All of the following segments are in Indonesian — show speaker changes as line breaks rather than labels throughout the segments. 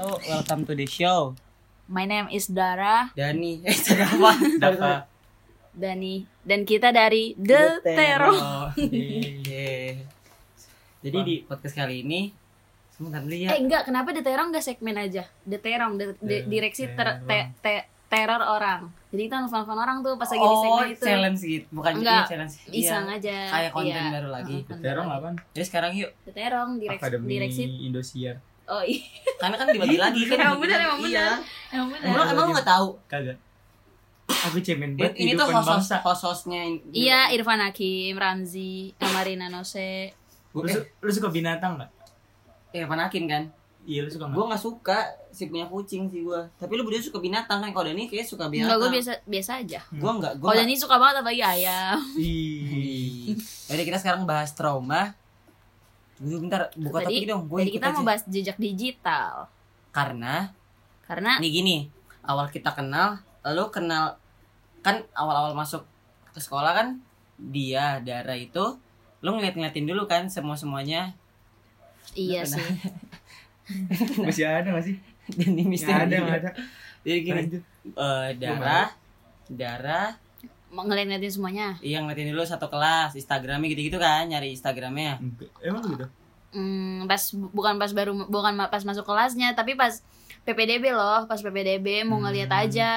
Oh, welcome to the show.
My name is Dara
Dani, eh Dara apa? Dava.
Dani dan kita dari The,
The
Terror.
Oh, iya. Jadi di podcast kali ini sebentar dulu ya.
Eh enggak, kenapa The Terror enggak segmen aja? The Terror, the, the-
The
direksi ter-
Terror.
te- te- teror orang. Jadi kita nelfon-nelfon orang tuh pas lagi di
oh,
segmen itu.
challenge gitu. Bukan
Enggak,
iya, challenge. Iya.
Iseng aja.
Kayak konten
iya.
baru lagi.
Heeh, konten
Terong
baru.
apaan?
Jadi sekarang yuk,
The Terror, direksi,
Akademi
direksi.
Indosiar.
Oh iya,
karena kan dibagi lagi kan.
Emang bener, iya. emang
Iya.
emang
Emang
benar.
emang lu nggak tahu?
Kagak. Aku cemen
Ini,
banget
ini tuh
kehidupan
host
bangsa.
host-hostnya ini.
Iya, Irfan Hakim, Ramzi, Amarina Nose.
Gua-
Lu, su- lu suka binatang gak?
eh, eh panakin kan?
Iya lu suka
Gue
gak?
nggak suka sih punya kucing sih gue. Tapi lu berdua suka binatang kan? Kalau Dani kayak suka
Enggak,
binatang.
gue biasa biasa aja.
Gue nggak. Gue
Kalau Dani suka banget apalagi ayam.
Ih.
Jadi kita sekarang bahas trauma. Tunggu bentar, buka
Tadi-
topik dong. Gue
Jadi kita mau bahas jejak digital.
Karena
Karena
nih gini, awal kita kenal, lo kenal kan awal-awal masuk ke sekolah kan dia Dara itu lo ngeliat-ngeliatin dulu kan semua-semuanya
iya
Kenapa?
sih.
Masih ada gak sih?
dan ini
Gak ada, gak ada.
Jadi gini,
Lanjut.
eh, Dara Dara
Mau ngeliat-ngeliatin semuanya.
yang ngeliatin dulu satu kelas Instagramnya gitu-gitu kan nyari Instagramnya
Enggak. Emang gitu?
Hmm, pas bukan pas baru bukan ma- pas masuk kelasnya tapi pas PPDB loh pas PPDB mau ngeliat
Hmm.
aja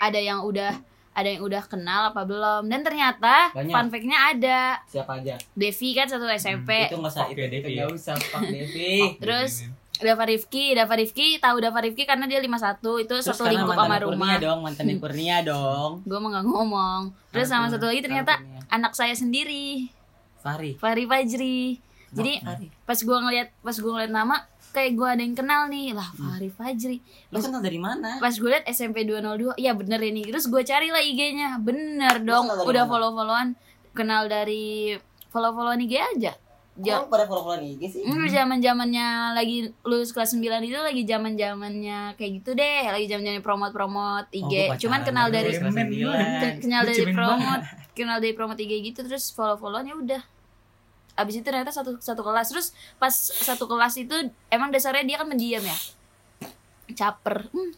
ada yang udah ada yang udah kenal apa belum dan ternyata
Banyak.
fun fact-nya ada
siapa aja
Devi kan satu SMP
itu nggak usah
Fuck
itu
ya, Devi.
nggak usah Pak Devi
Terus, Dava Rifki Dava Rifki tahu Dava Rifki karena dia 51 itu
Terus
satu
karena
lingkup
mantan
sama
Kurnia
rumah
dong mantan Kurnia dong
gue mau nggak ngomong terus
Karena
sama satu lagi
Kurnia,
ternyata
karena Kurnia.
anak saya sendiri
Fahri
Fahri Fajri jadi
Fahri.
pas gue ngeliat pas gue ngeliat nama kayak gue ada yang kenal nih lah Fahri Fajri
Lu kenal dari mana?
pas gue liat SMP 202 ya bener ini terus gue cari lah IG-nya bener dong
kenal dari
udah
mana?
follow followan kenal dari follow followan IG aja ja
Kok lu pada follow-followan IG sih?
Hmm, zaman zamannya lagi lulus kelas 9 itu lagi zaman zamannya kayak gitu deh lagi zaman zamannya promot promot
Oh,
IG
gua
cuman
pacaran
kenal
dulu
dari
kelas
Cemen
sembilan.
ke- kenal
Lu
dari
cemen
promot kenal dari promot IG gitu terus follow followan ya udah abis itu ternyata satu satu kelas terus pas satu kelas itu emang dasarnya dia kan mendiam ya caper Hmm.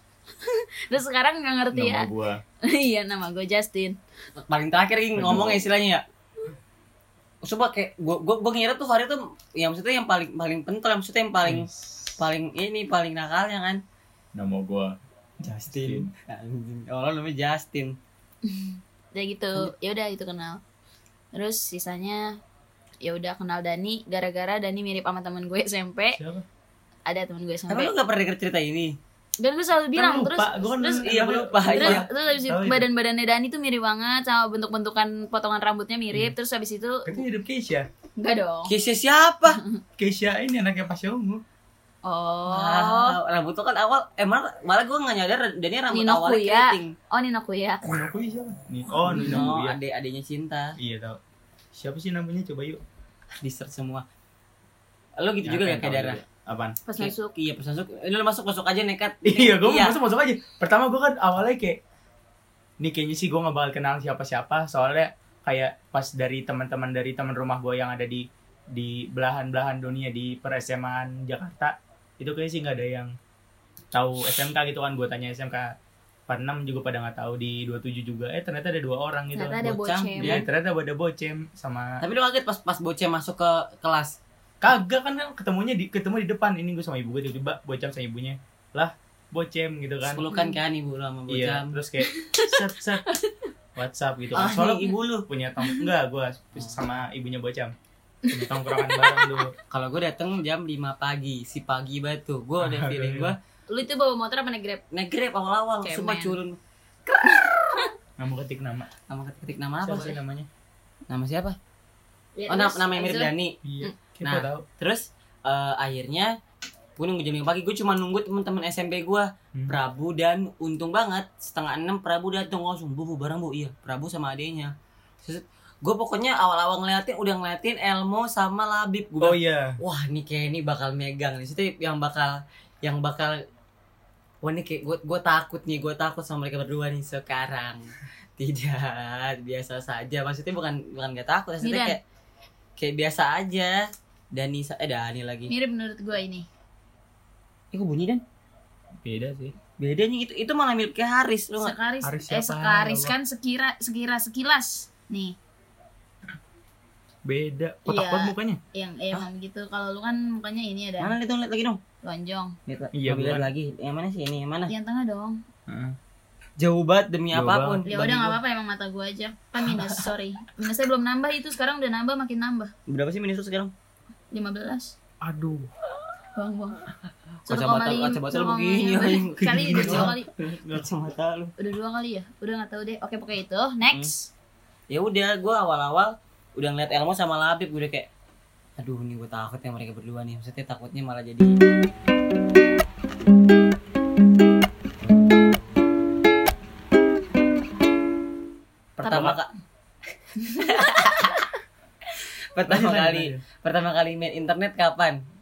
terus sekarang nggak ngerti ya
Nama gua.
iya nama gue Justin
Paling terakhir Ging,
Aduh.
ngomongnya istilahnya ya Coba kayak gua gua, gua ngira tuh Fahri tuh ya maksudnya yang paling paling pentol, yang maksudnya yang paling paling ini paling nakalnya kan.
Nama gua.
Justin. Oh, lo namanya Justin.
udah gitu ya udah itu kenal terus sisanya ya udah kenal Dani gara-gara Dani mirip sama temen gue SMP
Siapa?
ada temen gue
Tapi
SMP
lu gak pernah denger cerita ini.
dan gue selalu bilang
Kan
terus
lupa, gua kan
terus
Iya,
namanya-
lupa,
Terus,
iya.
terus habis itu
Tahu itu.
badan-badannya Dani tuh mirip banget sama bentuk-bentukan potongan rambutnya mirip. Terus habis itu
Kan hidup Keisha.
enggak dong.
Kisah siapa?
Keisha ini anaknya Pasha Ungu.
Oh.
Wow, rambut tuh kan awal eh malah, malah gue gak nyadar Dani rambut
Nino
awalnya
Kuya.
keriting.
Oh Nino Kuya.
Nino Kuni siapa? Ni- Oh, Nino
Nino,
Kuni.
adek adiknya cinta.
Iya tau. Siapa sih namanya coba yuk?
Di search semua. Lo gitu juga
Ngapain Iya, Nah,
gak kayak
tahu
Dara?
juga. Apaan?
Pas masuk
Iya pas masuk. Ini lu masuk masuk aja nekat.
Iya, gue
Iya.
masuk masuk aja. Pertama gue kan awalnya kayak, nih kayaknya sih gue gak bakal kenal siapa-siapa. Soalnya kayak pas dari teman-teman dari teman rumah gue yang ada di di belahan-belahan dunia di peresemaan Jakarta itu kayaknya sih nggak ada yang tahu SMK gitu kan gue tanya SMK 46 juga pada nggak tahu di 27 juga eh ternyata ada dua orang gitu
ternyata ada
bocah,
bocem.
Iya, ternyata ada bocem sama
Tapi lu kaget pas pas bocah masuk ke kelas.
kagak kan ketemunya di ketemu di depan ini gue sama ibu gue tiba-tiba bocam sama ibunya lah bocem gitu kan
Sepelukan kan ibu lu sama bocah.
Iya, terus kayak set set WhatsApp gitu.
Ah,
kan. Soalnya
nih, ibu lu.
punya tong enggak gua sama ibunya bocam. Punya tongkrongan bareng dulu.
Kalau gue dateng jam 5 pagi, si pagi banget tuh. Gue udah
iya.
feeling gue
Lu itu bawa motor apa naik Grab?
naik grab awal-awal,
Cemen.
sumpah culun.
Nggak mau ketik nama.
Nama ketik, ketik nama apa
Siapa
sih?
sih namanya?
Nama siapa?
Ya,
Oh, nama,
terus
nama yang mirip
habis itu-
Dani.
Iya, kita
Nah.
tahu.
Terus eh, akhirnya gue nunggu jam 5 pagi, gue cuma nunggu teman-teman SMP gue
Hmm.
Prabu dan untung banget setengah enam Prabu datang langsung bu bu barang bu iya Prabu sama adiknya gue pokoknya awal-awal ngeliatin udah ngeliatin Elmo sama Labib gue
Oh iya.
wah ini kayak ini bakal megang nih Maksudnya yang bakal yang bakal wah ini kayak gue gue takut nih gue takut sama mereka berdua nih sekarang tidak biasa saja maksudnya bukan bukan gak takut maksudnya
Midan.
kayak kayak biasa aja Dani sa- eh Dani lagi
Mirip menurut gue ini.
Ih, kok bunyi dan
beda sih
bedanya itu itu malah mirip kayak Haris lu nggak
Sekaris,
Haris
eh
siapa?
sekaris
Apa?
kan sekira sekira sekilas nih
beda kotak
Iya.
banget mukanya
yang eh, emang gitu kalau lu kan mukanya ini ada
mana itu lihat lagi dong
lonjong
lihat la-
Iya,
mau lihat
bukan.
lagi yang mana sih ini yang mana
yang tengah dong
jauh banget demi
Jauh
apapun
ya
bagi
udah nggak
gua.
apa-apa emang mata gua aja kan minus sorry minusnya belum nambah itu sekarang udah nambah makin nambah
berapa sih minus lu sekarang
15
aduh
bang bang
Kacamata- kacamata lu begini, anjing.
kali udah dua kali
kacamata lu
udah dua kali ya udah nggak tahu deh oke pokoknya itu next
ya udah gue awal-awal udah ngeliat Elmo sama Labib udah kayak aduh nih gue takut ya mereka berdua nih maksudnya takutnya malah jadi pertama kak pertama
Lanjut,
kali
lanjut.
pertama kali main internet kapan
Main-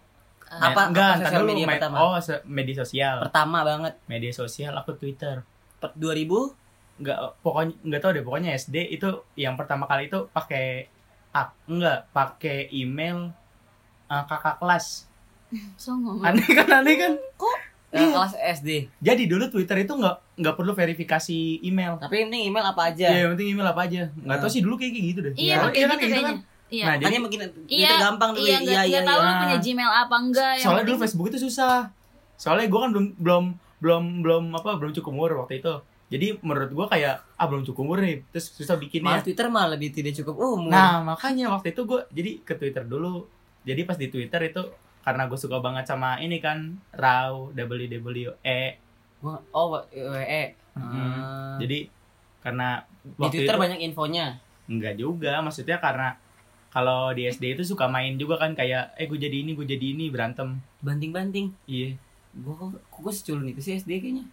Ah.
apa
enggak
apa
ntar
sosial
dulu
media
main-
pertama
oh so- media sosial
pertama banget
media sosial aku twitter
Per- 2000
nggak pokoknya nggak tahu deh pokoknya sd itu yang pertama kali itu pakai ak nggak pakai email eh, kakak kelas
Hmm.
songong
aneh kan aneh kan
eh,
Hmm.
kelas SD
jadi dulu twitter itu nggak nggak perlu verifikasi email
tapi ini email apa aja
ya yang penting email apa aja nggak tahu
Nah.
sih dulu kayak gitu deh
iya
Kan-
pakai
kan,
gitu
kan?
kayaknya iya
nah jadi
Makanya makin
Iya,
itu gampang tuh
iya
ya.
nggak nggak tahu lu
iya.
punya Gmail apa enggak yang
soalnya dulu
penting-
Facebook itu susah soalnya gue kan belum belum belum belum apa belum cukup umur waktu itu jadi menurut gue kayak ah belum cukup umur nih terus susah bikinnya
Malah Twitter malah lebih tidak cukup umur.
nah makanya waktu itu gue jadi ke Twitter dulu jadi pas di Twitter itu karena gue suka banget sama ini kan Raw WWE
Gua, oh WE.
Mm-mm. Hmm. jadi karena
Ah. di
waktu
Eh, Twitter
itu
banyak infonya.
enggak juga maksudnya karena kalau di SD itu suka main juga kan kayak eh gue jadi ini gue jadi ini berantem
Banting-banting.
iya
Gua kok gua seculun itu sih SD kayaknya.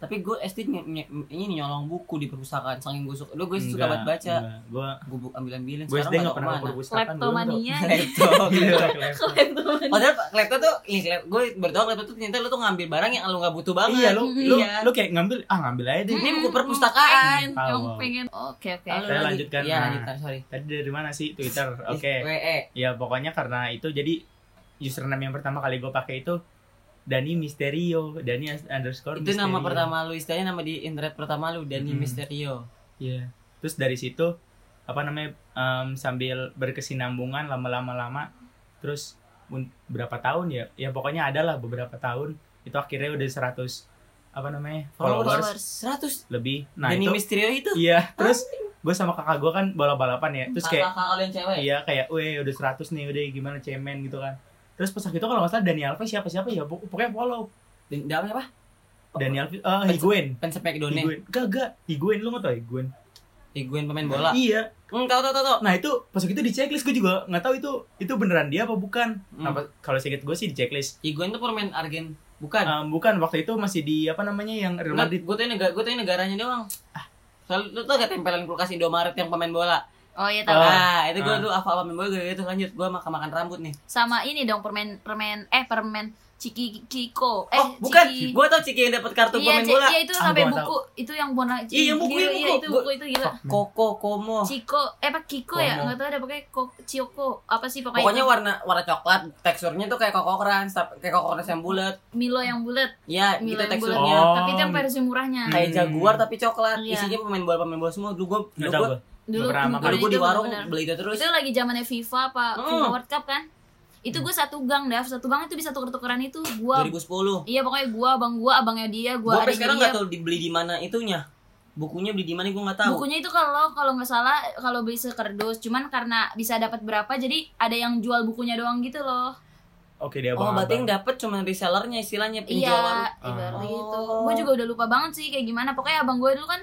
Tapi gue SD ny- ny- ini nyolong buku di perpustakaan. Saking gue suka, lu gue suka banget baca.
gue
Gue bu- ambil-ambilin
gue SD nggak
nggak tahu
pernah ke
kemana.
perpustakaan dulu Iya, tuh.
kleptomania
Laptop. gitu.
Laptop.
kleptomania
Padahal laptop tuh, gue baru tau laptop tuh ternyata lu tuh ngambil barang yang lu gak butuh banget.
iya lu lu
Iya.
lu kayak ngambil ah ngambil aja deh
Ini buku perpustakaan.
Pengen, emang
Wow.
Hmm, pengen oke oke
Lalu
Saya
lanjut.
lanjutkan.
Iya,
Nah.
lanjutkan, sorry. E.
tadi dari mana sih Twitter oke
WE.
ya pokoknya karena itu jadi username yang pertama kali gue pakai itu Dani Misterio Dani underscore
Itu nama
Misterio.
pertama lu istilahnya nama di internet pertama lu Dani
Mm-mm.
Misterio.
Iya. Terus dari situ apa namanya em, sambil berkesinambungan lama-lama lama terus un- berapa tahun ya? Ya pokoknya adalah beberapa tahun itu akhirnya udah 100 apa namanya? followers
followers
100
lebih. Nah,
Dani
itu
Misterio itu.
iya. Terus gue sama kakak gue kan bola-balapan ya. Terus kayak
kakak kalian cewek.
iya kayak weh udah 100 nih udah gimana cemen gitu kan. Terus pas itu kalau nggak salah Dani Alves siapa siapa ya pok- pokoknya follow.
Dan dan apa?
Dani Alves eh Higuain.
Fans McDonald.
Higuain. Gak, gak. Higuain lu nggak tau Higuain?
Higuain pemain bola.
Iya,
Hmm, tahu tahu tahu. tahu.
Nah itu pas itu di checklist gue juga nggak tahu itu itu beneran dia apa bukan. Nah,
Hmm.
pas- kalau seinget gue sih di checklist.
Higuain tuh pemain Argen. Bukan.
Em, bukan waktu itu masih di apa namanya yang Ah, Real
Nggak,
Madrid. Ah.
gue tuh negara, gue tuh negaranya doang. Soalnya lu tau gak tempelan kulkas Indomaret yang pemain bola?
oh iya tahu
Oh.
Ah, itu gue
Ah.
dulu apa pemain bola gue itu lanjut gue makan makan rambut nih.
sama ini dong permen permen eh permen ciki kiko eh
oh, bukan.
ciki-
Gue tau Ciki yang dapat
iya,
kartu pemain
Ci-
bola.
iya itu
Ah,
sampai
gua nggak
buku itu yang warna
Iya, yang buku,
gila,
yang
iya
buku.
itu buku itu gila
Koko Komo.
Ciko, eh apa Kiko
Komo.
ya? Enggak tahu ada pakai kok Cioko. Apa sih pokoknya?
Pokoknya warna warna coklat, teksturnya tuh kayak koko crunch, tap- kayak koko crunch yang bulat.
Milo yang bulat,
Iya,
Milo yang
gitu
bulat.
teksturnya.
Oh.
Tapi itu yang versi murahnya.
gitu. kayak
Hmm.
jaguar tapi coklat
Iya.
isinya pemain bola pemain bola semua dulu gue
Nggak
dulu
tahu
gue
gue. Pernah makan.
dulu
dulu
gue di
itu
warung
benar-benar.
beli itu terus
Itu lagi zamannya FIFA apa
Hmm.
FIFA World Cup kan? Itu gue satu gang, Daf. Satu gang itu bisa tuker-tukeran itu. Gua
2010
Iya pokoknya gua, abang gua, abangnya dia,
gue
gua adiknya
sampai sekarang
dia.
nggak tahu dibeli di mana itunya bukunya beli di mana gue nggak tahu
Bukunya itu kalau kalau nggak salah kalau beli sekerdus, cuman karena bisa dapat berapa jadi ada yang jual bukunya doang gitu loh.
Oke dia
oh
abang.
berarti yang dapet cuma resellernya
Iya,
istilahnya penjual warung
ibarat
Oh.
gitu. Gue juga udah lupa banget sih kayak gimana. Pokoknya abang gue dulu kan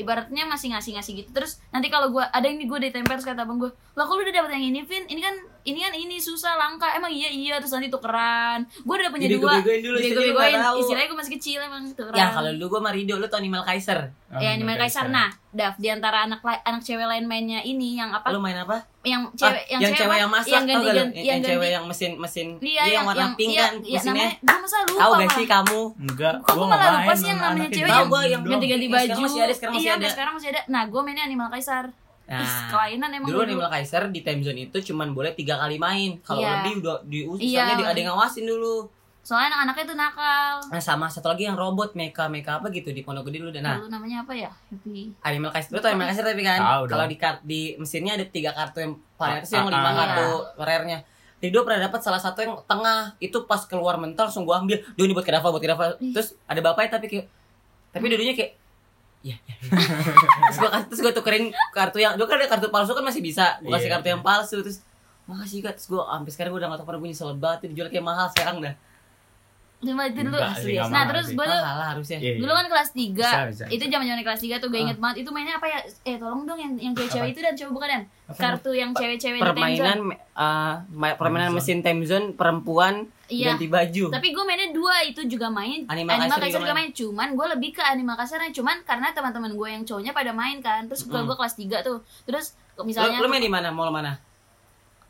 ibaratnya masih ngasih-ngasih gitu. Terus nanti kalau gue ada yang gue ditempel terus kata abang gue, "Lah kok lu udah dapet yang ini, Vin? Ini kan ini kan ini susah langka. Emang iya iya terus nanti tukeran. Gue udah punya
jadi gue
dua.
begoin dulu
Jadi
jadi
gue
gue
begoin.
tahu
Istilahnya gue masih kecil emang tukeran.
ya kalau dulu gue marido lu Tony Mel Kaiser
Ah,
ya anime
iya,
nggak
Kaisar
bisa.
nah, Daf di antara anak la- anak cewek lain mainnya ini yang apa?
lu main apa
yang cewek
Ah, yang cewek yang masak
yang ganti
tau gak lu?
ganti
yang, yang cewek yang mesin mesin
dia
iya, yang warna pink
iya,
kan
iya,
mesinnya
namanya gue masa lupa
tahu gak
malah.
sih kamu
Enggak.
Kok
gue
gua
nggak
malah
main.
lupa sih yang
sama
namanya
anaknya.
cewek
Tahu
yang-
gua
yang
doang.
ganti-ganti
Iya,
baju
sekarang masih ada, sekarang masih
iya
ada.
udah sekarang masih ada nah gue mainnya Animal Kaisar Ih,
nah
kelainan emang
dulu
dulu.
Animal Kaiser di time zone itu cuman boleh tiga kali main kalau
Iya.
lebih udah di
Iya.
misalnya di- ada yang ngawasin dulu
soalnya anak-anaknya tuh nakal
Nah sama satu lagi yang robot Meka Meka apa gitu di Pondok Gede dulu dan nah
dulu namanya apa ya Happy
ada Mel Kaiser Ah, lu tau Mel Kaiser tapi kan
Tahu dong.
kalau di kar- di mesinnya ada tiga kartu yang paling atas
Ah,
yang lima
ah,
kartu rare-nya Rido pernah dapat salah satu yang tengah itu pas keluar mental langsung gua ambil Duh ini buat Kedafa buat Kedafa terus ada bapaknya tapi kayak tapi dulunya kayak ya, ya. terus gua kasih- terus gua tukerin kartu yang dulu kan ada kartu palsu kan masih bisa gua kasih
Iya.
kartu yang palsu terus makasih kak terus gua sampai sekarang gua udah nggak tahu pernah bunyi nyesel banget tuh dijual kayak mahal sekarang dah
lima itu dulu
Enggak sih, enggak
nah
mahal
terus
sih.
gue tuh
mahal lah harusnya
Iya, iya.
dulu kan kelas tiga
Bisa, bisa.
itu zaman zaman kelas tiga tuh gue inget banget itu mainnya apa ya eh tolong dong yang yang cewek-cewek itu dan cowok bukan dan kartu yang cewek-cewek di
permainan
Tenzon
eh, ma- permainan mesin time zone perempuan
Iya.
ganti baju
tapi gue mainnya dua itu juga main
Animal
Animal,
Kaiser
Kaiser
juga
juga main cuman gue lebih ke Animal Kaiser cuman karena teman-teman gue yang cowoknya pada main kan terus gue gue kelas 3 tuh terus misalnya
lu, lu main di mana mall mana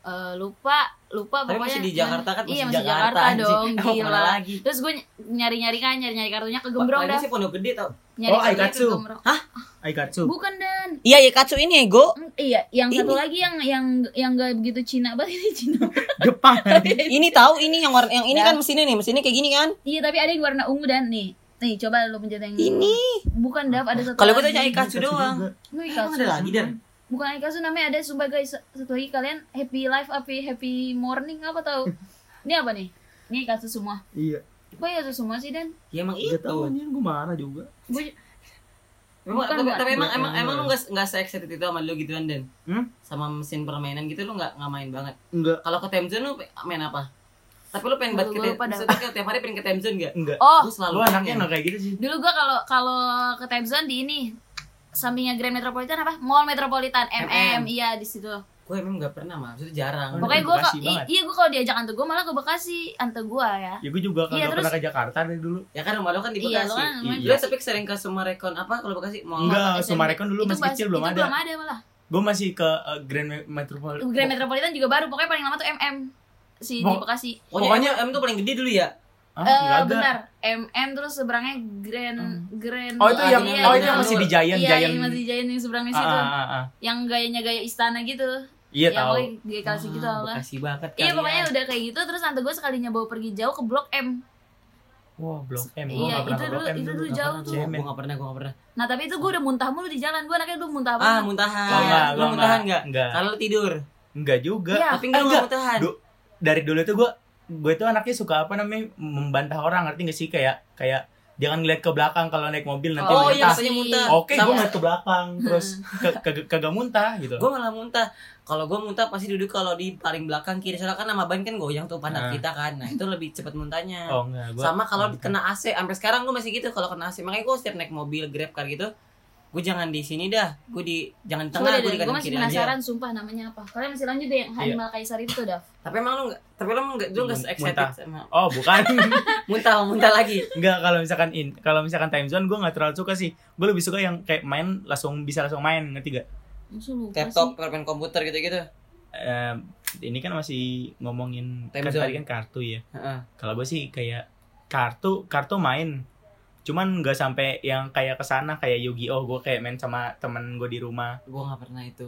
eh, lupa lupa
Tapi masih di Jakarta kan,
iya
masih
masih Jakarta,
Jakarta, anjing.
dong
Emang
gila
kemana lagi?
terus gue nyari nyari kan nyari nyari kartunya kegembrong
Lainnya
dah
sih pondok gede tau
nyari
Oh,
kartunya
Aikatsu.
kegembrong
Aikatsu
bukan dan
iya ya katsu ini ego
Mm, iya yang satu
Ini.
lagi yang yang yang gak begitu Cina banget ini Cina
Jepang Iya,
ini tahu ini yang warna yang ini
Ya.
kan mesinnya nih mesinnya kayak gini kan
iya tapi ada yang warna ungu dan nih nih coba lu pencet yang
ini
bukan Dav ada satu
kalau gue tuh
lagi.
cari katsu doang
juga.
Lu Aikatsu.
Emang Eh, ada lagi dan
bukan Aikasu namanya ada sumpah guys satu lagi kalian happy life happy happy morning apa tau ini apa nih ini Aikasu semua
Iya
kok Aikasu semua sih dan
ya emang itu
Gak tau anjir gue mana juga
gue
Emang-
Bukan,
tapi,
bukan.
tapi emang
Bukan,
emang
bukan.
emang lu nggak nggak se excited itu sama lu gitu kan dan
Hmm?
sama mesin permainan gitu lu nggak nggak main banget
Enggak
kalau ke time zone lu pe- main apa tapi lu pengen buat
Lu-
ke
lu
time
lupa dah.
maksudnya tiap hari pengen ke time zone gak
Enggak
oh
Gua selalu
Lu anaknya enggak kayak gitu sih
dulu gua kalau kalau ke time zone di ini sampingnya Grand Metropolitan apa Mall Metropolitan
MM.
MM iya di situ
gue emang nggak pernah mah maksudnya jarang
Lu
pokoknya
ke
gue
Bekasi banget.
iya gue kalau diajak antu gue malah ke Bekasi antu gue ya
Ya gue juga
Iya,
kagak
terus-
pernah ke Jakarta dari dulu
ya kan rumah lu kan di
Iya, lu
Bekasi
kan rumah
di
Lu
Bekasi.
tapi sering ke Sumarekon apa kalau Bekasi mau
Enggak,
SMP.
Sumarekon dulu masih
pas-
kecil belum
itu
ada
belum ada malah
Gue masih ke eh, Grand Metropolitan
Grand Metropolitan juga baru pokoknya paling lama tuh MM si di
Pok-
Bekasi
Pokoknya, M, tuh paling gede dulu ya.
Ah,
Eh,
enggak ada.
bentar. MM terus seberangnya Grand Grand
Oh itu
Lu
yang
adanya
oh
yang
itu yang
dulu.
masih di Giant
iya,
Giant.
yang masih Giant yang seberangnya
Ah,
situ.
ah, ah, ah.
Yang gayanya gaya istana gitu.
Iya
yang
tahu.
pokoknya gaya kasih gitu
Ah,
lah.
Bekasi banget kali.
Iya pokoknya
ya.
udah kayak gitu terus tante gue sekalinya bawa pergi jauh ke Blok M.
Wah, Blok M. Gua
iya,
nggak pernah ke
itu dulu
Blok M
itu dulu
Nggak
jauh
pernah tuh,
tuh.
Cemen.
gua nggak pernah, gua nggak pernah.
Nah, tapi itu gue udah muntah mulu di jalan. Gue anaknya dulu muntah
Ah,
banget.
muntahan.
Gua nggak,
Lu
gua
muntahan
nggak.
enggak?
Nggak.
Kalau lu tidur.
Enggak juga.
Iya.
Tapi enggak lu nggak
enggak.
muntahan.
Du- Dari dulu tuh gue gue tuh anaknya suka apa namanya membantah orang ngerti gak sih kayak kayak jangan ngeliat ke belakang kalau naik mobil nanti
Oh,
muntah.
iya, maksudnya muntah.
Oke, gue
Sama.
ngeliat ke belakang terus ke- ke- kagak muntah gitu.
Gua malah muntah. Kalau gua muntah pasti duduk kalau di paling belakang kiri soalnya kan sama ban kan goyang tuh
Ah.
pantat kita kan. Nah, itu lebih cepat muntahnya.
Oh enggak, gua
Sama kalau
muntah.
kena AC, sampai sekarang gua masih gitu kalau kena AC. Makanya gua setiap naik mobil Grab car gitu, gua jangan di sini dah. Gua di jangan di tengah,
Coba deh,
gua di
gue
kanan
masih
kiri aja.
penasaran sumpah namanya apa. Kalian masih lanjut deh yang Animal Kaisar itu, Dav.
Tapi emang lu enggak tapi lu enggak lu enggak
Muntah.
excited sama
Oh bukan
muntah sama muntah lagi.
Enggak kalau misalkan in Kalau misalkan time zone gue gak terlalu suka sih Gue lebih suka yang kayak main Langsung bisa langsung main Ngerti gak?
Masih lupa
Laptop, permen komputer gitu-gitu.
Eh, ini kan masih ngomongin
Time
kan
zone.
tadi kan kartu ya
Heeh.
kalau gue sih kayak kartu kartu main cuman nggak sampai yang kayak kesana kayak Yu-Gi-Oh gue kayak main sama temen gue di rumah
Gua nggak pernah itu.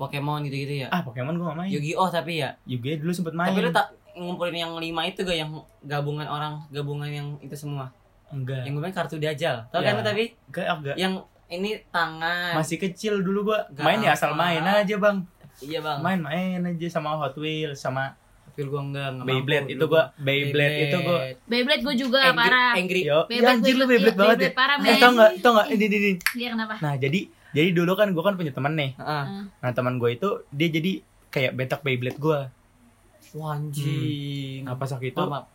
Pokemon gitu-gitu ya.
ah Pokemon gue gak main
Yu-Gi-Oh tapi ya.
Yu-Gi-Oh dulu sempet main
Tapi lu tak ngumpulin yang lima itu gak yang gabungan orang, gabungan yang itu semua.
enggak
Yang gue main kartu dajal. Tahu
Ya.
kan lu tapi
enggak enggak
yang ini tangan.
masih kecil dulu gue
Enggak
main ya asal
apa.
main aja bang
Iya, Bang.
main main aja sama Hot Wheels sama
Tapi gua enggak enggak
Beyblade
mampu
itu
dulu.
gue Beyblade itu gue
Beyblade gue juga
Angry,
parah.
Angry.
Yo,
Beyblade
ya, anjir
gua
lu
ikut,
Beyblade
iya,
banget ya.
Beyblade parah,
Eh,
men.
tau nggak, tau nggak, ini, ini, ini.
Iya kenapa?
Nah, jadi, jadi dulu kan gue kan punya temen nih.
Heeh.
Nah, teman gue itu dia jadi kayak betak Beyblade gue.
Wah, anjing.
Nah, pas waktu itu,
Maaf, maaf.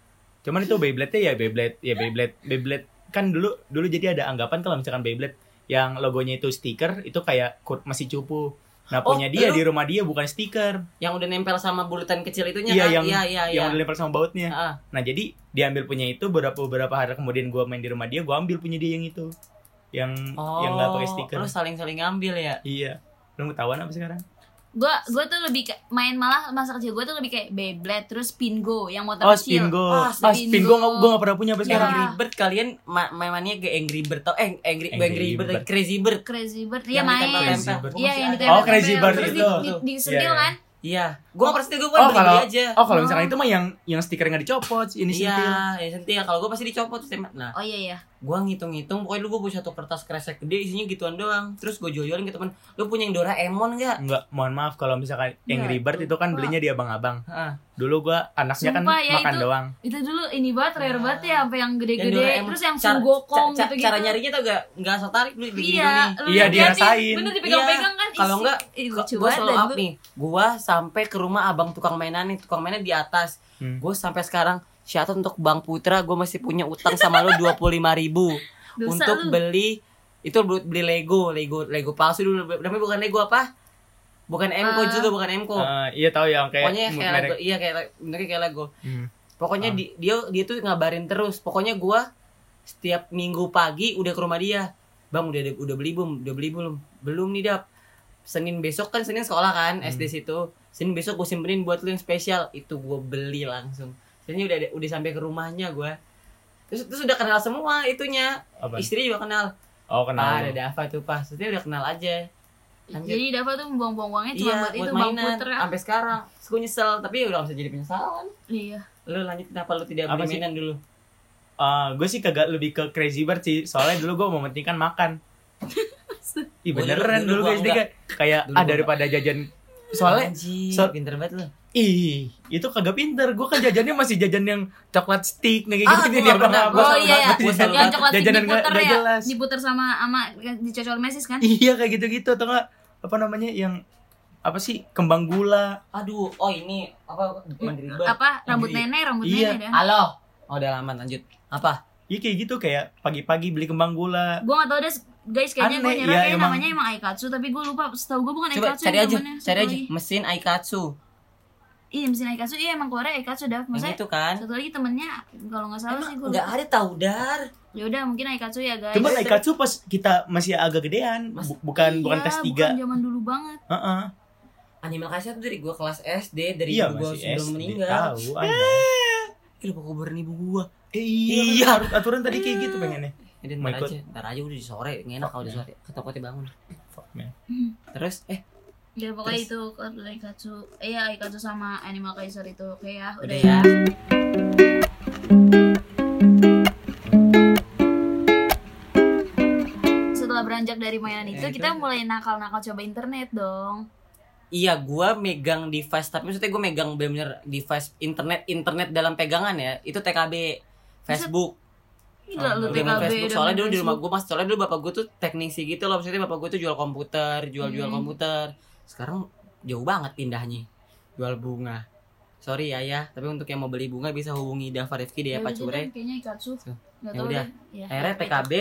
cuman itu Beyblade-nya ya Beyblade, ya Beyblade, Beyblade kan dulu dulu jadi ada anggapan kalau misalkan Beyblade yang logonya itu stiker itu kayak kur- masih cupu. Nah,
Oh,
punya dia
lu-
di rumah dia bukan stiker
Yang udah nempel sama bulatan kecil itunya
Iya,
kan?
yang-
iya,
Ah,
iya, iya.
yang udah lempar sama bautnya.
Heeh.
Nah, jadi diambil punya itu beberapa beberapa hari kemudian gue main di rumah dia, gue ambil punya dia yang itu. Yang
Oh,
yang nggak pakai stiker.
Lu saling-saling ngambil ya.
Iya. Lu mau tahuan apa sekarang?
Gue gue tuh lebih kayak main malah masa kecil gue tuh lebih kayak Beyblade terus Pingo yang motor
Oh,
kecil.
Spingo.
Ah, Iya.
Ah, Spingo
Spingo.
gue gak pernah punya
Iya.
sampai sekarang.
Angry Bird kalian ma- mainannya ke Angry Bird tau eh Angry,
Angry
Angry Bird,
Bird.
Crazy Bird
Crazy Bird, iya
Yang
main.
ditempel-tempel.
Crazy Bird.
Iya yang
Masih ada.
ditempel.
Oh, Crazy Bird
terus
itu.
Di, di,
Iya,
disedil
iya.
kan?
Iya, gua
Oh,
pasti
oh,
gue kan
kalau-
berdiri aja.
Oh kalau misalkan itu mah yang yang stiker nggak dicopot ini
Iya,
sentil.
ya sentil. Kalau gua pasti dicopot setiap- Nah,
Oh iya iya.
gua ngitung-ngitung pokoknya lu gua punya satu kertas kresek gede isinya gituan doang. Terus gua jual-jualin ke teman. Lu punya yang Doraemon enggak?
Enggak, mohon maaf kalau
Iya,
misalkan yang
Nggak,
ribet
itu
itu kan
lupa.
belinya di abang-abang.
Heeh.
Dulu gua anaknya kan
Sumpah, ya,
makan
itu-
doang.
Itu dulu ini banget rare banget ya sampai yang
Iya. Yang
gede-gede
Doraemon.
terus yang
Cara-
sugokong
ca- ca-
gitu-gitu.
Cara nyarinya tau gak? Enggak asal tarik lu begini
Iya, lu
Iya,
liatin.
dirasain.
Bener dipegang-pegang kan
Iya. Kalau
isi.
enggak,
Ih, lucu
Gue
banget
selalu
dan
up
gua-
nih. Gua sampai ke rumah abang tukang mainan nih, tukang mainan di atas.
Hmm.
Gue sampai sekarang syarat untuk Bang Putra gue masih punya utang sama lo 25.000 ribu
Dosa lu.
untuk beli itu buat beli Lego, Lego Lego palsu dulu. Namanya bukan Lego apa? Bukan Mco
Ah.
juga, bukan Mco.
Eh, iya tahu yang kayak
Pokoknya kayak
merek.
Lego, iya kayak benernya kayak Lego.
Hmm.
Pokoknya di- dia dia tuh ngabarin terus. Pokoknya gua setiap minggu pagi udah ke rumah dia. Bang udah udah beli belum? Udah beli belum? Belum nih dap. Senin besok kan Senin sekolah kan
Hmm.
SD situ. Senin besok gue simpenin buat lu yang spesial. Itu gua beli langsung. Senin udah ada- udah sampai ke rumahnya gua. Terus terus udah kenal semua itunya.
Apa?
Istri juga kenal.
Oh
Ah,
kenal.
ada
lu.
Dava tuh pas. Maksudnya udah kenal aja. Lanjut.
Jadi Dava tuh membuang-buang uangnya Iya, cuma
iya,
buat itu ya.
buat
Bang
mainan
Putra.
sampai sekarang. Terus gua nyesel, tapi ya udah gak bisa jadi penyesalan.
Iya.
Lu lanjut kenapa lu tidak
Apa
beli
sih?
mainan dulu?
gue Eh, sih kagak lebih ke crazy bird sih soalnya dulu gue mementingkan makan Ih
Dulu-
beneran dulu,
dulu gua
guys dia kayak kayak
Dulu
ah
gua
daripada jajan soalnya
Anjir,
so-
pinter banget lu.
ih itu kagak pinter gue kan jajannya masih jajan yang coklat stick nih
Ah,
kayak gitu
gua
dia
nggak pernah,
bang
gua
Oh
selalu
iya ya.
banget, gua selalu
Yang
banget.
coklat
kan, Jajanan nggak-
diputer
nggak
ya.
jelas.
Diputer sama sama dicocol mesis kan?
iya kayak gitu gitu atau enggak apa namanya yang apa sih kembang gula
Aduh, oh ini apa Mandiri banget.
Apa rambut
Mandiri.
nenek, rambut
Iya.
nenek ya? dah.
Halo. Oh, udah lama lanjut. Apa?
iya kayak gitu kayak pagi-pagi beli kembang gula
Gue gak tau deh guys kayaknya gue
Aneh,
nyerah
iya,
kayaknya
emang.
namanya emang Aikatsu tapi gue lupa setahu gue bukan
Coba
Aikatsu
cari
ya
aja,
namanya.
cari
Satu
aja
lagi.
mesin Aikatsu.
Iya mesin Aikatsu iya emang keluarnya Aikatsu dah
Yang
maksudnya
itu kan.
satu lagi temennya kalau nggak salah
Emang
sih gue
enggak ada tahu dar.
ya udah mungkin Aikatsu ya
Nah,
guys
iya.
Cuma Laikatsu pas kita masih agak gedean, bu- bukan bukan
Iya,
kelas 3.
bukan zaman dulu banget
Heeh.
Animal Kasih itu dari gua kelas SD, dari
Iya,
ibu gua
masih
sebelum
SD.
meninggal.
Tahu, aneh.
Ih, lupa kuburan ibu gua.
Eh, iya,
Iya.
kan harus aturan tadi kayak gitu pengennya.
Jadi ntar
Mau ikut?
aja, ntar aja udah di sore, nggak enak kalau di sore. Ketakutnya bangun.
Fuck, man.
Hmm.
Terus eh
ya pokoknya
Terus?
itu Aikatsu iya Aikatsu sama Animal Kaiser itu oke ya udah,
udah
ya
ya.
setelah beranjak dari mainan itu,
Ya, itu.
kita mulai nakal-nakal coba internet dong
Iya, gua megang device, tapi maksudnya gua megang bener-bener device internet internet dalam pegangan ya. Itu TKB, Facebook.
Gila
Oh,
lu
Udah main
TKB
Facebook
udah
soalnya
main
dulu di rumah
Facebook.
gue mas soalnya dulu bapak gue tuh teknisi gitu loh maksudnya bapak gue tuh jual komputer jual jual
Hmm.
komputer sekarang jauh banget pindahnya jual bunga sorry ya ya tapi untuk yang mau beli bunga bisa hubungi Dava Rifki di
Ya udah
Epa Cure.
deh, kayaknya Ikatsu
Tuh.
Gak
Ya
tau
udah.
deh Ya,
akhirnya TKB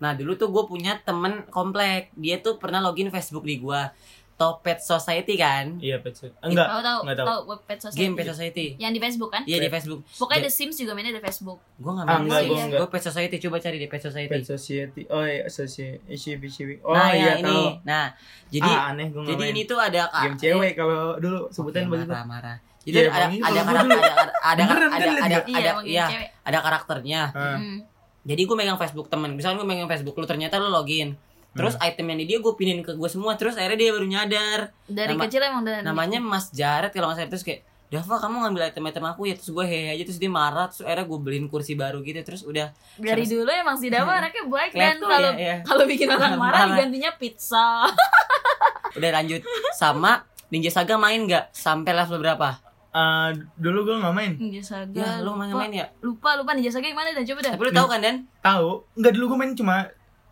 nah dulu tuh gue punya temen komplek dia tuh pernah login Facebook di gue Topet Society kan
Iya, betul. Enggak.
Tahu tahu
nggak tahu.
tahu web pet sosial.
game Pet Society
Yang di Facebook kan?
Iya di Facebook
Pokoknya The Sims juga mainnya di Facebook.
Gue gak
Ah,
main
enggak,
gua
enggak.
Gue Pet Society Coba cari di Pet Society
Pet Society. Oh, iya, Society. ICB, ICB. Oh,
Nah
iya,
yang ini
tahu.
Nah jadi
ah, aneh gua
Jadi
ngapain.
ini tuh ada
game cewek kalau dulu sebutan
Oke,
begitu.
marah, marah. Iya, Jadi
Iya,
ada
emang ini
ada
kalau
karakter ada ada ada
Beneran kan,
ada ada
Lid?
ada
emang
iya,
cewek.
ada karakternya.
Heeh.
Hmm.
Jadi gue megang Facebook temen. Misalnya gue megang Facebook lu ternyata lu login. Terus
Hmm.
item yang di dia gue pinin ke gue semua. Terus akhirnya dia baru nyadar.
Dari
Nama-
kecil emang udah
Namanya Mas Jared kalau nggak salah terus kayak Dava kamu ngambil item-item aku ya terus gue hehe aja terus dia marah terus akhirnya gue beliin kursi baru gitu terus udah
dari dulu emang si Dava anaknya baik dan
Kelihatan,
kalau
ya, ya.
kalau bikin orang
Marah.
marah digantinya pizza.
udah lanjut sama Ninja Saga main nggak sampai level berapa?
Ah, dulu gua nggak main.
Ninja Iya, Saga.
Ya, lu main
lupa,
main ya.
lupa lupa Ninja Saga yang mana dan coba dah.
Tapi lu tahu kan Dan?
Tahu? Enggak dulu gua main cuma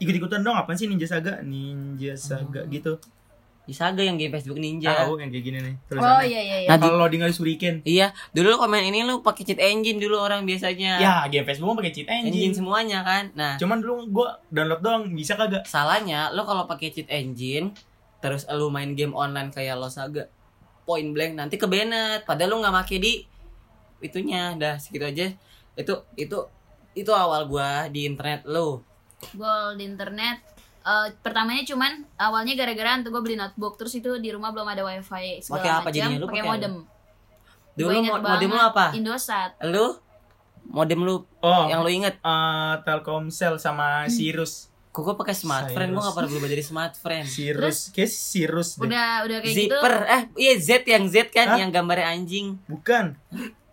ikut-ikutan dong apa sih Ninja Saga? Ninja Saga
Hmm.
gitu.
Ninja Saga yang game Facebook Ninja.
Tahu yang kayak gini nih. Terus
Oh iya iya iya.
Nah,
Kalau loading harus shuriken.
Iya, dulu lu komen ini lu pakai cheat engine dulu orang biasanya.
Ya, game Facebook pakai cheat
Iya. engine
engine.
semuanya kan. Nah,
Cuman dulu gua download doang, bisa kagak?
salahnya lo kalau pakai cheat engine terus lo main game online kayak lo saga point blank nanti ke Bennett padahal lo nggak make di itunya dah segitu aja itu itu itu awal gua di internet lo
Gol di internet. Eh, pertamanya cuman awalnya gara-gara tuh gue beli notebook terus itu di rumah belum ada wifi segala
Pakai apa
macam,
jadinya? Lu
pakai
pakai apa? Ah.
modem
dulu
Gua ingat
mo- modem lo
banget,
apa
Indosat
lo modem lo
Oh,
yang lo inget
eh, Telkomsel sama Sirus.
Kok gue pakai smart
Cyrus.
friend, gue gak pernah berubah jadi smart friend.
Sirus, kayak Sirus deh.
udah udah kayak gitu
Zipper, eh iya Z yang Z kan
Hah?
yang gambarnya anjing.
Bukan.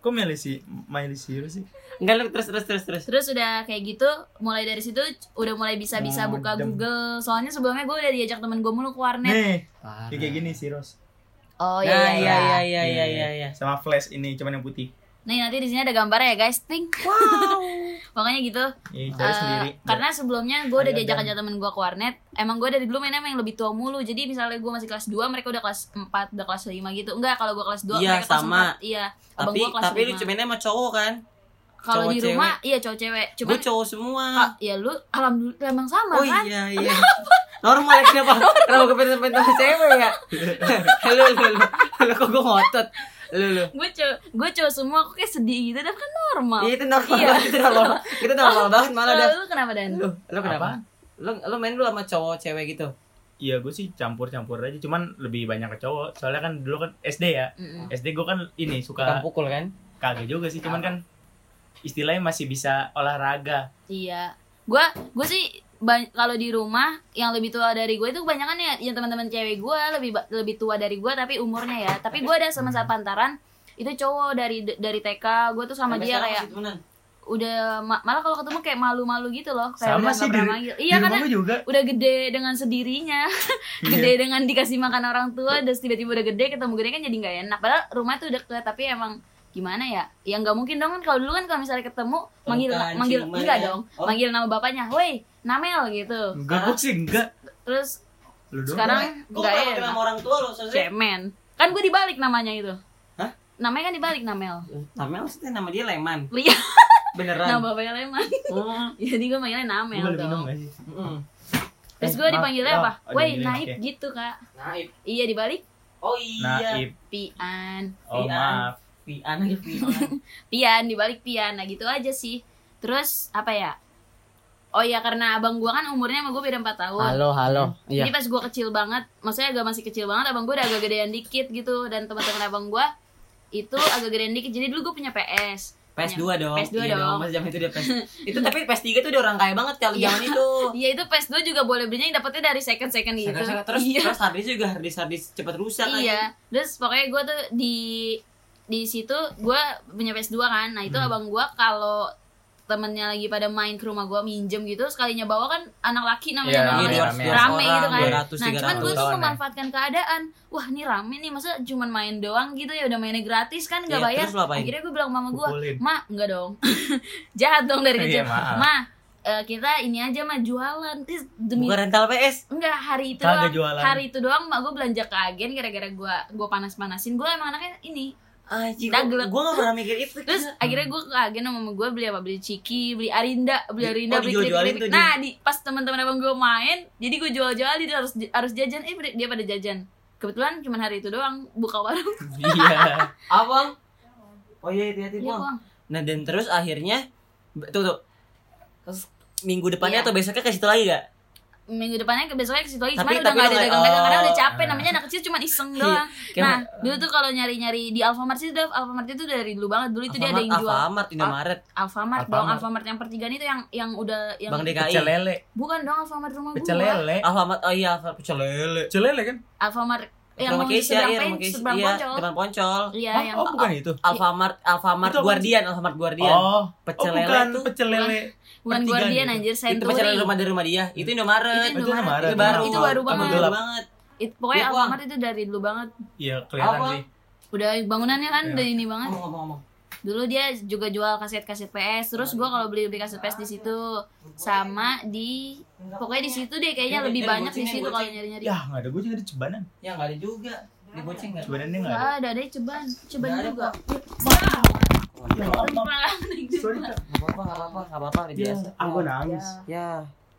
Kok Miley si Miley Cyrus sih?
Enggak lu terus terus terus terus.
Terus udah kayak gitu, mulai dari situ udah mulai bisa-bisa
Oh,
buka
Modem.
Google. Soalnya sebelumnya gue udah diajak temen gue mulu ke warnet.
Nih, ya kayak kayak gini Sirus.
Oh
nah,
iya iya.
iya
iya.
iya iya iya iya. iya.
Sama flash ini cuman yang putih.
Nih nanti di sini ada gambarnya ya guys, ting. Pokoknya gitu.
Iya,
Eh,
cari sendiri.
karena sebelumnya gue udah
Ada
diajak
dan.
ajak temen gue ke warnet emang gue dari dulu mainnya sama yang lebih tua mulu jadi misalnya gue masih kelas 2 mereka udah kelas 4 udah kelas 5 gitu enggak kalau gue kelas 2
Iya,
mereka kelas
sama.
4 iya abang
Tapi
gue kelas
tapi lu
5
cuman sama cowok kan?
kalau di
cowok
rumah iya cowok cewek cuman
Gue cowok semua.
ah, ya lu alhamdulillah emang sama
Oh
kan
iya iya. Normal ya kenapa? Kenapa gue pengen pengen sama cewek ya? Lu lu lu. Lu kok gue ngotot. Lu lu.
gue cowok gue cowok semua kok kayak sedih gitu dan kan normal
Iya itu normal. banget, Itu normal. banget. Itu normal banget malah
Kalau
dah.
lu kenapa dan
Lu lu kenapa?
Apaan?
Lu lu main dulu sama cowok cewek gitu.
Iya, gue sih campur-campur aja, cuman lebih banyak ke cowok. Soalnya kan dulu kan SD ya.
Mm-mm.
SD gue kan ini
Bukan
suka
pukul kan?
kaget juga sih, cuman kan istilahnya masih bisa olahraga.
Iya. Gua gua sih ba- kalau di rumah yang lebih tua dari gue itu kebanyakan ya yang teman-teman cewek gue lebih ba- lebih tua dari gue tapi umurnya ya. Tapi gue ada sama
Hmm.
satu pantaran itu cowok dari dari TK gue tuh sama
Sampai
dia
sekarang
kayak
masih temenan.
udah ma- malah kalau ketemu kayak malu-malu gitu loh kayak
Sama
udah
sih
nggak
di,
pernah manggil. iya
di
karena
rumah gua juga.
udah gede dengan sendirinya gede dengan dikasih makan orang tua terus tiba-tiba udah gede ketemu gede kan jadi nggak enak padahal rumah tuh deket tapi emang gimana ya ya nggak mungkin dong kan kalau dulu kan kalau misalnya ketemu manggil
Pelukan,
manggil
ciuman
enggak
ya.
dong
Oh.
manggil nama bapaknya woi namel gitu
Enggak, gue sih enggak.
terus
Lu doang.
sekarang
Kok
nggak
kenapa kenal
enak
sama orang tua lu? Sosok
cemen kan gue dibalik namanya itu
Hah?
namanya kan dibalik namel
Namanya maksudnya nama dia Leman.
iya
Beneran.
nama bapaknya leman
Hmm.
jadi gue manggilnya
Gua
namel
boleh minum
ya, dong
nggak sih?
Mm-mm.
Eh,
terus gue
maaf,
dipanggilnya
maaf.
apa
Oh,
woi
dipanggilnya,
naib
oke.
gitu kak
Naib.
iya dibalik
Oh iya.
Naib.
pian
Oh,
Iya.
maaf.
Pian aja Pian.
pian dibalik pian nah gitu aja sih terus apa ya oh ya karena abang gua kan umurnya sama gue beda 4 tahun
Halo, halo. Iya.
jadi pas gua kecil banget maksudnya agak masih kecil banget abang gua udah agak gedean dikit gitu dan teman-teman abang gua itu agak gedean dikit jadi dulu gue punya PS
PS2 dong.
PS2
Iya
dong.
Mas zaman itu dia PS. itu tapi PS3 tuh udah orang kaya banget kalau
Iya.
zaman itu.
Iya itu PS2 juga boleh belinya yang dapetnya dari second second gitu.
Sangat-sangat terus
iya.
terus harddisk juga harddisk harddisk cepat rusak
iya. Terus pokoknya gue tuh di di situ gue punya PS2 kan. Nah,
Hmm.
itu abang gue kalau temennya lagi pada main ke rumah gue minjem gitu sekalinya bawa kan anak laki namanya
Iya,
anak
Iya,
Rame,
laki.
dua
rame.
ratus
rame
orang,
gitu kan
200,
nah cuman gue tuh
300.
Tahun ya.
memanfaatkan keadaan wah ini rame nih masa cuman main doang gitu ya udah mainnya gratis kan nggak
Iya,
bayar
terus lu apain?
akhirnya gue bilang sama gue
Pukulin.
ma nggak dong jahat dong dari
Iya,
kecil
maaf.
ma eh, kita ini aja ma jualan Terus demi
Bukan rental PS.
Enggak, hari itu
Kagak
doang.
jualan.
Hari itu doang mak gue belanja ke agen gara-gara gue gue panas-panasin. Gue emang anaknya ini.
Anjir,
Dagelek.
gua gak pernah mikir itu.
Terus akhirnya gue ke agen sama mama gue beli apa? Beli ciki, beli arinda, beli
Oh,
arinda, beli
dijual-jualin
keripik.
tuh dia.
Nah, di pas teman-teman abang gue main, jadi gue jual-jual dia harus harus jajan. Eh, dia pada jajan. Kebetulan cuma hari itu doang buka warung.
Iya.
Abang. Oh iya,
Iya,
hati-hati, Bang.
Bang.
Nah, dan terus akhirnya tuh tuh Terus minggu depannya
Iya.
atau besoknya ke situ lagi gak?
Minggu depannya ke besoknya ke situ lagi, cuman
Tapi-
udah gak
tapi lu
ada
nggak-
dagang-dagang karena
oh. Iya.
udah capek namanya anak kecil cuma iseng doang.
Kayak-
nah, dulu tuh kalau nyari-nyari di Alfamart sih udah Alfamart itu dari dulu banget. Dulu itu dia ada yang
Alfamart,
jual
Alfamart, Indomaret,
Alfamart, dong,
Alfamart.
Alfamart yang pertigaan itu yang yang udah yang
Bang ya? DKI.
Pecel lele.
bukan dong Alfamart rumah gua.
Pecel lele.
Ah.
Alfamart, oh iya, Alfamart pecel lele.
Pecel lele kan?
Alfamart eh, yang
Rumah
mau di
Keisha,
seberang
iya,
Pen,
rumah Keisha,
seberang
iya,
Poncol.
depan poncol.
Iya,
Hah?
yang
Oh, bukan itu.
Alfamart, Alfamart
Itu apa sih?
Guardian, Alfamart Guardian.
Oh,
pecel
oh,
lele
bukan
tuh.
pecel lele.
bukan
Pertigaan
Guardian
gitu.
anjir,
itu
Century.
pacaran rumah dari rumah dia
Hmm.
itu Indomaret
Itu
Itu
Indomaret.
Indomaret.
itu baru
Itu baru
Itu
banget.
baru banget
It- pokoknya
Iya, Bang.
Alfamart itu dari dulu banget.
Iya, kelihatan
Apa?
sih.
Udah bangunannya kan
Iya.
udah ini banget.
ngomong ngomong ngomong
Dulu dia juga jual kaset-kaset PS. Terus gua kalau beli beli kaset PS di situ sama di pokoknya di situ deh kayaknya
Iya,
lebih
iya,
banyak di
gocengin,
situ kalau
goceng.
nyari-nyari.
Ya, enggak ada gue juga ada cebanan.
ya nggak ada juga digoceng nggak
Cebanannya enggak ada.
Ah, ada deh ceban, ceban
Nggak ada,
juga.
Ya,
Oh, iya. nggak
maaf, maaf.
Pelan-pelan.
Sorry, Kak.
apa-apa nggak apa-apa nggak apa-apa udah
Ya,
biasa
ah, gua nangis.
ya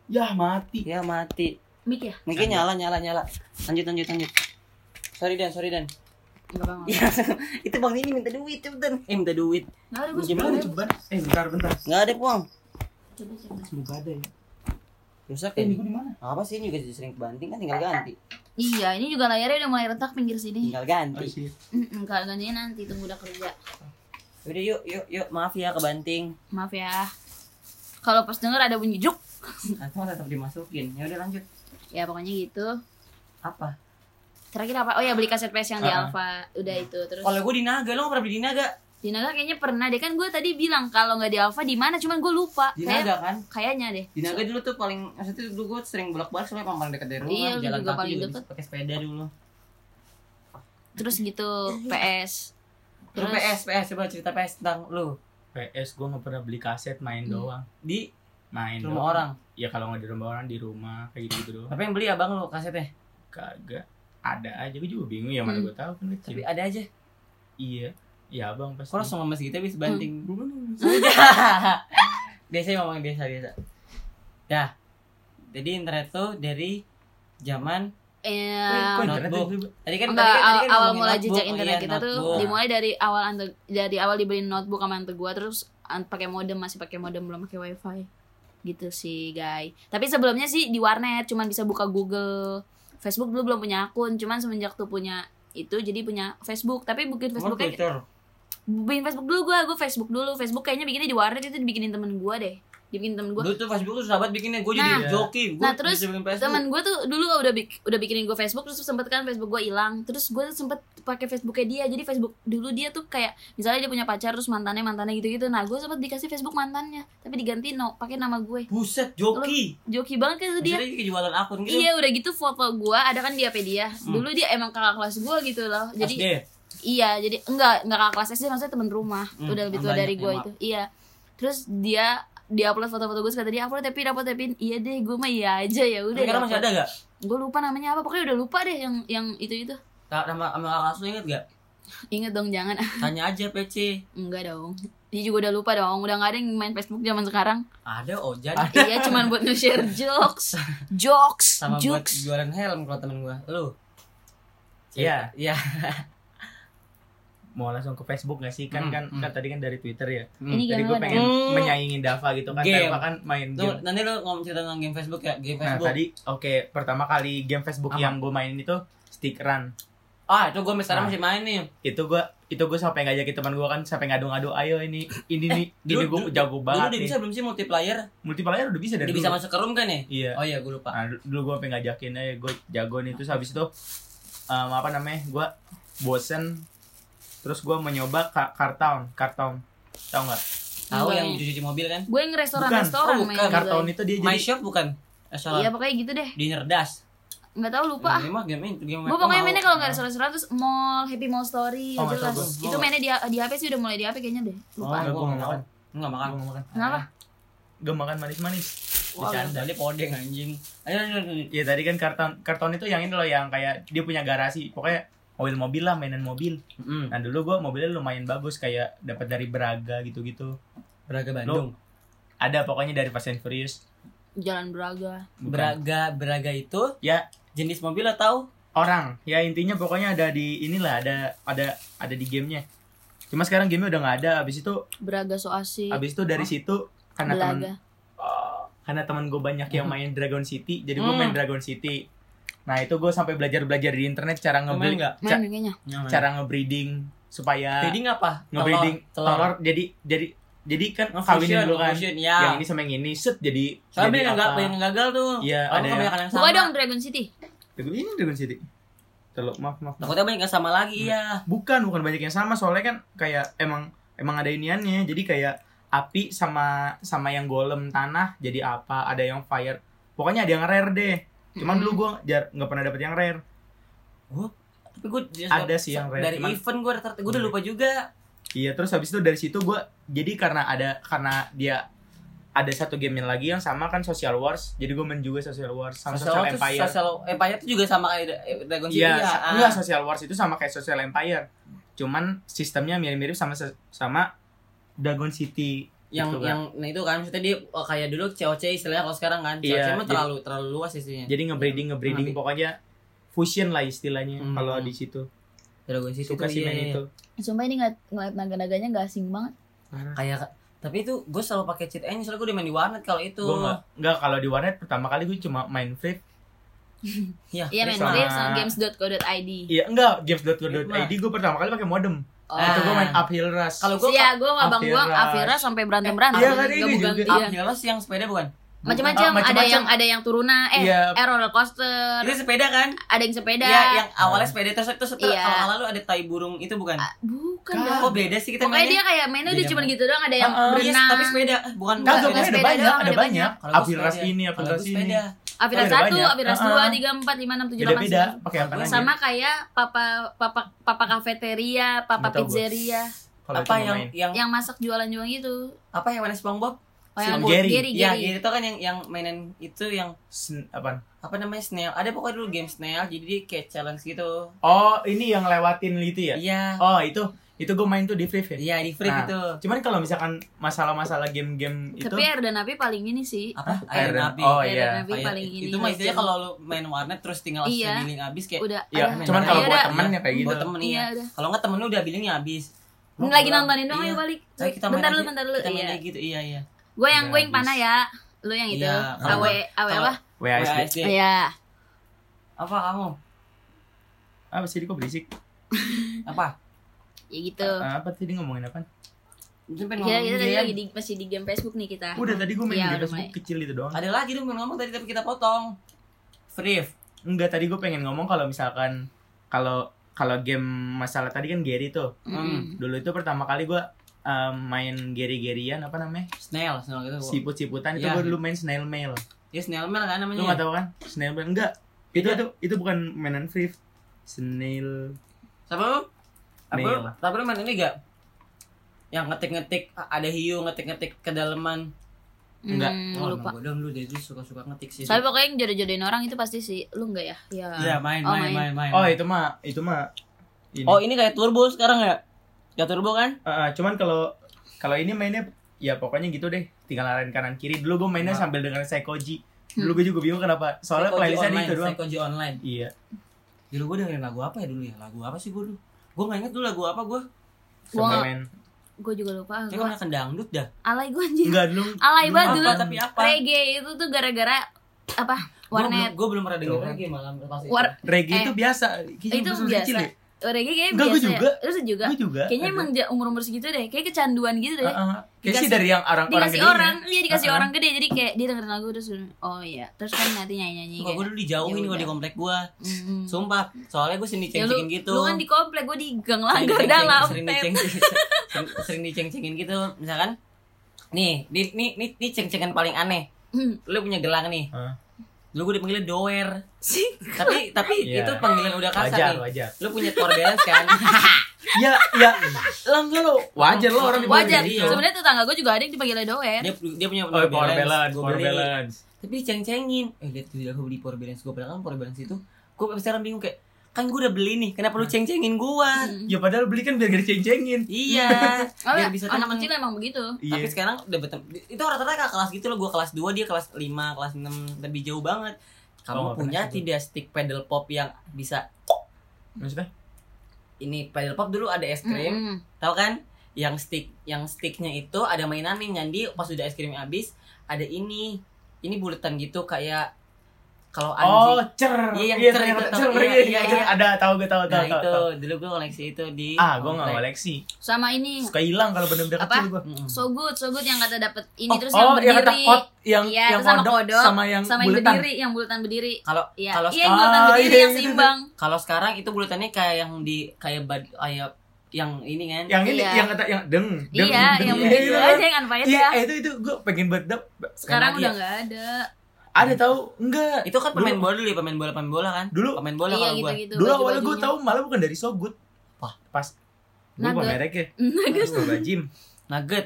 Yah, mati.
ya mati
Mik ya?
mungkin nyala nyala nyala lanjut lanjut lanjut sorry dan sorry dan
Enggak bang.
ya itu bang ini minta duit cepetan eh minta duit
Enggak ada Nah, gue
Gimana,
sepuluh ribu.
Ceban. Eh, bentar, bentar.
nggak ada puang
Coba, coba.
Semoga ada ya.
rusak
Eh,
ya
ini gue di mana?
apa sih ini juga sering kebanting kan tinggal ganti
Iya, ini juga layarnya udah mulai retak pinggir sini.
tinggal
Oh,
ganti
shit.
Mm-mm, Kalau gantinya nanti tunggu udah kerja.
udah yuk yuk yuk maaf ya kebanting
Maaf ya. Kalau pas denger ada bunyi juk,
atau Hmm, tetap dimasukin ya udah lanjut
ya pokoknya gitu
apa
terakhir apa oh ya beli kaset PS yang di
Ah.
Alfa udah itu terus
Iya. kalau gue di naga lo nggak pernah beli di naga
di Naga kayaknya pernah deh kan gue tadi bilang kalau nggak di Alfa di mana cuman gue lupa
di
Kayak-
naga kan
kayaknya deh
di naga dulu tuh paling maksudnya dulu gue sering bolak balik soalnya emang paling dekat dari rumah
Iya, lu
jalan
juga
kaki
paling
juga
deket.
bisa pakai sepeda dulu
terus gitu PS
Lu
terus
Iya. PS PS coba cerita PS tentang lu
PS gue nggak pernah beli kaset main
Hmm.
doang
di
main
rumah
doang.
orang
ya kalau nggak di rumah orang di rumah kayak gitu gitu doang
tapi yang beli abang lu kasetnya
kagak ada aja gue juga bingung ya mana
Hmm.
gue tahu kan kecil
tapi ada aja
iya iya abang pasti
kok langsung ngemes gitu
Hmm.
bisa banting
Gua kan-
Udah. biasanya ngomong biasa biasa dah jadi internet tuh dari zaman
eh,
Kok internet
notebook.
aja?
tadi kan
enggak
tadi kan,
awal,
tadi kan
awal
ngomongin
mula
notebook.
jejak
Oh,
internet
iya,
kita tuh
notebook.
dimulai dari awal ante- dari awal dibeliin notebook sama ante gua terus an- pakai modem masih pakai modem belum pakai wifi gitu sih guys tapi sebelumnya sih di warnet cuman bisa buka Google Facebook dulu belum punya akun cuman semenjak tuh punya itu jadi punya Facebook tapi bikin
Nomor
Facebooknya
Twitter.
bikin Facebook dulu gua gua Facebook dulu Facebook kayaknya bikinnya di warnet itu dibikinin temen gua deh dibikinin temen gua
Dulu tuh Facebook tuh sahabat bikinnya, gue jadi
Nah.
joki, gue
Nah, terus
bisa bikin Facebook.
temen gue tuh dulu udah bik- udah bikinin gue Facebook terus sempet kan Facebook gue hilang terus gue tuh sempet pakai Facebooknya dia jadi Facebook dulu dia tuh kayak misalnya dia punya pacar terus mantannya mantannya gitu gitu nah gue sempet dikasih Facebook mantannya tapi diganti no pakai nama gue
Buset, joki.
joki banget kan tuh dia
Maksudnya dia jualan akun gitu.
iya udah gitu foto gue ada kan di HP dia
Hmm.
dulu dia emang kakak kelas gue gitu loh jadi
SD.
Iya, jadi enggak enggak kakak kelas SD maksudnya temen rumah.
Hmm,
udah lebih tua
tambahnya,
dari gue
ya,
itu. Iya. Terus dia dia upload foto-foto gue kata dia upload tapi upload tapi iya deh gue mah iya aja ya udah.
Tapi sekarang masih ada gak?
Gue lupa namanya apa pokoknya udah lupa deh yang yang itu itu.
Ta- Nama sama kakak lu inget gak?
Ingat dong jangan. Ah,
Tanya aja PC.
enggak dong. Dia juga udah lupa dong. Udah nggak ada yang main Facebook zaman sekarang.
Ada oh, Ojan
iya, cuman buat nge-share jokes, jokes,
sama buat
jokes.
jualan helm kalau temen gue. Lu?
Iya.
Iya.
mau langsung ke Facebook gak sih kan
Hmm,
kan,
hmm.
kan tadi kan dari Twitter ya
Ini
jadi gue
gimana dong?
pengen
Hmm.
menyaingi Dava gitu kan
Game.
Dava kan main
Tuh,
game
nanti lu ngomong cerita tentang game Facebook ya, game
nah
Facebook.
tadi oke pertama kali game Facebook
Apa?
yang gue mainin itu Stick Run
Ah, itu gue
Nah.
sekarang masih main nih.
itu gue itu gue sampai ngajakin teman gue kan sampai ngadu-ngadu ayo ini ini nih ini
Eh,
gue
dulu- dulu-
jago
Dulu
banget
udah
nih
bisa belum sih multiplayer?
multiplayer udah bisa dari
Udah
dulu
bisa masuk ke room kan ya?
iya
Oh iya, gue lupa.
Nah, du- dulu gue pengen ngajakin aja gue jago nih terus habis itu em, apa namanya gue bosen terus gue mencoba ka Cartown Cartown tau nggak
Tahu
Enggak.
yang cuci mobil kan?
Gue yang
Bukan.
restoran-restoran
Oh,
main
bukan.
juga.
Cartown itu dia
My
Iya, jadi
Shop bukan? Eh, Asal
Iya, pokoknya gitu deh.
dinner dash.
Enggak tahu lupa ah.
Ini mah game ini, game
Gue
gua
pokoknya
Iya, mau.
mainnya kalau nggak restoran-restoran terus mall, happy mall story,
Oh,
nggak
nggak tahu
jelas.
gua.
Itu mainnya di, di HP sih udah mulai di HP kayaknya deh.
Oh,
Lupa.
Enggak, gua
gua nggak
nggak
makan. Enggak makan.
Ah, Gua nggak makan.
iya.
Kenapa?
gue makan manis-manis
Wah,
Bercanda.
Bali podeng anjing. Ayo, ayo, ayo.
ya tadi kan Cartown Cartown itu yang ini loh yang kayak dia punya garasi pokoknya mobil-mobil lah mainan mobil
Mm.
nah dulu gue mobilnya lumayan bagus kayak dapat dari Braga gitu-gitu
Braga Bandung.
ada pokoknya dari Fast and Furious
Jalan Braga.
Bukan.
Braga Braga itu
Ya.
jenis mobil atau
orang ya intinya pokoknya ada di inilah ada ada ada di gamenya cuma sekarang gamenya udah nggak ada abis itu
Braga Soasi.
abis itu dari situ karena teman
Iya. Braga.
karena teman gue banyak yang main Dragon City jadi gue
Hmm.
main Dragon City nah itu gue sampai belajar belajar di internet cara
main
ngebreed
enggak?
Main deh kayaknya.
cara ngebreeding supaya
breeding apa?
ngebreeding
telur.
telur, jadi jadi jadi kan
Ngefusion,
kawinin dulu kan
ngefusion, ya.
yang ini sama yang ini set jadi
Soalnya
jadi
banyak enggak banyak yang gagal tuh.
Iya,
Orang
ada yang-
kebanyakan yang sama.
Buka dong Dragon City.
Dragon- ini Dragon City telur maaf maaf
Takutnya banyak yang sama lagi
Iya.
ya.
Nah, Bukan, bukan banyak yang sama soalnya kan kayak emang emang ada iniannya. Jadi kayak api sama sama yang golem tanah jadi apa, ada yang fire. Pokoknya ada yang rare deh. Cuman
Mm-mm.
Hmm.
dulu gua jar- nggak pernah dapet yang rare.
Tapi gue
Ada sih yang rare,
dari
cuman- Hmm.
event gue udah gue udah lupa juga.
Iya, terus habis itu dari situ gua jadi karena ada karena dia ada satu game lagi yang sama kan Social Wars. Jadi gua main juga Social Wars sama Social,
Sosial-
Empire.
Sosial Empire itu juga sama kayak Dra- Dragon City
Iya,
ya.
sa-
Ah.
enggak Social Wars itu sama kayak Social Empire. Cuman sistemnya mirip-mirip sama sama Dragon City
yang
gitu kan.
yang nah itu kan maksudnya dia oh, kayak dulu COC istilahnya kalau sekarang kan COC
Iya,
mah
jadi-
terlalu terlalu luas isinya Iya.
Jadi ngebreeding ngebreeding
Ngerti.
pokoknya fusion lah istilahnya
Hmm.
kalau di situ.
Dragon City
Suka
tuh,
sih
iya,
main
iya.
itu.
Sumpah ini nggak ngeliat naga-naganya nggak asing banget.
kayak tapi itu gue selalu pakai cheat engine soalnya gue udah main di warnet kalau itu
Gue enggak enggak kalau di warnet pertama kali gue cuma main free.
iya
Iya main
Sama-
Free sama games.co.id.
Iya, enggak games.go.id gue pertama kali pakai modem.
Oh.
Ah.
Itu gue main uphill rush.
kalau gue
Iya, gue sama abang gue
Aviras.
Avira sampai berantem
Iya,
berantem.
kan, ini juga.
ganti
Abniolos yang sepeda bukan
iya. macam-macam
Ah,
ada
macam-macam.
yang ada yang turunan eh
Iya.
eh, roller coaster
Itu sepeda kan?
ada yang sepeda
Iya, yang
Nah.
awalnya sepeda terus terus terus
Iya.
awal-awal lu ada tai burung itu bukan?
Ah, bukan
Kagak.
dong.
Kok beda sih kita
pokoknya dia
mainnya?
kayak mainnya udah
Beda
cuma
banget.
gitu doang ada yang
Ah, ah,
Iya,
berenang
tapi sepeda Eh, bukan bukan
Kagak,
Bukan
pokoknya ada
sepeda
banyak, ada
doang, ada banyak.
banyak.
Kalau gua
Apiras
sepeda.
Kan ini, apiras
Kalau gua
ini.
sepeda.
Oh,
Aviras
ada
satu,
banyak.
Aviras
Ah,
dua,
ah.
tiga, empat, lima, enam, tujuh, delapan,
Beda-beda
sembilan.
pakai apa
Kalau
aja.
sama kayak papa papa papa kafeteria, papa
Nggak tahu gua.
pizzeria
Kalau
apa
itu
yang
main.
yang
yang masak jualan-jualan gitu.
apa yang mainnya SpongeBob?
Oh,
Si
yang
Gary.
Gary,
Iya,
Gary.
gitu kan yang yang mainan itu yang
Sen- apaan?
apa namanya snail. Ada pokoknya dulu game snail jadi dia kayak challenge gitu.
Oh, ini yang lewatin itu ya?
Iya.
Oh, itu itu gue main tuh di free ya.
Iya, di free
Nah.
gitu.
Cuman kalau misalkan masalah-masalah game-game itu
Tapi Air dan Api paling ini sih.
Apa?
Hah?
Air
Iron-
nabi.
Oh,
Air
iya.
dan Api
Air-
paling ini.
itu mah istilahnya
legend.
kalau lu main warnet terus tinggal
Iya.
iya. billing habis kayak
udah
Ya,
ada.
cuman kalau
Iya,
buat
ada.
temen ya kayak gitu.
buat temen
Iya,
iya.
udah.
Kalau nggak temen lu udah billingnya habis.
Ini
Lu
lagi
pulang.
nontonin dong,
Iya.
ayo balik.
Tapi kita main
bentar dulu,
lagi-
bentar dulu.
Kita main
Iya.
lagi gitu. Iya, iya.
Gue yang
Udah
gue yang
habis.
panah ya. Lu yang itu.
Iya,
Awe, awe
Kalau-
apa?
WASD.
WASD.
Iya.
Apa kamu?
Apa sih kok berisik?
Apa?
Ya gitu.
Ah, Apa tadi ngomongin apa?
Mungkin pengen gitu
Iya, kita
ya. ngomongin
tadi
game.
lagi di, masih di game Facebook nih kita.
Udah tadi gue main
Iya,
di
udah
Facebook
main.
kecil itu doang.
Ada lagi dong pengen ngomong tadi tapi kita potong. Free.
Enggak, tadi gue pengen ngomong kalau misalkan kalau kalau game masalah tadi kan Gary tuh.
Hmm,
Mm-mm.
Dulu itu pertama kali gue um, main Gary-Gerian apa namanya?
Snail, snail gitu.
Siput-siputan itu
Iya.
gue dulu main Snail Mail.
Ya snail mail kan
Oh,
namanya.
iya.
Lu gak tau kan? Snail Mail enggak. Itu
Iya.
itu itu bukan mainan free. Snail
Siapa lu? Apa lu?
Mail.
Tapi lu main ini gak? Yang ngetik-ngetik ada hiu ngetik-ngetik kedalaman.
Enggak.
Hmm,
Oh,
lupa.
Gue dong lu dari dulu suka-suka ngetik sih.
Tapi pokoknya yang jodoh-jodohin orang itu pasti sih lu enggak ya? Iya.
Iya, main,
Oh, main.
main, main, main.
Oh itu mah itu mah ini.
Oh, ini kayak turbo sekarang ya? Kayak turbo kan?
Uh, uh, cuman kalau kalau ini mainnya ya pokoknya gitu deh tinggal arahin kanan kiri dulu gue mainnya
Nah.
sambil dengerin Seikoji
Hmm.
dulu gue juga bingung kenapa soalnya
Seikoji
playlistnya
online,
itu doang
Seikoji online.
iya
Dulu gue dengerin lagu apa ya dulu ya? Lagu apa sih gue dulu? Gue gak inget dulu lagu apa gue.
sambil
Gua-
main
Gue juga lupa.
Kayak gue
Gua,
makan dangdut dah.
alay gue anjir.
enggak dulu
Alay banget
Apa,
dulu.
tapi apa?
Reggae itu tuh gara-gara apa? Warnet.
Gue belum pernah denger
Tuh.
lagi malam pas itu.
War
reggae
Eh,
itu biasa
itu biasa.
ya?
Reggae kayaknya
Enggak, gua
biasa. ya.
juga.
Terus juga.
gue juga
Kayaknya
ada.
emang umur-umur segitu deh. Kayak kecanduan gitu deh.
Uh, uh. Kayaknya sih
Dikasih-
dari yang orang orang
dikasih
gedenya.
orang, dia dikasih
Uh-uh.
orang gede jadi kayak dia dengerin lagu terus oh iya terus kan nanti nyanyi nyanyi
Gue dulu dijauhin
Ya
gue
udah.
di komplek gue. Sumpah, soalnya gue sering
ya, lu,
diceng-cengin gitu.
lu kan di komplek gue di gang
Sering
langgar
diceng-ceng-
dalam
sering
Pep.
diceng sering, sering diceng-cengin gitu, misalkan nih, di- nih nih nih ceng-cengan paling aneh.
Hmm.
Lu punya gelang nih.
Hah?
Lu gue dipanggilnya doer.
sih
Tapi tapi
Iya.
itu panggilan udah kasar
wajar
nih.
wajar
Lu punya power balance kan?
ya ya langsung lo wajar lo orang dipanggil
wajar
gitu.
sebenarnya tetangga gue juga ada yang dipanggilnya doer
dia dia punya
oh power balance
gua
power
beli.
balance
Tapi diceng-cengin. Eh lihat tuh gue beli power balance gue padahal kan power balance itu gue sekarang bingung kayak kan gue udah beli nih, kenapa lu
Hmm.
ceng-cengin gua?
Hmm.
ya padahal beli kan biar gak diceng-cengin
Iya,
Oh,
biar bisa
anak
temen.
kecil emang begitu
Iya.
Tapi sekarang udah betem itu rata-rata kakak kelas gitu loh, gua kelas 2 dia kelas 5, kelas 6, lebih jauh banget.
Oh,
Kamu punya
pernah sih
tidak stick pedal pop yang bisa
maksudnya
ini pedal pop dulu ada es krim,
Mm-mm.
tahu kan? Yang stick yang sticknya itu ada mainan nih Nyandi pas udah es krimnya habis ada ini. Ini buletan gitu kayak kalau
Oh,
anjing.
cer.
Iya, yang
iya,
cer
ternyata
itu.
cer.
Iya,
Iya,
iya,
cer.
iya.
Ada tahu gue tahu tahu
nah,
tahu.
itu Iya.
tahu.
dulu gua koleksi itu di
Ah, gue nggak
komplek.
koleksi.
sama ini
Suka hilang kalau bener-bener
Iya. Apa?
kecil gue.
Mm-mm.
so good so good yang kata dapet ini
Oh,
Iya, terus
oh,
yang
yang kata
berdiri
kot, yang
Iya,
yang
terus sama
kodok,
kodok,
sama yang
sama yang
buletan.
berdiri yang bulatan berdiri
Kalau
Iya,
kalau
iya yang bulatan
Ah, iya,
berdiri yang
iya, iya.
seimbang
kalau sekarang itu buletannya kayak yang di kayak bad, kayak yang ini kan.
Yang ini
Iya.
yang kata yang deng, deng.
iya
deng,
yang
deng.
berdiri
begitu
Iya,
aja yang unfaedah
Iya, eh, iya. itu itu gue pengen buat dap.
sekarang udah
Karena dia-
nggak ada
Ada tahu enggak?
Itu kan pemain
Dulu-
bola dulu ya, pemain bola pemain bola kan?
Dulu
Pemain bola
iya
kalau gua.
gitu-gitu
dulu awalnya gue
baju-bajunya.
tahu malah bukan dari Sogut.
Wah.
pas gue lupa
Nugget.
mereknya.
Nugget.
Astagfirullahaladzim.
Nugget.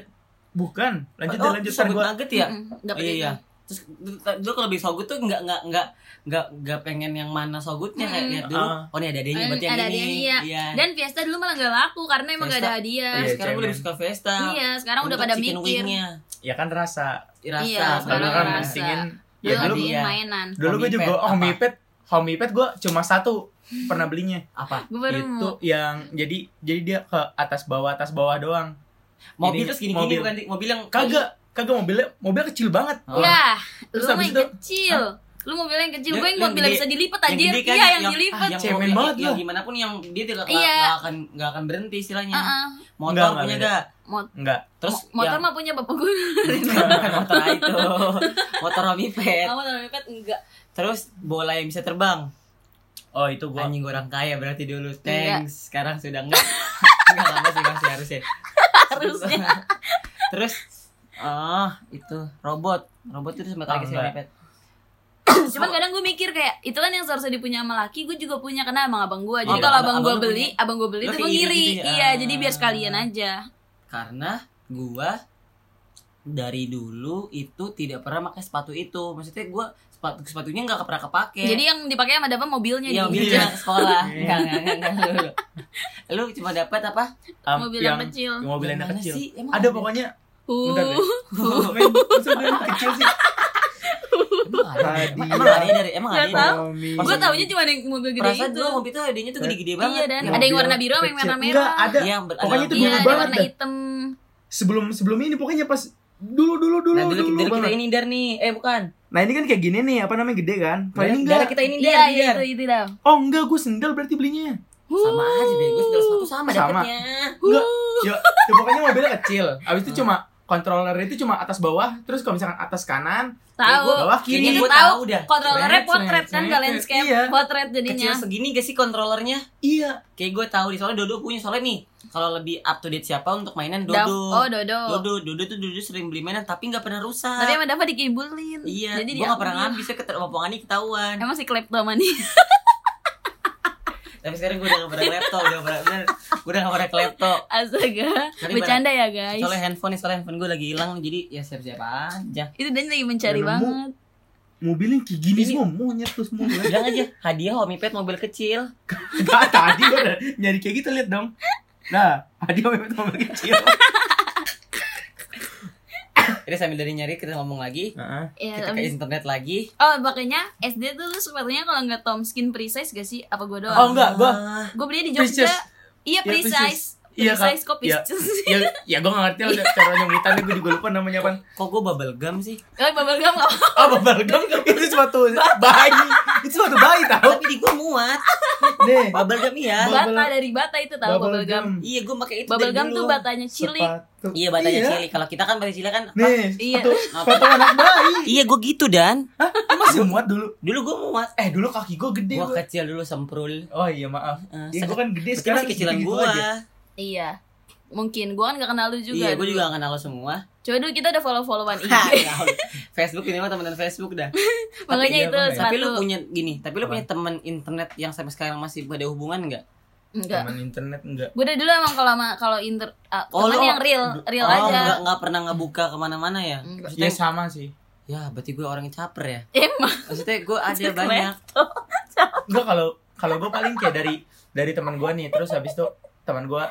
Bukan, lanjut deh,
Oh,
lanjut
terus
ntar
sogut
gua-
nugget ya?
Mm-mm, dapet
iya,
itu.
iya. Terus dulu kalau beli sogut tuh enggak enggak enggak enggak enggak pengen yang mana sogutnya kayak
Mm-mm.
lihat dulu.
Ah.
Oh, ini ada adanya
Eh,
berarti
ada
yang ini.
adanya, iya.
Iya.
Dan Fiesta dulu malah gak laku karena emang gak ada
Fiesta.
hadiah.
Tapi
Iya,
sekarang gue
cemen.
lebih suka Vesta.
Iya, sekarang udah pada mikir.
Ya kan rasa.
Rasa,
Iya,
Dulu
sekarang
kan
rasa.
pentingin
Dulu
ya dulu
beliin
iya.
mainan.
Dulu gue
Homey
juga
pad,
oh,
apa?
homey pad, homey pad gue cuma satu pernah belinya.
apa?
Gue baru
itu
mau
Oh.
yang jadi jadi dia ke atas bawah atas bawah doang.
Mobil
Jadi,
terus gini-gini
mobil.
bukan Dik? mobil yang
Iya.
Kagak kagak mobilnya mobilnya kecil banget.
Oh.
Ya,
Terus
lu
habis
main
itu-
kecil. Lu mau bilang yang kecil,
Yang-
gue yang buat
yang
bila
gede.
bisa dilipat
Yang
anjir.
gede kan,
Iya, yang
yang-
dilipat.
Ah, cemen banget
ya,
lu.
gimana pun yang dia tidak nggak-
Iya.
nggak akan nggak akan berhenti istilahnya
Heeh.
motor
Nggak, nggak
punya
beda.
ada
Enggak.
terus ya,
Mo- motor mah punya bapak gue.
Eh. yang, bukan motor itu motor homipet
Kamu motor lipat enggak.
terus bola yang bisa terbang
Oh, itu gua.
anjing orang kaya berarti dulu
Iya.
thanks sekarang sudah enggak enggak apa sih masih harusnya
Harusnya.
terus oh itu robot robot itu sama kayak si
Enggak.
homipet
Cuman kadang gue mikir kayak itu kan yang seharusnya dipunya sama laki, gue juga punya kena emang abang gue. Jadi
Oh,
kalau abang
abang-
gue
abang lu
beli, abang gue beli
Lu
itu
kayak
gue
iri
ngiri.
gitu ya?
Iya, jadi biar sekalian aja.
karena gua dari dulu itu tidak pernah pakai sepatu itu maksudnya gua sepatu sepatunya nggak pernah kepake
Jadi yang dipakai sama Dava mobilnya nih.
Iya, mobil
Iya.
cuma ke sekolah.
Iya.
Enggak, enggak, enggak, enggak, enggak. Lu lu cuma dapat apa?
Am-
Mobil yang
yang
kecil.
mobil yang
Yang mana
kecil.
sih? Emang
Ada pokoknya.
Uh,
Bentar deh. Men, masa ada yang kecil sih.
Emang ada?
Hadiah.
Emang ada dari emang
Nggak
ada. dari-
tahu.
Xiaomi.
gue taunya cuma ada yang mobil gede
Perasaan
itu.
dulu mobil itu adanya tuh gede-gede banget.
Iya dan
Yang-
ada yang warna
mobil
biru sama yang
kecil.
merah-merah.
Enggak, ada.
yang ber-
Pokoknya itu
ada-
Iya,
dulu
ada
banget
warna
dah.
hitam.
Sebelum sebelum ini pokoknya pas dulu dulu dulu
Nah, dulu,
dulu,
dulu kita
banget.
ini dar nih. Eh, bukan.
Nah, ini kan kayak gini nih, apa namanya gede kan? Nah, ini
Dar
enggak.
kita ini
Iya,
dar,
iya,
dar.
itu itu dah.
Oh, enggak, gue sendal berarti belinya.
Uh.
Sama aja bego, segala sepatu sama
Sama.
dapatnya.
Enggak. Ya, ya pokoknya mobilnya kecil. Abis itu cuma controller itu cuma atas bawah, terus kalau misalkan atas kanan,
Tahu.
gua bawah
Kayaknya
kiri.
Itu
gua
tahu.
tahu dah.
Kontrolernya
Seret,
potret
seret,
kan
seret.
gak landscape,
Iya.
potret
Kecil
jadinya.
segini gak sih kontrolernya?
Iya.
Kayak gue tahu di soalnya Dodo punya soalnya nih. Kalau lebih up to date siapa untuk mainan
Daf- Oh,
Dodo.
Dodo.
Dodo, Dodo tuh Dodo sering beli mainan tapi nggak pernah rusak.
Tapi sama Dava dikibulin.
Iya,
Jadi
gue
dia
gak pernah ngambil, saya keterpompongani ketahuan
Emang si kleptomani.
Tapi sekarang gue udah gak pernah klepto, udah gak pernah, bener Gue udah gak pernah klepto
Astaga,
Tadi
bercanda ya guys.
Soalnya handphone nih, soalnya handphone gue lagi hilang Jadi ya siap-siap aja
Itu dan lagi mencari
Udah nemu.
banget.
Mobilnya kayak gini
Ini- Ya,
semua, monyet tuh semua.
Bilang aja, hadiah homipet mobil kecil
Enggak, tadi gue udah nyari kayak gitu, lihat dong. Nah, tadi mobil mobil kecil.
Jadi sambil dari nyari kita ngomong lagi
Heeh.
Iya,
Kita ke
abis-
internet lagi
Oh, makanya SD tuh lu sepatunya kalau nggak Tomskin Precise gak sih? Apa gue
Oh,
doang?
enggak, gua
Ah,
Gue belinya di Jogja.
Precise. Iya,
Iya,
Precise.
Precise.
Iya, Kak.
Precise kok
Iya.
Precise.
ya ya gue gak ngerti lah udah cara nyebutannya gue juga lupa namanya apa
Kok gue bubble gum sih?
Oh, bubble gum nggak apa-apa.
ah bubble gum itu suatu bayi itu suatu bayi tau
Tapi di gue muat
nih
Bubble gum iya
Bubble-
Bata dari bata itu tahu bubble gum.
Iya gue pakai itu
Bubble
dari
gum
dulu.
tuh batanya cilik.
sepatu
Iya batanya
Iya.
cili Kalau kita kan batanya cili kan
nih
Iya.
sepatu sepatu anak bayi
Iya gue gitu Dan
Hah? lu masih muat dulu
Dulu gue muat
eh dulu kaki gue gede
Gue
gua.
kecil dulu semprul
oh iya maaf ya
Eh,
gue kan gede
Berarti
sekarang
masih kecilan
gitu-gitu
gue
aja.
Iya. Mungkin gua kan gak kenal lu juga.
Iya gue
dulu.
juga gak kenal lo semua
Coba dulu kita udah follow-followan IG.
Hah, gaul. Facebook ini mah temenan Facebook dah.
Makanya
iya,
itu
Bang, ya.
tapi lu
sepatu.
punya gini, tapi lu
Apa?
punya teman internet yang sampai sekarang masih pada hubungan nggak?
Enggak.
teman internet enggak
Gue dari dulu emang kalau sama- kalau inter ah,
Oh,
teman
lo-
yang real, real
oh,
aja. Mm.
nggak nggak pernah ngebuka kemana-mana ya?
Enggak.
ya sama sih
Ya, berarti gue orangnya caper ya.
Emang
Maksudnya gue ada banyak.
enggak kalau kalau gue paling kayak dari dari teman gue nih terus habis itu teman gue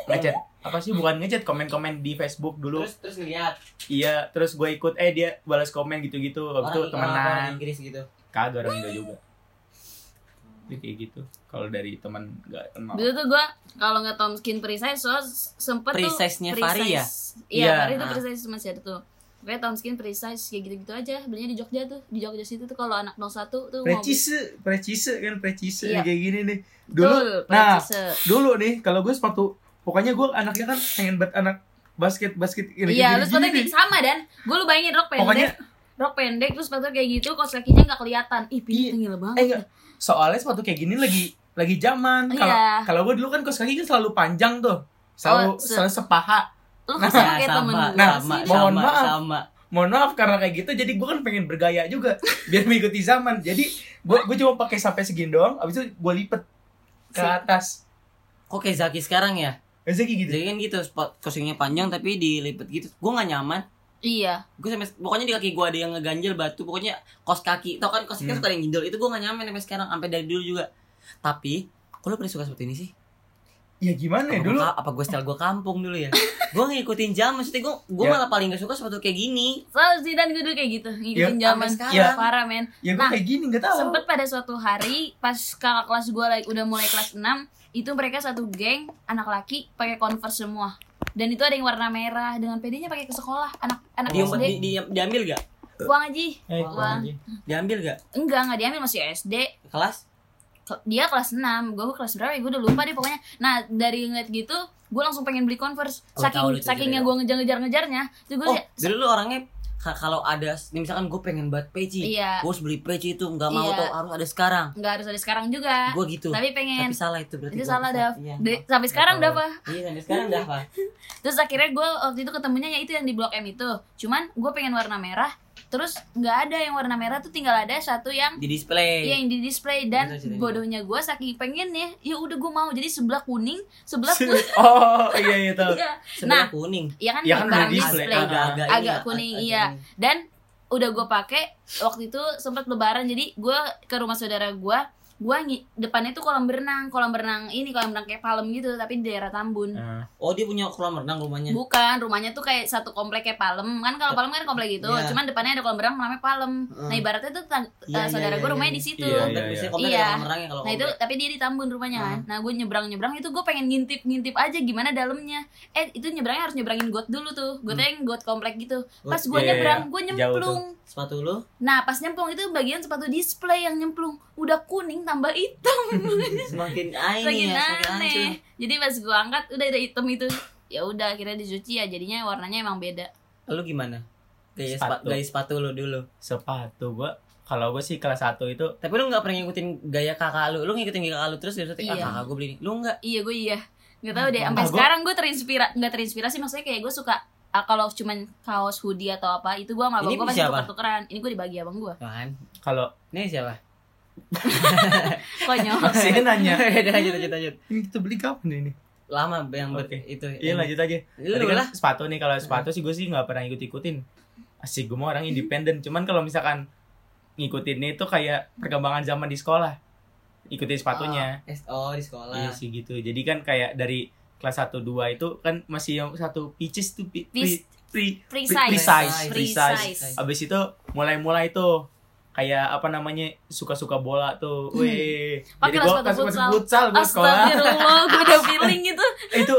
ngechat apa sih bukan ngechat komen-komen di Facebook dulu
Terus terus ngeliat
Iya, terus gue ikut eh dia balas komen gitu-gitu. Habis itu
orang, orang, orang
temenan.
Inggris gitu.
Kagak orang Indo juga. Dia kayak gitu. Kalau dari teman enggak kenal.
Dulu tuh gue kalau nggak Tomskin Precise so s- sempet
Precise-nya
tuh
Fahri ya?
Iya,
Iya,
Fahri itu
ah.
Precise masih ada tuh. Kayak Tomskin Precise kayak gitu-gitu aja. Belinya di Jogja tuh. Di Jogja situ tuh kalau anak 01 tuh mau
Precise, precise kan precise
Iya.
kayak gini nih. Dulu,
Betul,
nah,
Precise.
dulu nih kalau gue sepatu pokoknya gue anaknya kan pengen buat anak basket basket gini
Iya,
gini,
lu sepatunya
gini,
kayak sama dan gue lu bayangin rok pendek.
Pokoknya-
rok pendek terus sepatunya kayak gitu, kaos kakinya nggak kelihatan.
Iya.
Ih, pintu gila
nih.
banget.
Eh enggak, soalnya sepatu kayak gini lagi lagi zaman. Kalau
Iya.
kalau gue dulu kan kaos kaki kan selalu panjang tuh. Selalu
Oh, se-
selalu sepaha.
Lu
Nah,
sama kayak temen
Ya, sama,
Nah,
gue
sama,
sih.
mau- Mohon
sama,
maaf.
sama.
mohon maaf karena kayak gitu jadi gue kan pengen bergaya juga biar mengikuti zaman jadi gue gue cuma pakai sampai segini doang abis itu gue lipet ke atas
Kok kayak Zaki sekarang ya?
biasanya kayak gitu
Zaki kan gitu, spot kosongnya panjang tapi dilipet gitu. Gue nggak nyaman.
Iya.
gue sampai pokoknya di kaki gue ada yang ngeganjel batu pokoknya kos kaki tau kan kos kaki
Hmm.
suka ada yang jendol itu gue gak nyaman sampai sekarang sampai dari dulu juga tapi kalau pernah suka seperti ini sih
ya gimana
apa
ya
Eh,
gua
dulu
ka- apa gue style gue kampung dulu ya gue ngikutin jam maksudnya gue gue
Ya.
malah paling gak suka sepatu kayak gini
Selalu sih dan gue dulu kayak gitu ngikutin
Ya,
zaman
sampai sekarang.
Iya. parah men.
ya gue
Nah,
kayak gini nggak tahu
sempet pada suatu hari pas kakak kelas gue lagi udah mulai kelas 6 itu mereka satu geng anak laki pakai converse semua dan itu ada yang warna merah dengan pedenya pakai ke sekolah anak anak
Dia-
SD
di, di- diambil gak
uang aja
Eh,
Wah.
kurang aja.
Diambil gak?
enggak enggak diambil masih SD
Kelas?
Ke- dia kelas 6 gue kelas berapa ya gue udah lupa deh pokoknya nah dari ngeliat gitu gue langsung pengen beli converse
Oh, tahu lu
saking
cerita
sakingnya
itu.
gue ngejar-ngejar-ngejarnya itu gue
Oh, dulu lu orangnya ka- kalau ada nih misalkan gue pengen buat peci,
Iya.
gue harus beli peci itu nggak mau
Iya.
tau harus ada sekarang.
nggak harus ada sekarang juga
Gue gitu.
tapi pengen
Tapi salah itu berarti.
itu
gua.
salah dah
Iya.
sampai sekarang ah. dah apa
Iya, sampai sekarang dah apa?
terus akhirnya gue waktu itu ketemunya ya itu yang di blok M itu cuman gue pengen warna merah terus nggak ada yang warna merah tuh tinggal ada satu yang
Di display.
ya, yang di display dan
Betul, ceritanya.
bodohnya gue saking pengen ya ya udah gue mau jadi sebelah kuning sebelah kuning
oh iya iya tahu
Iya. nah
Sebelah kuning.
ya kan,
Ya kan ada
barang
display.
display
Ada.
Agak-agak ini,
agak kuning,
agak
iya.
ini.
dan udah gue pakai waktu itu sempat lebaran jadi gue ke rumah saudara gue gue depannya tuh kolam berenang kolam berenang ini kolam berenang kayak palem gitu tapi di daerah Tambun
Eh,
Oh, dia punya kolam renang rumahnya.
bukan rumahnya tuh kayak satu komplek kayak palem kan kalau palem kan komplek gitu
Iya.
cuman depannya ada kolam berenang namanya palem nah
Heeh.
ibaratnya tuh tetang-
Hmm. Iya,
eh,
iya,
saudara
iya,
gue
iya,
rumahnya
iya. Oh,
di situ
Iya,
Dan biasanya komplek
Iya.
ada kolam renangnya kalau
Nah itu
komplek.
tapi dia di Tambun rumahnya
Hmm.
kan. Nah gue nyebrang nyebrang itu gue pengen ngintip ngintip aja gimana dalamnya. Eh itu nyebrangnya harus nyebrangin got dulu tuh.
Hmm.
Gotnya yang got komplek gitu. Pas
Got,
gue
iya, iya,
nyebrang
iya.
gue
Jauh
nyemplung.
Sepatu lu?
Nah pas nyemplung itu bagian sepatu display yang nyemplung. Udah kuning tambah hitam.
Semakin aneh
Lagi
ya, semakin hancur.
aneh. Jadi pas gue angkat udah ada hitam itu. Ya udah akhirnya dicuci ya jadinya warnanya emang beda.
Lu gimana? Gaya sepatu,
Sepatu.
gaya sepatu lu dulu.
sepatu gua kalau gua sih kelas 1 itu
Tapi lu nggak pernah ngikutin gaya kakak lu. Lu ngikutin gaya kakak lu terus terus ah
Iya.
kakak gue beli ini. Lu nggak?
Iya gue iya Gak tau deh Sampai
Ah, gua-
sekarang gue terinspirasi Gak terinspirasi maksudnya kayak gue suka ah, Kalau cuman kaos hoodie atau apa Itu gue sama abang
Ini
gue
punya
pasti
siapa?
tuker-tukeran Ini gue dibagi abang gue
Nah,
Kan?
kalau
Ini siapa?
Konyol
Saya nanya.
Udah, lanjut lanjut lanjut.
ini kita beli kapan ini
Lama yang ber-
Oke.
itu.
iya
yang-
lanjut lagi
Lu
Tadi kan
lah.
sepatu nih kalau sepatu sih gue sih nggak pernah ikut ikutin asik gue mau orang independen cuman kalau misalkan ngikutinnya itu kayak perkembangan zaman di sekolah ikutin sepatunya
S- Oh, di sekolah.
kan? Iya sih gitu. Jadi kan kayak dari kelas 1 2 itu kan masih yang satu pitches tuh pi-
Pis-
pri- pri-
Free
Free
size
size,
Free
free
size
size.
Abis itu mulai-mulai tuh kayak apa namanya suka-suka bola tuh. Weh. Jadi
Pakai lah
gua
sepatu
kan sepatu
futsal.
futsal gua sekolah.
Astagfirullah Gue udah feeling gitu
itu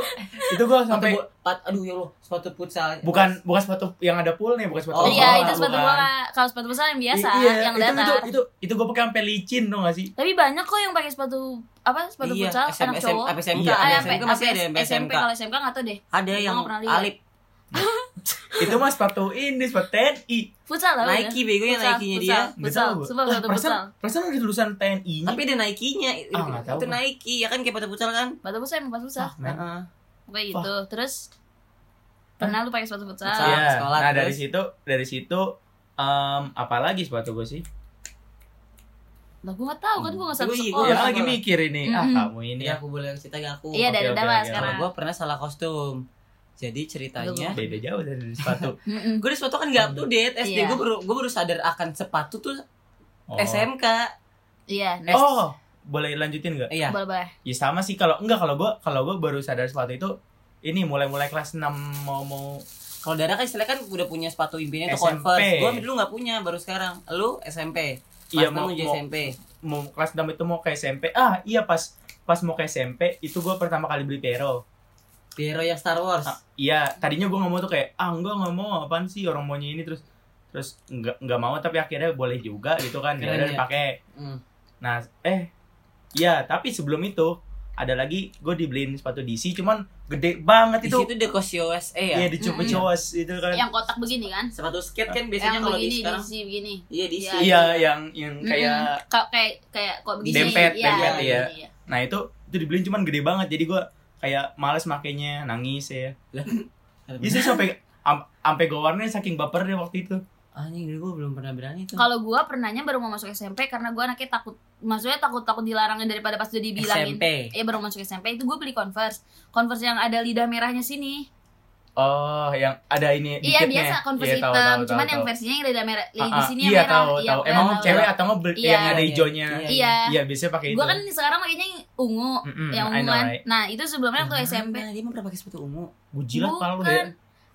itu gua
Sepatu
sampai
bu- pat- aduh ya Allah, sepatu futsal.
bukan bukan sepatu yang ada poolnya, bukan sepatu
Oh,
bola.
Iya itu sepatu
bukan.
bola Kalau sepatu bola yang biasa
I- iya,
Yang
itu, itu
datar
itu itu gua pakai sampai licin dong gak sih?
Tapi banyak kok yang pakai sepatu Apa sepatu
Iya,
futsal
SM,
Anak cowok
apa SMK,
Iya,
Ah,
ada
ya,
SMK
sampai-
masih ada
sampai
yang
SMP
SMK.
kalau SMK gak tau deh
Ada
nggak
yang
ya, pernah lihat.
alip
itu mah sepatu ini sepatu TNI.
Futsal lah udah.
Nike bego yang
ya. Futsal,
Nike-nya
futsal,
dia.
Futsal
Nggak tahu gua.
Sumpah
Lah,
sepatu
perasaan-
futsal
Perasaan ada tulisan TNI.
Tapi ada Nike-nya. Itu,
Ah, nggak tahu
itu
gua.
Nike, ya kan kayak sepatu futsal kan?
Sepatu futsal emang pas futsal
Ah, men.
Heeh.
Kayak gitu. Terus pernah lu pakai sepatu
Futsal.
futsal?
Iya.
sekolah,
nah dari
terus?
situ dari situ em apalagi sepatu gue sih
Lah gua enggak tahu kan gua enggak satu
Gua iya,
gue
gua-
sekolah.
sekolah.
lagi mikir ini ah
Mm-mm.
kamu ini
Ini
ya
aku boleh cerita gak aku?
Iya,
Oke,
dari
oke,
Dava
oke.
Kalau
sekarang.
gue pernah salah kostum. Jadi
Iya.
ceritanya
beda jauh dari sepatu
Mm-mm.
gue di sepatu kan gak up to date SD
Iya.
gue baru gue baru sadar akan sepatu tuh
oh.
SMK
Iya, nah.
oh boleh lanjutin nggak
iya
Boleh, boleh.
ya sama sih kalau enggak kalau gue kalau gue baru sadar sepatu itu ini mulai-mulai kelas 6 mau mau
kalau Dara kan istilahnya kan udah punya sepatu impiannya tuh
SMP.
Converse gue dulu gak punya baru sekarang lu SMP
Iya,
Pas
mau-
menuju
mau-
SMP
mau kelas 6 itu mau ke SMP ah iya pas pas mau ke SMP itu gue pertama kali beli pero
Piero yang Star Wars
Ah, iya tadinya gue nggak mau tuh kayak ah enggak nggak mau apaan sih orang maunya ini terus terus nggak nggak mau tapi akhirnya boleh juga gitu kan
Keren
ya udah
ya.
dipakai
Hmm.
Nah, eh iya, tapi sebelum itu ada lagi gue dibeliin sepatu DC cuman gede banget
di
itu.
situ Dekos USA
Iya,
ya
di Ah. Cupu Cowas itu kan.
Yang kotak begini kan?
sepatu skate kan
Yang
biasanya kalau di
begini, di
sekarang
sini begini.
iya di
Iya.
sini
Iya, yang yang
Mm-mm.
kayak
Ka- kayak kayak kok begini.
Dempet,
Iya,
dempet,
begini,
iya.
iya.
nah itu itu dibeliin cuman gede banget jadi gue kayak males makainya, nangis ya.
Ada
Itu Iya, sampai am- sampai gue warnanya saking baper deh waktu itu.
anjing dulu gue belum pernah berani tuh
Kalau gua pernahnya baru mau masuk SMP karena gua anaknya takut maksudnya takut-takut dilarangin daripada pas udah dibilangin.
SMP
Iya baru masuk SMP itu gua beli Converse. Converse yang ada lidah merahnya sini.
Oh, yang ada ini dikitnya.
Iya biasa converse
Iya, tahu,
hitam,
tahu,
cuman
tahu,
yang
tahu.
versinya yang ada merah,
Ah,
yang di
ah,
sini
iya,
yang merah.
tahu,
Iya,
tahu.
gua
Emang
tahu.
cewek atau nggak bel-
Iya.
yang ada hijaunya.
Iya.
Iya.
Iya, biasanya pakai itu.
Gua kan sekarang pakainya yang ungu,
Mm-mm,
yang
I
ungu
know,
kan.
right? Hmm.
Nah itu sebelumnya waktu SMP.
Nah, dia mau pernah pakai sepatu ungu
Bujilat palu
Bukan,
deh.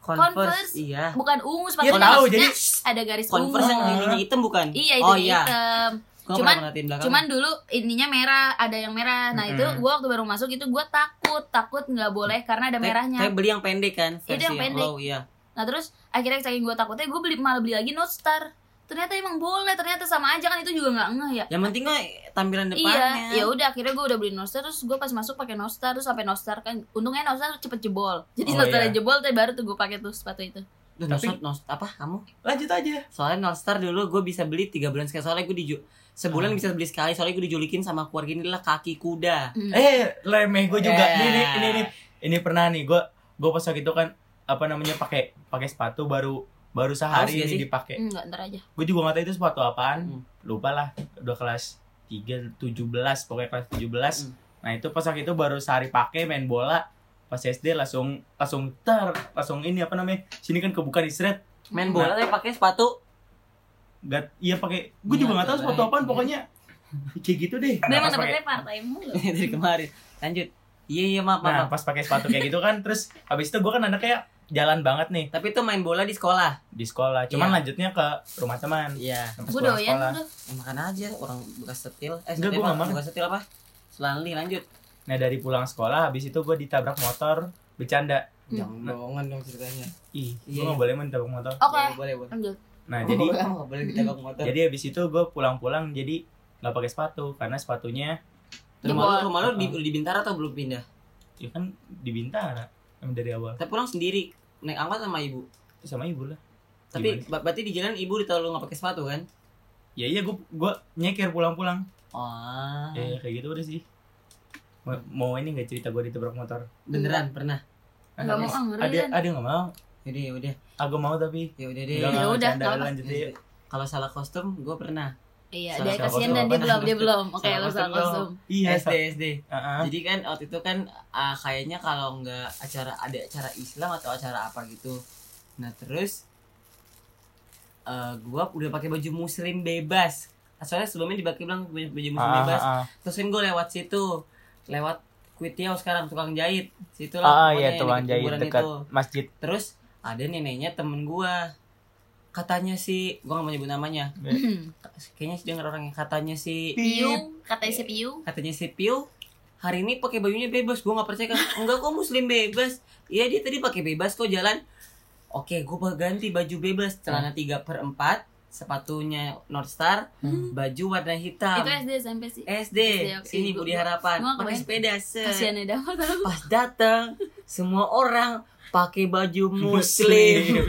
Converse,
Converse.
iya
bukan ungu
Iya
sepatunya
tahu,
maksudnya
jadi gitu.
ada garis
Converse yang
ungu.
ininya hitam bukan?
Iya itu
oh,
yang
iya.
hitam.
Gua
Cuman-
pernah perhatiin belakang.
Cuman dulu ininya merah, ada yang merah. Nah itu
Mm-mm.
gua waktu baru masuk itu gua takut, takut nggak boleh karena ada
Tapi-
merahnya.
Tapi beli yang pendek kan?
Itu yang
Versi
pendek.
low, iya.
nah terus akhirnya saking gue takutnya gue beli malah beli lagi Note Star ternyata emang boleh ternyata sama aja kan itu juga nggak ngeh ya
Yang penting kan tampilan
iya
depannya.
ya udah akhirnya gue udah beli Nostar terus gue pas masuk pakai Nostar terus sampai Nostar kan untungnya Nostar cepet jebol jadi
Oh,
setelah
iya.
jebol tuh baru tuh gue pakai tuh sepatu itu
Duh,
Tapi-
Nostar- Nostar- apa kamu?
Lanjut aja.
Soalnya Nostar dulu gue bisa beli tiga bulan sekali soalnya gue
Ah.
diju sebulan
Hmm.
bisa beli sekali soalnya gue dijulikin sama keluarga ini adalah kaki kuda.
Hmm.
Eh, lemeh gue juga.
Iya.
Eh.
Ini, ini, ini, ini, ini pernah nih. Gue, gue pas waktu itu kan apa namanya pakai pakai sepatu baru baru
Haus
sehari
gak sih?
ini dipakai.
Hmm. enggak ntar aja
Gue juga gak tahu itu sepatu apaan.
Hmm.
Lupa lah. Udah kelas 3, 17 pokoknya kelas 17.
Hmm.
Nah, itu pas waktu itu baru sehari pakai main bola. Pas SD langsung langsung ter langsung ini apa namanya? Sini kan kebuka di seret.
Main bola tapi pakai sepatu.
Gak, iya pakai. Gue
Iya, Nah,
juga gak tahu
coba.
sepatu apaan pokoknya. Kayak gitu deh.
Gue emang
pas pakai-
dapetnya part time mulu
Dari kemarin. Lanjut. Iya iya maaf maaf.
Nah,
maaf.
pas pakai sepatu kayak gitu kan, terus habis itu gue kan anaknya jalan banget nih
Tapi itu main bola di sekolah.
di sekolah. Cuman
Iya.
lanjutnya ke rumah teman.
Iya.
Pas
gue
pulang
doyan
sekolah.
udah
Makan aja orang bekas setil. Eh
Enggak,
setil
gua
apa?
nggak makan.
Bekas setil apa? Selanli lanjut.
Nah, dari pulang sekolah habis itu gue ditabrak motor bercanda.
Hmm.
Jangan bohongan dong ceritanya.
Ih, gue
Iya.
nggak boleh main tabrak motor.
oke
Boleh boleh.
lanjut
Nah,
Oh.
jadi
boleh, nggak Oh, boleh ditabrak motor.
jadi habis itu gue pulang-pulang jadi nggak pakai sepatu karena sepatunya
rumah
Jebol.
lu, rumah lu di, di Bintara atau belum pindah?
ya kan di Bintara emang dari awal
Tapi pulang sendiri naik angkot sama ibu.
Terus sama ibu lah.
Tapi ba- berarti di jalan ibu ditahu lu nggak pakai sepatu kan?
Ya iya gue gua nyekir pulang-pulang.
Ah.
Oh.
Ya, ya, kayak gitu udah sih. Mau, mau ini nggak cerita gue ditabrak motor?
Beneran pernah.
nggak mau ah, ngeri
Ada
kan
ada nggak mau?
Jadi ya udah,
Aku mau tapi
ya udah deh.
Enggak,
Ya
enggak,
udah,
bercanda,
nggak Iya. apa.
lanjut deh.
Kalau salah kostum gue pernah.
iya dia
Salah
siapa
kasihan
kostum.
dan dia belum dia belum oke
Salah
lo salah
kostum.
kostum
Iya,
SD
sa- ah.
SD.
Heeh.
iya,
Jadi kan waktu itu kan ah, kayaknya kalau nggak acara ada acara Islam atau acara apa gitu. Nah terus eh gua udah pakai baju muslim bebas. Soalnya sebelumnya dipakai bilang baju baju
iya,
muslim
Ah,
bebas.
ah, ah.
Terus kan gue lewat situ, lewat Kuitiau sekarang tukang jahit. Situ
Ah,
lah. pokoknya
iya
yang
tukang
dekat
jahit
kuburan
dekat
itu.
masjid.
Terus ada neneknya temen gua Katanya sih, gua gak mau nyebut namanya.
Hmm.
Kayaknya sih denger orangnya katanya si
piu katanya si piu
katanya si Piu hari ini pakai bajunya bebas gue nggak percaya kan enggak kok muslim bebas iya dia tadi pakai bebas kok jalan oke gue ganti baju bebas celana 3 per 4 sepatunya North Star
Hmm.
baju warna hitam
itu SD SMP sih
Eh.
SD,
SD, oke.
sini
Gua-
Budi
gua-
Harapan
gua
pakai
kebayang.
sepeda set.
kasihan ya dapat
pas datang semua orang pakai baju muslim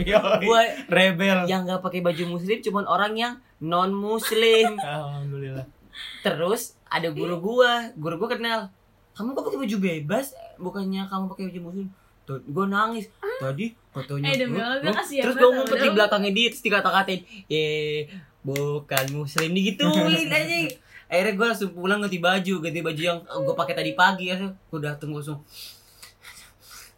Muslim. yoi.
gue
rebel.
Ya.
yang nggak pakai baju muslim cuman orang yang non muslim
Alhamdulillah.
Terus ada
Hmm.
guru gua, guru gua kenal. Kamu kok pakai baju bebas? Bukannya kamu pakai baju muslim? Tuh, gua nangis. Tadi fotonya.
Eh, demi Allah, gua kasihan
terus
banget
gua
sama
ngumpet di
dia.
belakangnya dia terus dikata-katain, "Ye, bukan muslim digituin aja." Akhirnya gua langsung pulang ganti baju, ganti baju yang gua pakai tadi pagi. Akhirnya gua dateng gua langsung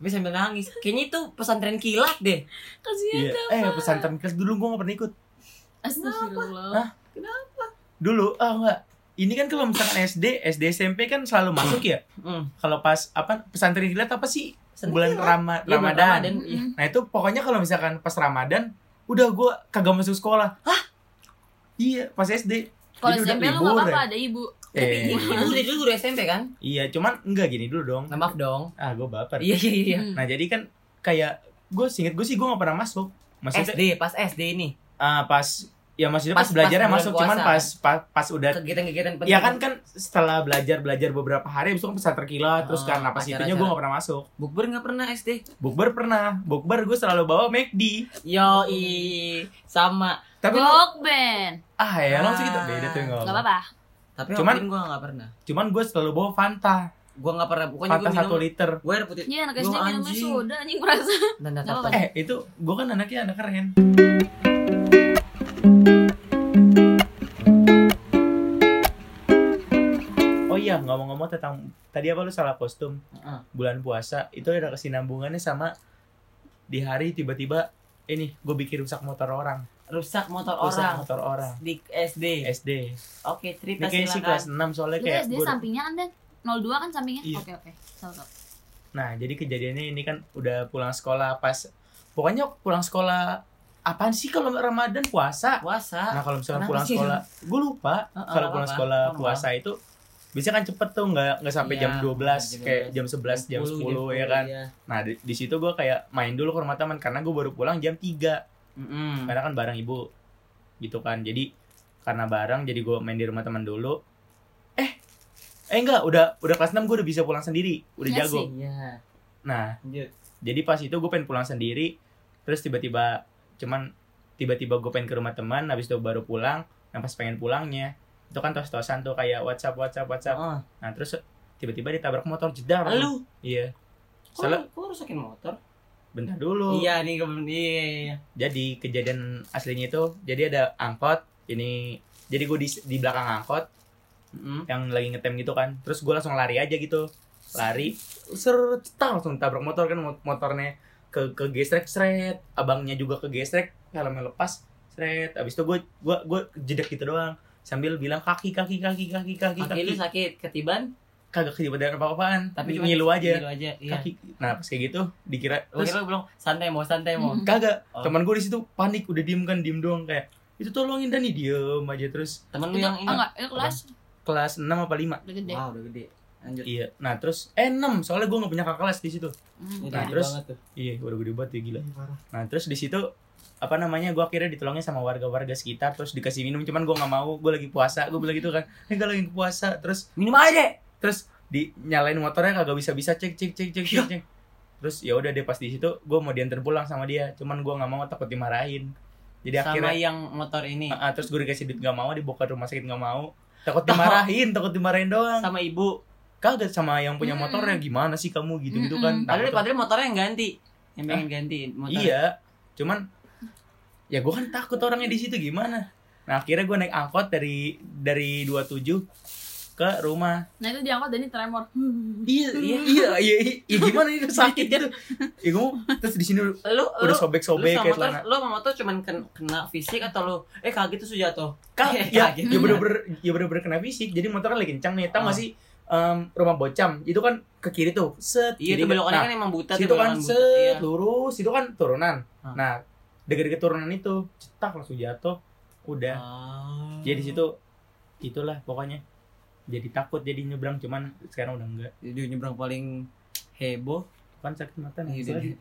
tapi sambil nangis. Kayaknya itu pesantren kilat deh.
kasihan
Iya. Eh, pesantren kelas dulu gua gak pernah ikut.
Astagfirullah
Dulu ah enggak. Ini kan kalau misalkan SD, SD SMP kan selalu masuk ya.
Hmm.
Kalau pas apa pesantren kilat apa sih?
Pesantren
bulan
kilat.
Rama-
Iya, bulan
Ramadan.
Ramadan. Iya.
Nah, itu pokoknya kalau misalkan pas Ramadan udah gua kagak masuk sekolah. Hah? Iya, pas SD.
kalau
Jadi udah
SMP lu nggak
libur
apa-apa
ya.
ada ibu
Eh,
Ibu
Iya.
udah dulu guru SMP kan?
iya, cuman enggak gini dulu dong.
Nah, maaf dong.
Ah, gua baper.
Iya iya iya.
Hmm.
Nah jadi kan kayak gue singkat gue sih gue gak pernah masuk. Maksudnya
SD, pas SD nih.
ah, pas ya maksudnya pas,
Pas-
belajarnya
pas bulan
masuk cuman
puasa.
pas pas, pas udah
kegiatan-kegiatan penting.
ya kan kan setelah belajar belajar beberapa hari abis itu kan pesantren kilat terus kan karena
Oh,
pas itunya gue
acara-acara.
gak pernah masuk.
bukber nggak pernah SD.
Bukber pernah, bukber gue selalu bawa McD.
Yo sama.
Tapi lu-
rock band
ah ya langsung kita
Oh. Ah.
beda tuh nggak
nggak
apa-apa.
apa-apa
Tapi
Cuman-
Cuman, gue nggak pernah.
Cuman gue selalu bawa Fanta,
Gue nggak pernah. Pokoknya gue
Fanta
minum.
satu liter.
Gue air putih.
Iya anak
Gua
SD minumnya
anjing.
soda anjing merasa
Dan dan-
Nggak
dan-
apa-apa.
Eh itu gue kan anaknya anak keren. Oh iya ngomong-ngomong tentang tadi apa lu salah kostum
Heeh.
bulan puasa itu ada kesinambungannya sama di hari tiba-tiba ini gue bikin rusak motor orang
Rusak motor
rusak
orang.
motor orang
Di SD.
SD ini
Oke, cerita
kayaknya sih kelas
silakan.
6 soalnya
Lu
Iya, kayak
SD
gua-
sampingnya kan dan 02 kan sampingnya
Iya.
oke oke tahu tahu
nah jadi kejadiannya ini kan udah pulang sekolah pas pokoknya pulang sekolah apaan sih kalau Ramadan puasa
Puasa.
Nah kalau misalnya
Kenapa
pulang
sih?
sekolah, gue lupa kalau
Heeh, nggak
pulang
apa-apa.
sekolah
Normal.
puasa itu biasanya kan cepet tuh nggak nggak sampai
Iya,
jam 12
jam iya.
kayak jam 11 jam 10, ya kan nah di, di situ gue kayak main dulu ke rumah teman karena gue baru pulang jam 3
Mm-mm.
karena kan bareng ibu gitu kan jadi karena bareng jadi gue main di rumah teman dulu eh eh enggak udah udah kelas 6 gue udah bisa pulang sendiri udah
Iya
jago
Iya,
nah
lanjut.
jadi pas itu gue pengen pulang sendiri terus tiba-tiba cuman tiba-tiba gue pengen ke rumah teman habis itu baru pulang nah pas pengen pulangnya itu kan tos-tosan tuh kayak WhatsApp WhatsApp WhatsApp
Oh,
nah terus tiba-tiba ditabrak motor jedar
lu
iya
kok,
salah
kok rusakin motor?
bentar dulu
Iya nih kebetulan iya, iya, iya.
jadi kejadian aslinya itu jadi ada angkot ini jadi gue di, di belakang angkot
Mm-mm.
yang lagi ngetem gitu kan terus gue langsung lari aja gitu lari seret cetar, langsung tabrak motor kan mot- motornya ke ke gesrek seret abangnya juga ke gesrek helmnya lepas seret abis itu gue gue gue jedek gitu doang sambil bilang kaki kaki kaki kaki kaki
Kaki
kaki
lu sakit ketiban
kagak kejadian apa apaan
tapi
tapi
cuma
ngilu aja
Ngilu aja. Iya.
kaki nah pas kayak gitu dikira
Gua
terus
kira lu belum santai mau santai mau.
Mm.
kagak
Oh.
teman gue di situ panik udah diem kan diem doang kayak itu tolongin Dani diem aja terus
Temen lu
Itu,
yang ini.
ah, enggak, itu kelas
kelas 6 apa 5
udah gede.
Wah, udah gede. Lanjut.
iya nah terus eh 6 soalnya gue gak punya kakak kelas di situ
Hmm.
Ini
Nah,
gede
terus-
banget tuh.
Iya, udah gede banget ya gila. Nah, terus di situ apa namanya gue akhirnya ditolongin sama warga-warga sekitar terus dikasih minum cuman gue nggak mau gue lagi puasa gue bilang gitu kan eh gue lagi puasa terus
Minum aja deh.
terus di nyalain motornya kagak bisa bisa cek cek cek cek
Iya.
cek, cek. terus ya udah deh pas di situ gue mau diantar pulang sama dia cuman gue nggak mau takut dimarahin jadi
Sama
akhirnya
yang motor ini.
Ah, ah, terus gue dikasih duit nggak mau dibawa ke rumah sakit nggak mau
Oh.
takut dimarahin takut dimarahin doang
Sama ibu.
kagak sama yang punya
Mm-mm.
motornya gimana sih kamu gitu gitu kan
Mm-mm.
Takut
Hmm. Padahal padahal motornya yang ganti. Yang pengen gantiin motor.
Iya, cuman ya gue kan takut orangnya di situ gimana. Nah akhirnya gue naik angkot dari dari 27 ke rumah.
Nah itu diangkut dan ini tremor.
Iya iya iya iya, iya gimana itu sakit gitu. Ya gue terus di sini udah
Lu
udah
Oh, lu lu
sobek-sobek
sama
kayak
motor,
celana.
lu sama motor cuman ken- kena fisik atau lu eh kaget tuh jatuh.
Kak,
Eh,
ya,
kaget.
ya bener-bener ya bener-bener kena fisik. Jadi motor kan lagi kencang nih. Tahu
Ah.
nggak sih em, rumah bocam itu kan ke kiri tuh. Set.
Iya,
kiri
itu belokannya
Nah,
kan emang buta tuh,
situ kan
belokan buta.
set
Iya.
lurus itu kan turunan
Ah.
nah deket-deket turunan itu cetak langsung jatuh udah
Ah.
Iya. jadi di situ itulah pokoknya jadi takut jadi nyebrang cuman sekarang udah enggak
Jadi nyebrang paling heboh.
kan sakit mata nangis
Iya,
lagi.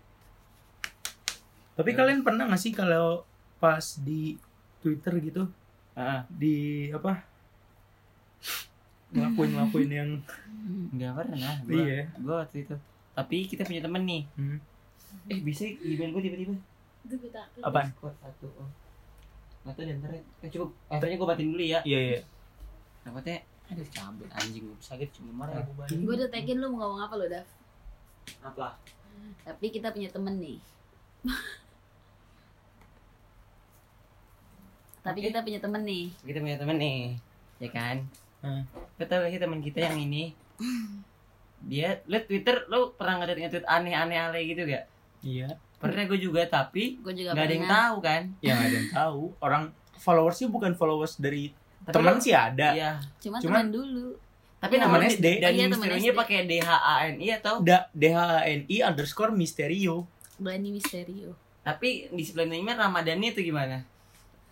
tapi
Iya.
kalian pernah nggak sih kalau pas di Twitter gitu
Heeh.
di apa ngelakuin ngelakuin yang
Enggak pernah. nah, Gua,
iya
gua waktu itu. Tapi kita punya temen nih.
Hmm.
Eh, bisa email gua tiba-tiba.
Itu gue takut.
apa
Discord satu oh. Nggak tahu di antara. Eh, cukup. Akhirnya gua batin dulu ya.
iya iya
Takutnya aduh cabut anjing gua sakit cuma marah
Ah.
gua
Gue
balik.
udah tagin lu mau ngomong apa lo, Dav.
Apa?
Tapi kita punya temen nih. Tapi
Oke.
kita punya temen nih.
Kita punya temen nih. Ya kan?
Hmm.
Lo tau gak sih temen kita yang ini? Dia, lo Twitter, lo pernah ngeliat nge-tweet aneh-aneh aneh gitu gak?
iya
Pernah gue juga, tapi
Gue juga
nggak ada yang
pernah.
tahu kan?
yang Ya, ada yang tahu orang followersnya bukan followers dari
Tapi
teman
lo-
sih ya. ada
Iya.
Cuma
Cuman-
temen dulu.
Tapi
Iya.
namanya
Temen SD.
dan
Iya, temen
misterinya
SD.
pakai D H A N I iya atau
Da DHNI underscore misterio
Blani Misterio.
tapi disiplinnya Ramadhani itu gimana?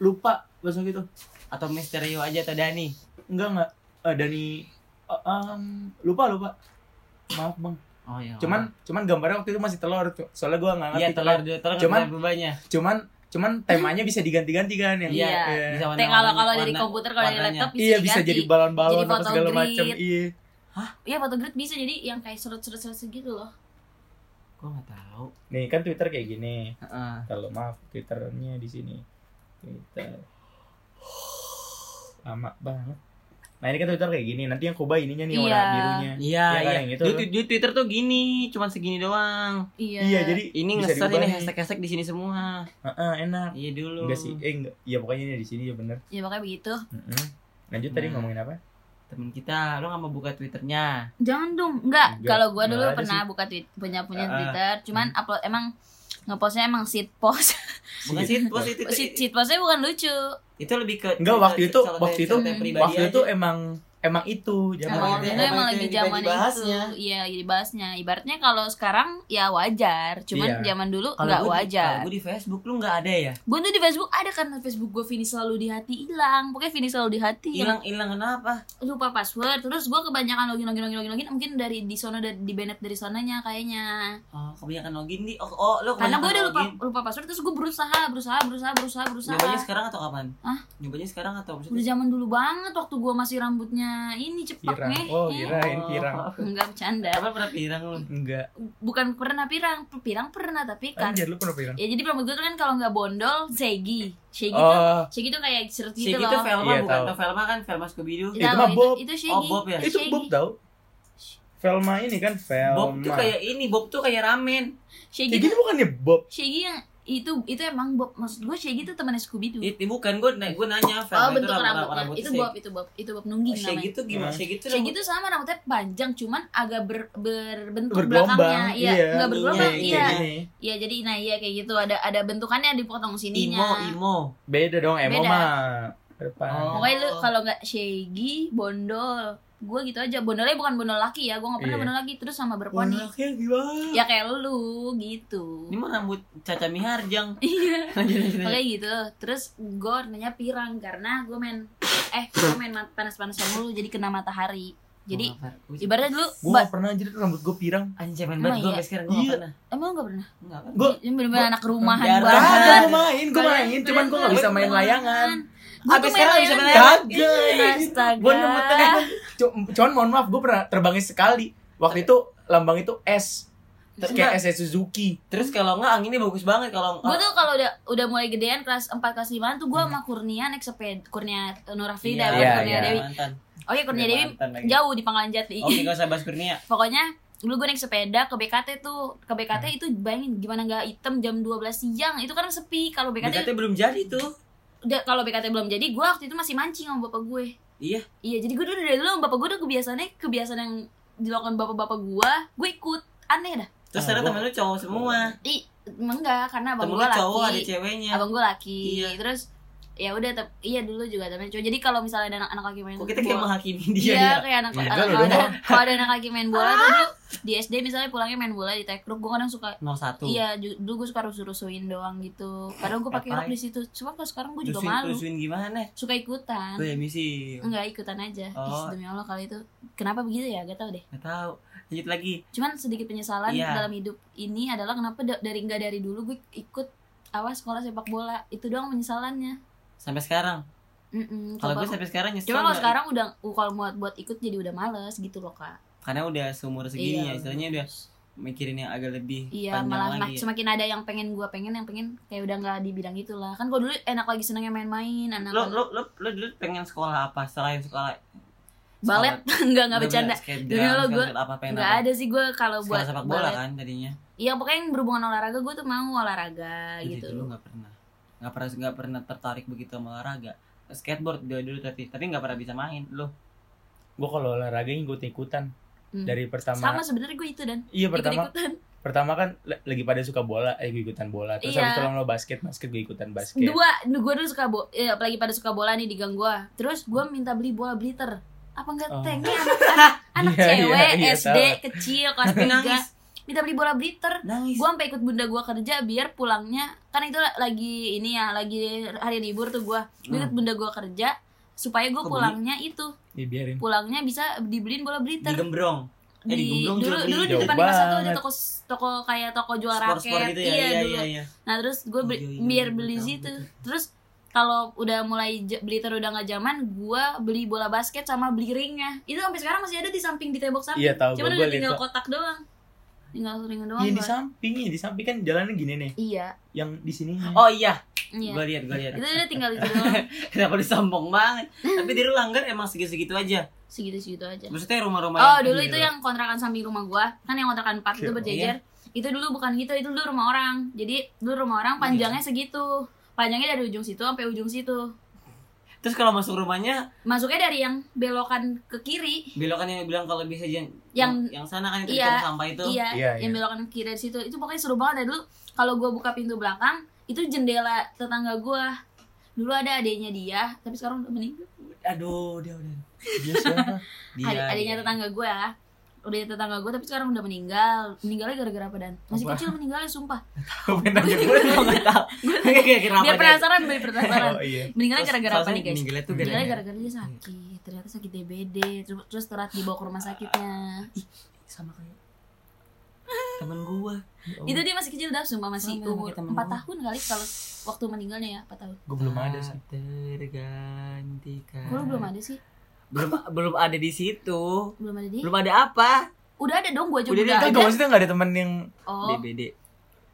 lupa langsung gitu
Atau Misterio aja atau Dani?
enggak enggak Eh, Dani eh, em, lupa lupa maaf bang
Oh iya.
cuman cuman gambarnya waktu itu masih telur cu- soalnya gua nggak ngerti
iya telur dua telur
Cuman-
cuman berubahnya.
cuman cuman temanya bisa diganti-ganti kan yang
Iya.
eh,
Bisa warna-
Tapi kalau kalau dari
warna-
komputer kalau dari
warnanya.
laptop bisa
iya bisa
diganti.
jadi balon-balon
Jadi
apa
photo
segala
grid.
macam iya
Iya foto grid bisa jadi yang kayak serut-serut segitu loh.
Gua enggak tahu.
nih kan Twitter kayak gini
Heeh.
kalau maaf Twitternya di sini Twitter lama banget nah ini kan Twitter kayak gini nanti yang Koba ininya nih warna
Iya.
birunya
Iya,
Iya kan,
iya.
yang itu
Di,
tuh.
di- di Twitter tuh gini, cuman segini doang.
Iya.
iya jadi
Ini
bisa
ngeser
diubah
ini
nih.
hashtag-hashtag di sini semua.
Heeh, enak
Iya dulu.
enggak sih eh enggak ya pokoknya ini di sini ya bener
Ya makanya begitu.
Ah.
Mm-mm. lanjut tadi
Nah.
ngomongin apa
Temen kita, lo nggak mau buka Twitternya?
Jangan dong. Enggak.
Enggak,
Kalau gua
enggak
dulu
ada
pernah buka tweet punya punya
Ah.
Twitter, cuman upload emang ngepostnya emang seed post.
Bukan sih, itu itu, itu,
seed, seed postnya bukan lucu.
itu lebih
Enggak
ke cerita-
waktu itu
cerita-
waktu itu
cerita pribadi
waktu itu
aja.
emang emang itu zaman
Emang
Emang
itu.
dulu
itu- Ya, emang
emang
itu
lagi
yang
zaman itu,
dibahasnya.
iya jadi bahasnya. Ibaratnya kalau sekarang ya wajar, cuman
Iya.
zaman dulu
Kalau
nggak
gua di-
wajar.
Kalau gue di Facebook lu nggak ada ya?
Gue tuh di Facebook ada kan Facebook gue Vini selalu di hati hilang, pokoknya Vini selalu di hati hilang.
Hilang hilang kenapa?
Lupa password, terus gue kebanyakan login login login login mungkin dari di sono dari di banned dari sonanya kayaknya.
Oh, kebanyakan login di. Oh, oh lu
Karena gue udah lupa
kebanyakan
lupa password terus gue berusaha berusaha berusaha berusaha
login.
berusaha.
Nyobanya sekarang atau kapan?
Hah?
Nyobanya sekarang atau
Udah zaman dulu banget waktu gue masih rambutnya ini cepak
Pirang.
nih.
Oh, kirain pirang.
Enggak bercanda.
Eh, Apa pernah pirang lu?
Enggak. Ah,
Bukan pernah pirang, pirang pernah tapi kan
Anjir lu pernah pirang.
Ya jadi rambut gue tuh kan kalau nggak bondol, shaggy. Shaggy
gitu.
tuh,
iya. Oh,
shaggy tuh kayak shirt
Si
gitu
gitu
loh.
Velma
Iya,
bukan
tahu.
tau Velma kan Velma Scooby Doo.
Iya. Itu mah Bob.
itu shaggy.
Oh, Bob ya?
itu
shaggy.
Bob tau. Velma ini kan Velma.
Bob tuh kayak ini, Bob tuh kayak ramen.
Shaggy
Kayak
tuh,
gitu bukannya Bob.
shaggy yang itu itu emang Bob. Maksud gue shaggy tuh temannya Scooby
Oh,
Doo.
Itu bukan gue gue nanya
oh
Velma itu
bentuk
rambut
rambutnya.
rambut
Iya, itu Bob, itu Bob, itu Bob nungging
Kayak
namanya.
gitu gimana?
Hmm.
Kayak gitu.
Shaggy tuh sama rambutnya panjang cuman agak ber, berbentuk belakangnya.
Bergelombang.
Iya, enggak bergelombang.
kayak
Iya.
gini.
Iya, jadi nah iya kayak gitu ada ada bentukannya dipotong sininya.
Imo, Imo.
Beda dong, emo
Beda.
mah. Ke Depan.
Oh.
Pokoknya lu kalau nggak shaggy, bondol. Gue gitu aja. Bondolnya bukan bondol laki ya. Gue nggak pernah
Iya.
bondol laki. Terus sama berponi.
Anaknya gimana?
Ya kayak lu gitu.
Ini mah rambut Caca Miharjang.
Iya.
Lanjut lanjut. lanjut.
Pokoknya gitu. Terus gue warnanya pirang karena gue main eh gue main mat- panas-panasan mulu jadi kena matahari. Jadi
Gua
ibaratnya dulu
Gue
ba-
gak pernah anjir rambut gue pirang.
Anjing
Emang
cemen banget gue
iya?
sampai sekarang gue
Iya.
nggak pernah.
emang gak pernah.
Nggak pernah.
Gue
Ini bener-bener anak rumahan
Jarang.
banget.
gue main, gue main. Cuman gue gak bisa main layangan.
Gue
Habis
tuh main
sekarang bisa
layangan.
main layangan.
Kagak.
Astaga.
Gue nemu tengah. Cuman mohon maaf, gue pernah terbangin sekali. Waktu itu lambang itu S.
Ter-
Kayak S Suzuki.
Terus kalau nggak anginnya bagus banget kalau
Gue tuh kalau udah udah mulai gedean kelas 4 kelas 5 tuh gue sama Kurnia naik sepeda Kurnia Nurafrida
Iya,
Kurnia
iya.
Dewi.
Mantan.
Oke Kurnia
Udah
Dewi
mantan Iya, lagi.
jauh di Pangkalan Jati.
Oke, gak usah bahas Kurnia.
Pokoknya dulu gue naik sepeda ke BKT tuh ke BKT itu bayangin gimana nggak item jam 12 siang itu kan sepi kalau BKT,
Dekatnya belum jadi tuh.
udah kalau BKT belum jadi gue waktu itu masih mancing sama bapak gue
Iya.
iya jadi gue dulu dari dulu sama bapak gue udah kebiasaannya kebiasaan yang dilakukan bapak-bapak gue gue ikut aneh dah
Terus
Ah,
sekarang
gua-
temen lu cowok semua.
Ih, enggak karena abang
Temen
gue
lu cowok ada
laki
ceweknya.
abang gue laki
Iya.
terus ya udah tep- iya dulu juga tapi cowok jadi kalau misalnya ada anak-anak laki main
Kok kita kayak
bola-
menghakimi dia
Iya,
ya?
kayak anak
Iya, lu
anak- kalau ada
doang.
kalau ada anak lagi main bola tuh dulu di SD misalnya pulangnya main bola di tekruk gue kadang suka
01.
Iya, ju- dulu gue suka rusuh-rusuhin doang gitu. Padahal gue pakai rok
Ngapain?
di situ. Cuma kalau sekarang gue juga
Lusuin,
malu. Kan. Hmm.
lusuin gimana?
Suka ikutan.
Gue ya misi.
Enggak ikutan aja. Ih,
Oh.
demi Allah kalau itu kenapa begitu ya? Gak tau deh.
Gak tau. Lanjut lagi.
Cuman sedikit penyesalan
Iya.
dalam hidup ini adalah kenapa da- dari enggak dari dulu gue ikut awas sekolah sepak bola. Itu doang penyesalannya.
Sampai sekarang.
Mm-mm,
Kalau gue
kalau-
sampai sekarang nyesel.
Cuma kalau
nggak?
sekarang udah uh, kalau buat buat ikut jadi udah males gitu loh kak.
Karena udah seumur segini
Iya.
ya. Istilahnya udah mikirin yang agak lebih
Iya
panjang
malah
lagi.
mak- semakin ada yang pengen gua pengen yang pengen kayak udah nggak di bidang itulah kan gua dulu enak lagi senengnya main-main anak
Lo, lo, lo, lo dulu pengen sekolah apa? Selain sekolah.
balet nggak nggak bercanda Demi
Demi
Allah,
lo
gua
gue. Apa pengen
nggak
apa?
ada sih gua kalau
Sekolah
buat
sepak bola
balet.
kan tadinya.
Iya pokoknya yang berhubungan olahraga gua tuh mau olahraga
Jadi
gitu
dulu nggak pernah. Nggak pernah nggak pernah tertarik begitu sama olahraga. Skateboard dulu dulu tapi tapi nggak pernah bisa main lo.
Gue kalau olahraga ikut-ikutan.
Hmm.
Dari pertama.
sama sebenarnya gua itu dan
Iya, pertama
ikut-ikutan
pertama kan l- lagi pada suka bola, eh gue ikutan bola. Terus
Iya.
habis itu lo basket, basket gue ikutan basket.
dua gua dulu suka bo eh, apalagi pada suka bola nih di gang gua terus gua minta beli bola bliter apa enggak
Oh.
tengnya anak-anak anak
Iya, iya,
cewek
iya,
SD
sama.
kecil kelas
Tapi
tiga
nangis.
minta beli bola bliter
Nangis.
gue sampai ikut bunda gue kerja biar pulangnya kan itu lagi ini ya lagi hari libur tuh gue
Hmm.
gue ikut bunda gue kerja supaya gue
Kok
pulangnya itu
Ya biarin.
pulangnya bisa dibeliin bola bliter
digembrong. Eh,
di,
di
dulu
Gombrong juga beli.
dulu di
Jauh
depan pasar tuh ada
banget.
toko toko kayak toko jual
Sport-sport
raket
gitu ya.
iya,
Iya
dulu
iya iya.
nah terus gue beli-
Iya, iya,
biar
iya,
beli
tahu,
situ
betul.
terus kalau udah mulai j- bliter udah nggak zaman gue beli bola basket sama beli ringnya itu sampai sekarang masih ada di samping di tembok samping
Iya, tahu
cuman
gua,
udah
gua
tinggal
liat,
kotak doang tinggal ring doang
Iya di
gua.
samping, ya di samping kan jalannya gini nih,
iya
yang di sini.
Oh iya,
iya
gue lihat, gue lihat.
itu udah tinggal itu doang
Kenapa disombong banget? Tapi di Langgar emang segitu-segitu aja.
segitu-segitu aja
Maksudnya rumah-rumah
oh
yang-
dulu
gitu
Iya,
ya.
itu yang kontrakan samping rumah gua kan yang kontrakan 4 itu
Iya.
berjejer itu dulu bukan gitu itu dulu rumah orang jadi dulu rumah orang
Iya.
panjangnya segitu panjangnya dari ujung situ sampai ujung situ
Terus kalau masuk rumahnya,
masuknya dari yang belokan ke kiri
belokan yang bilang kalau bisa jangan
Yang-
yang sana kan itu
iya,
tong sampah itu.
iya,
Iya,
yang belokan ke kiri dari situ itu pokoknya seru banget dari dulu kalau gua buka pintu belakang itu jendela tetangga gua dulu ada adiknya dia tapi sekarang udah meninggal
aduh dia udah
Dia siapa?
dia iya.
Ad- adiknya
dia.
tetangga gue ya adiknya tetangga gue tapi sekarang udah meninggal meninggalnya gara-gara apa dan masih
Apa?
kecil meninggalnya sumpah
Gue pengen nanya
gue juga nggak tahu kenapa
biar
dia-
penasaran biar penasaran
Oh iya.
meninggalnya
Terus
gara-gara apa
soalnya
nih guys
meninggalnya tuh
meninggalnya
gara-gara
gara-gara dia sakit ternyata sakit DBD terus terus terat dibawa ke rumah sakitnya
sama kayak temen gua Ya Oh.
itu dia masih kecil dah sumpah masih
Sama,
umur
kayak
4
temen gua.
tahun kali kalau waktu meninggalnya ya 4 tahun
Gue belum ada sih.
Tak Ah. tergantikan
Kok lu belum ada sih?
belum belum ada di situ
Belum ada dia?
belum ada apa
Udah ada dong, gue juga udah,
Udah ada,
Enggak,
ada.
enggak maksudnya enggak ada temen yang
Oh,
DBD
ya,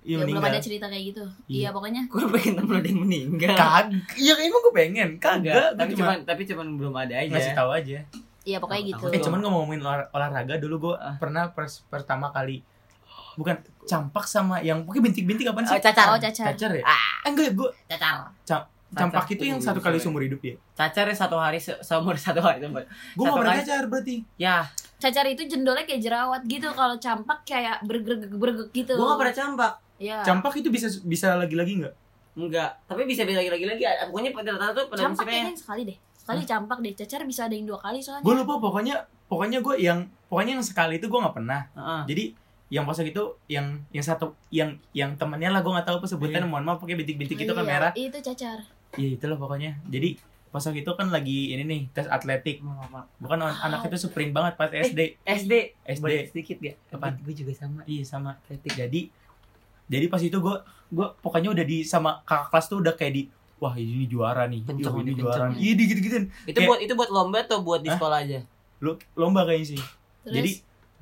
ya, belum
meninggal.
ada cerita kayak gitu.
Iya.
Iya, pokoknya
gue pengen temen lu ada yang meninggal
Kag, iya emang gue pengen.
Enggak,
Kagak,
tapi
gue
cuman
cuma
tapi cuman belum ada aja
ngasih tahu aja.
iya pokoknya
Tahu-tahu
gitu.
Eh cuman ngomongin olah- olahraga dulu gue
Ah.
pernah pers- pertama kali bukan campak sama yang pokoknya bintik-bintik apaan sih?
Oh, cacar
Oh, cacar.
Cacar ya?
Ah.
Eh, enggak, gue
cacar
campak itu yang satu kali seumur hidup ya.
cacar ya satu hari se- seumur satu hari seumur
Gue gak
Satu
pernah
kali.
cacar berarti.
ya
Cacar itu jendolnya kayak jerawat gitu, kalau campak kayak bergegek-bergegek gitu.
gue gak pernah campak
Iya.
Campak itu bisa bisa lagi-lagi nggak?
enggak tapi bisa bisa lagi lagi lagi pokoknya rata-rata tuh pada
Campak
musimnya
kayaknya sekali deh. Sekali campak deh, cacar bisa ada yang dua kali soalnya.
Gue lupa pokoknya pokoknya gue yang pokoknya yang sekali itu gue nggak pernah.
Heeh.
Jadi yang pas itu yang yang satu yang yang temennya lah gue nggak tahu apa
Iya.
sebutannya mohon maaf pakai bintik-bintik itu kan
Iya,
merah.
Itu cacar.
Iya itulah pokoknya. Jadi pas waktu itu kan lagi ini nih tes atletik.
Maaf, maaf.
Bukan an- anak itu sprint banget pas SD.
SD
SD.
Eh, Boleh sedikit gak?
Apaan?
Gue juga sama
Iya sama.
Atletik
Jadi jadi pas itu gue gue pokoknya udah di sama kakak kelas tuh udah kayak di wah ini juara nih.
Kenceng
Wah, ini
nih,
juara.
kenceng
nih."
nih.
Iya gitu-gituin.
Itu
Kayak-
buat itu buat lomba atau buat di
Hah?
sekolah aja?
Lo lomba kayaknya sih.
Terus
Jadi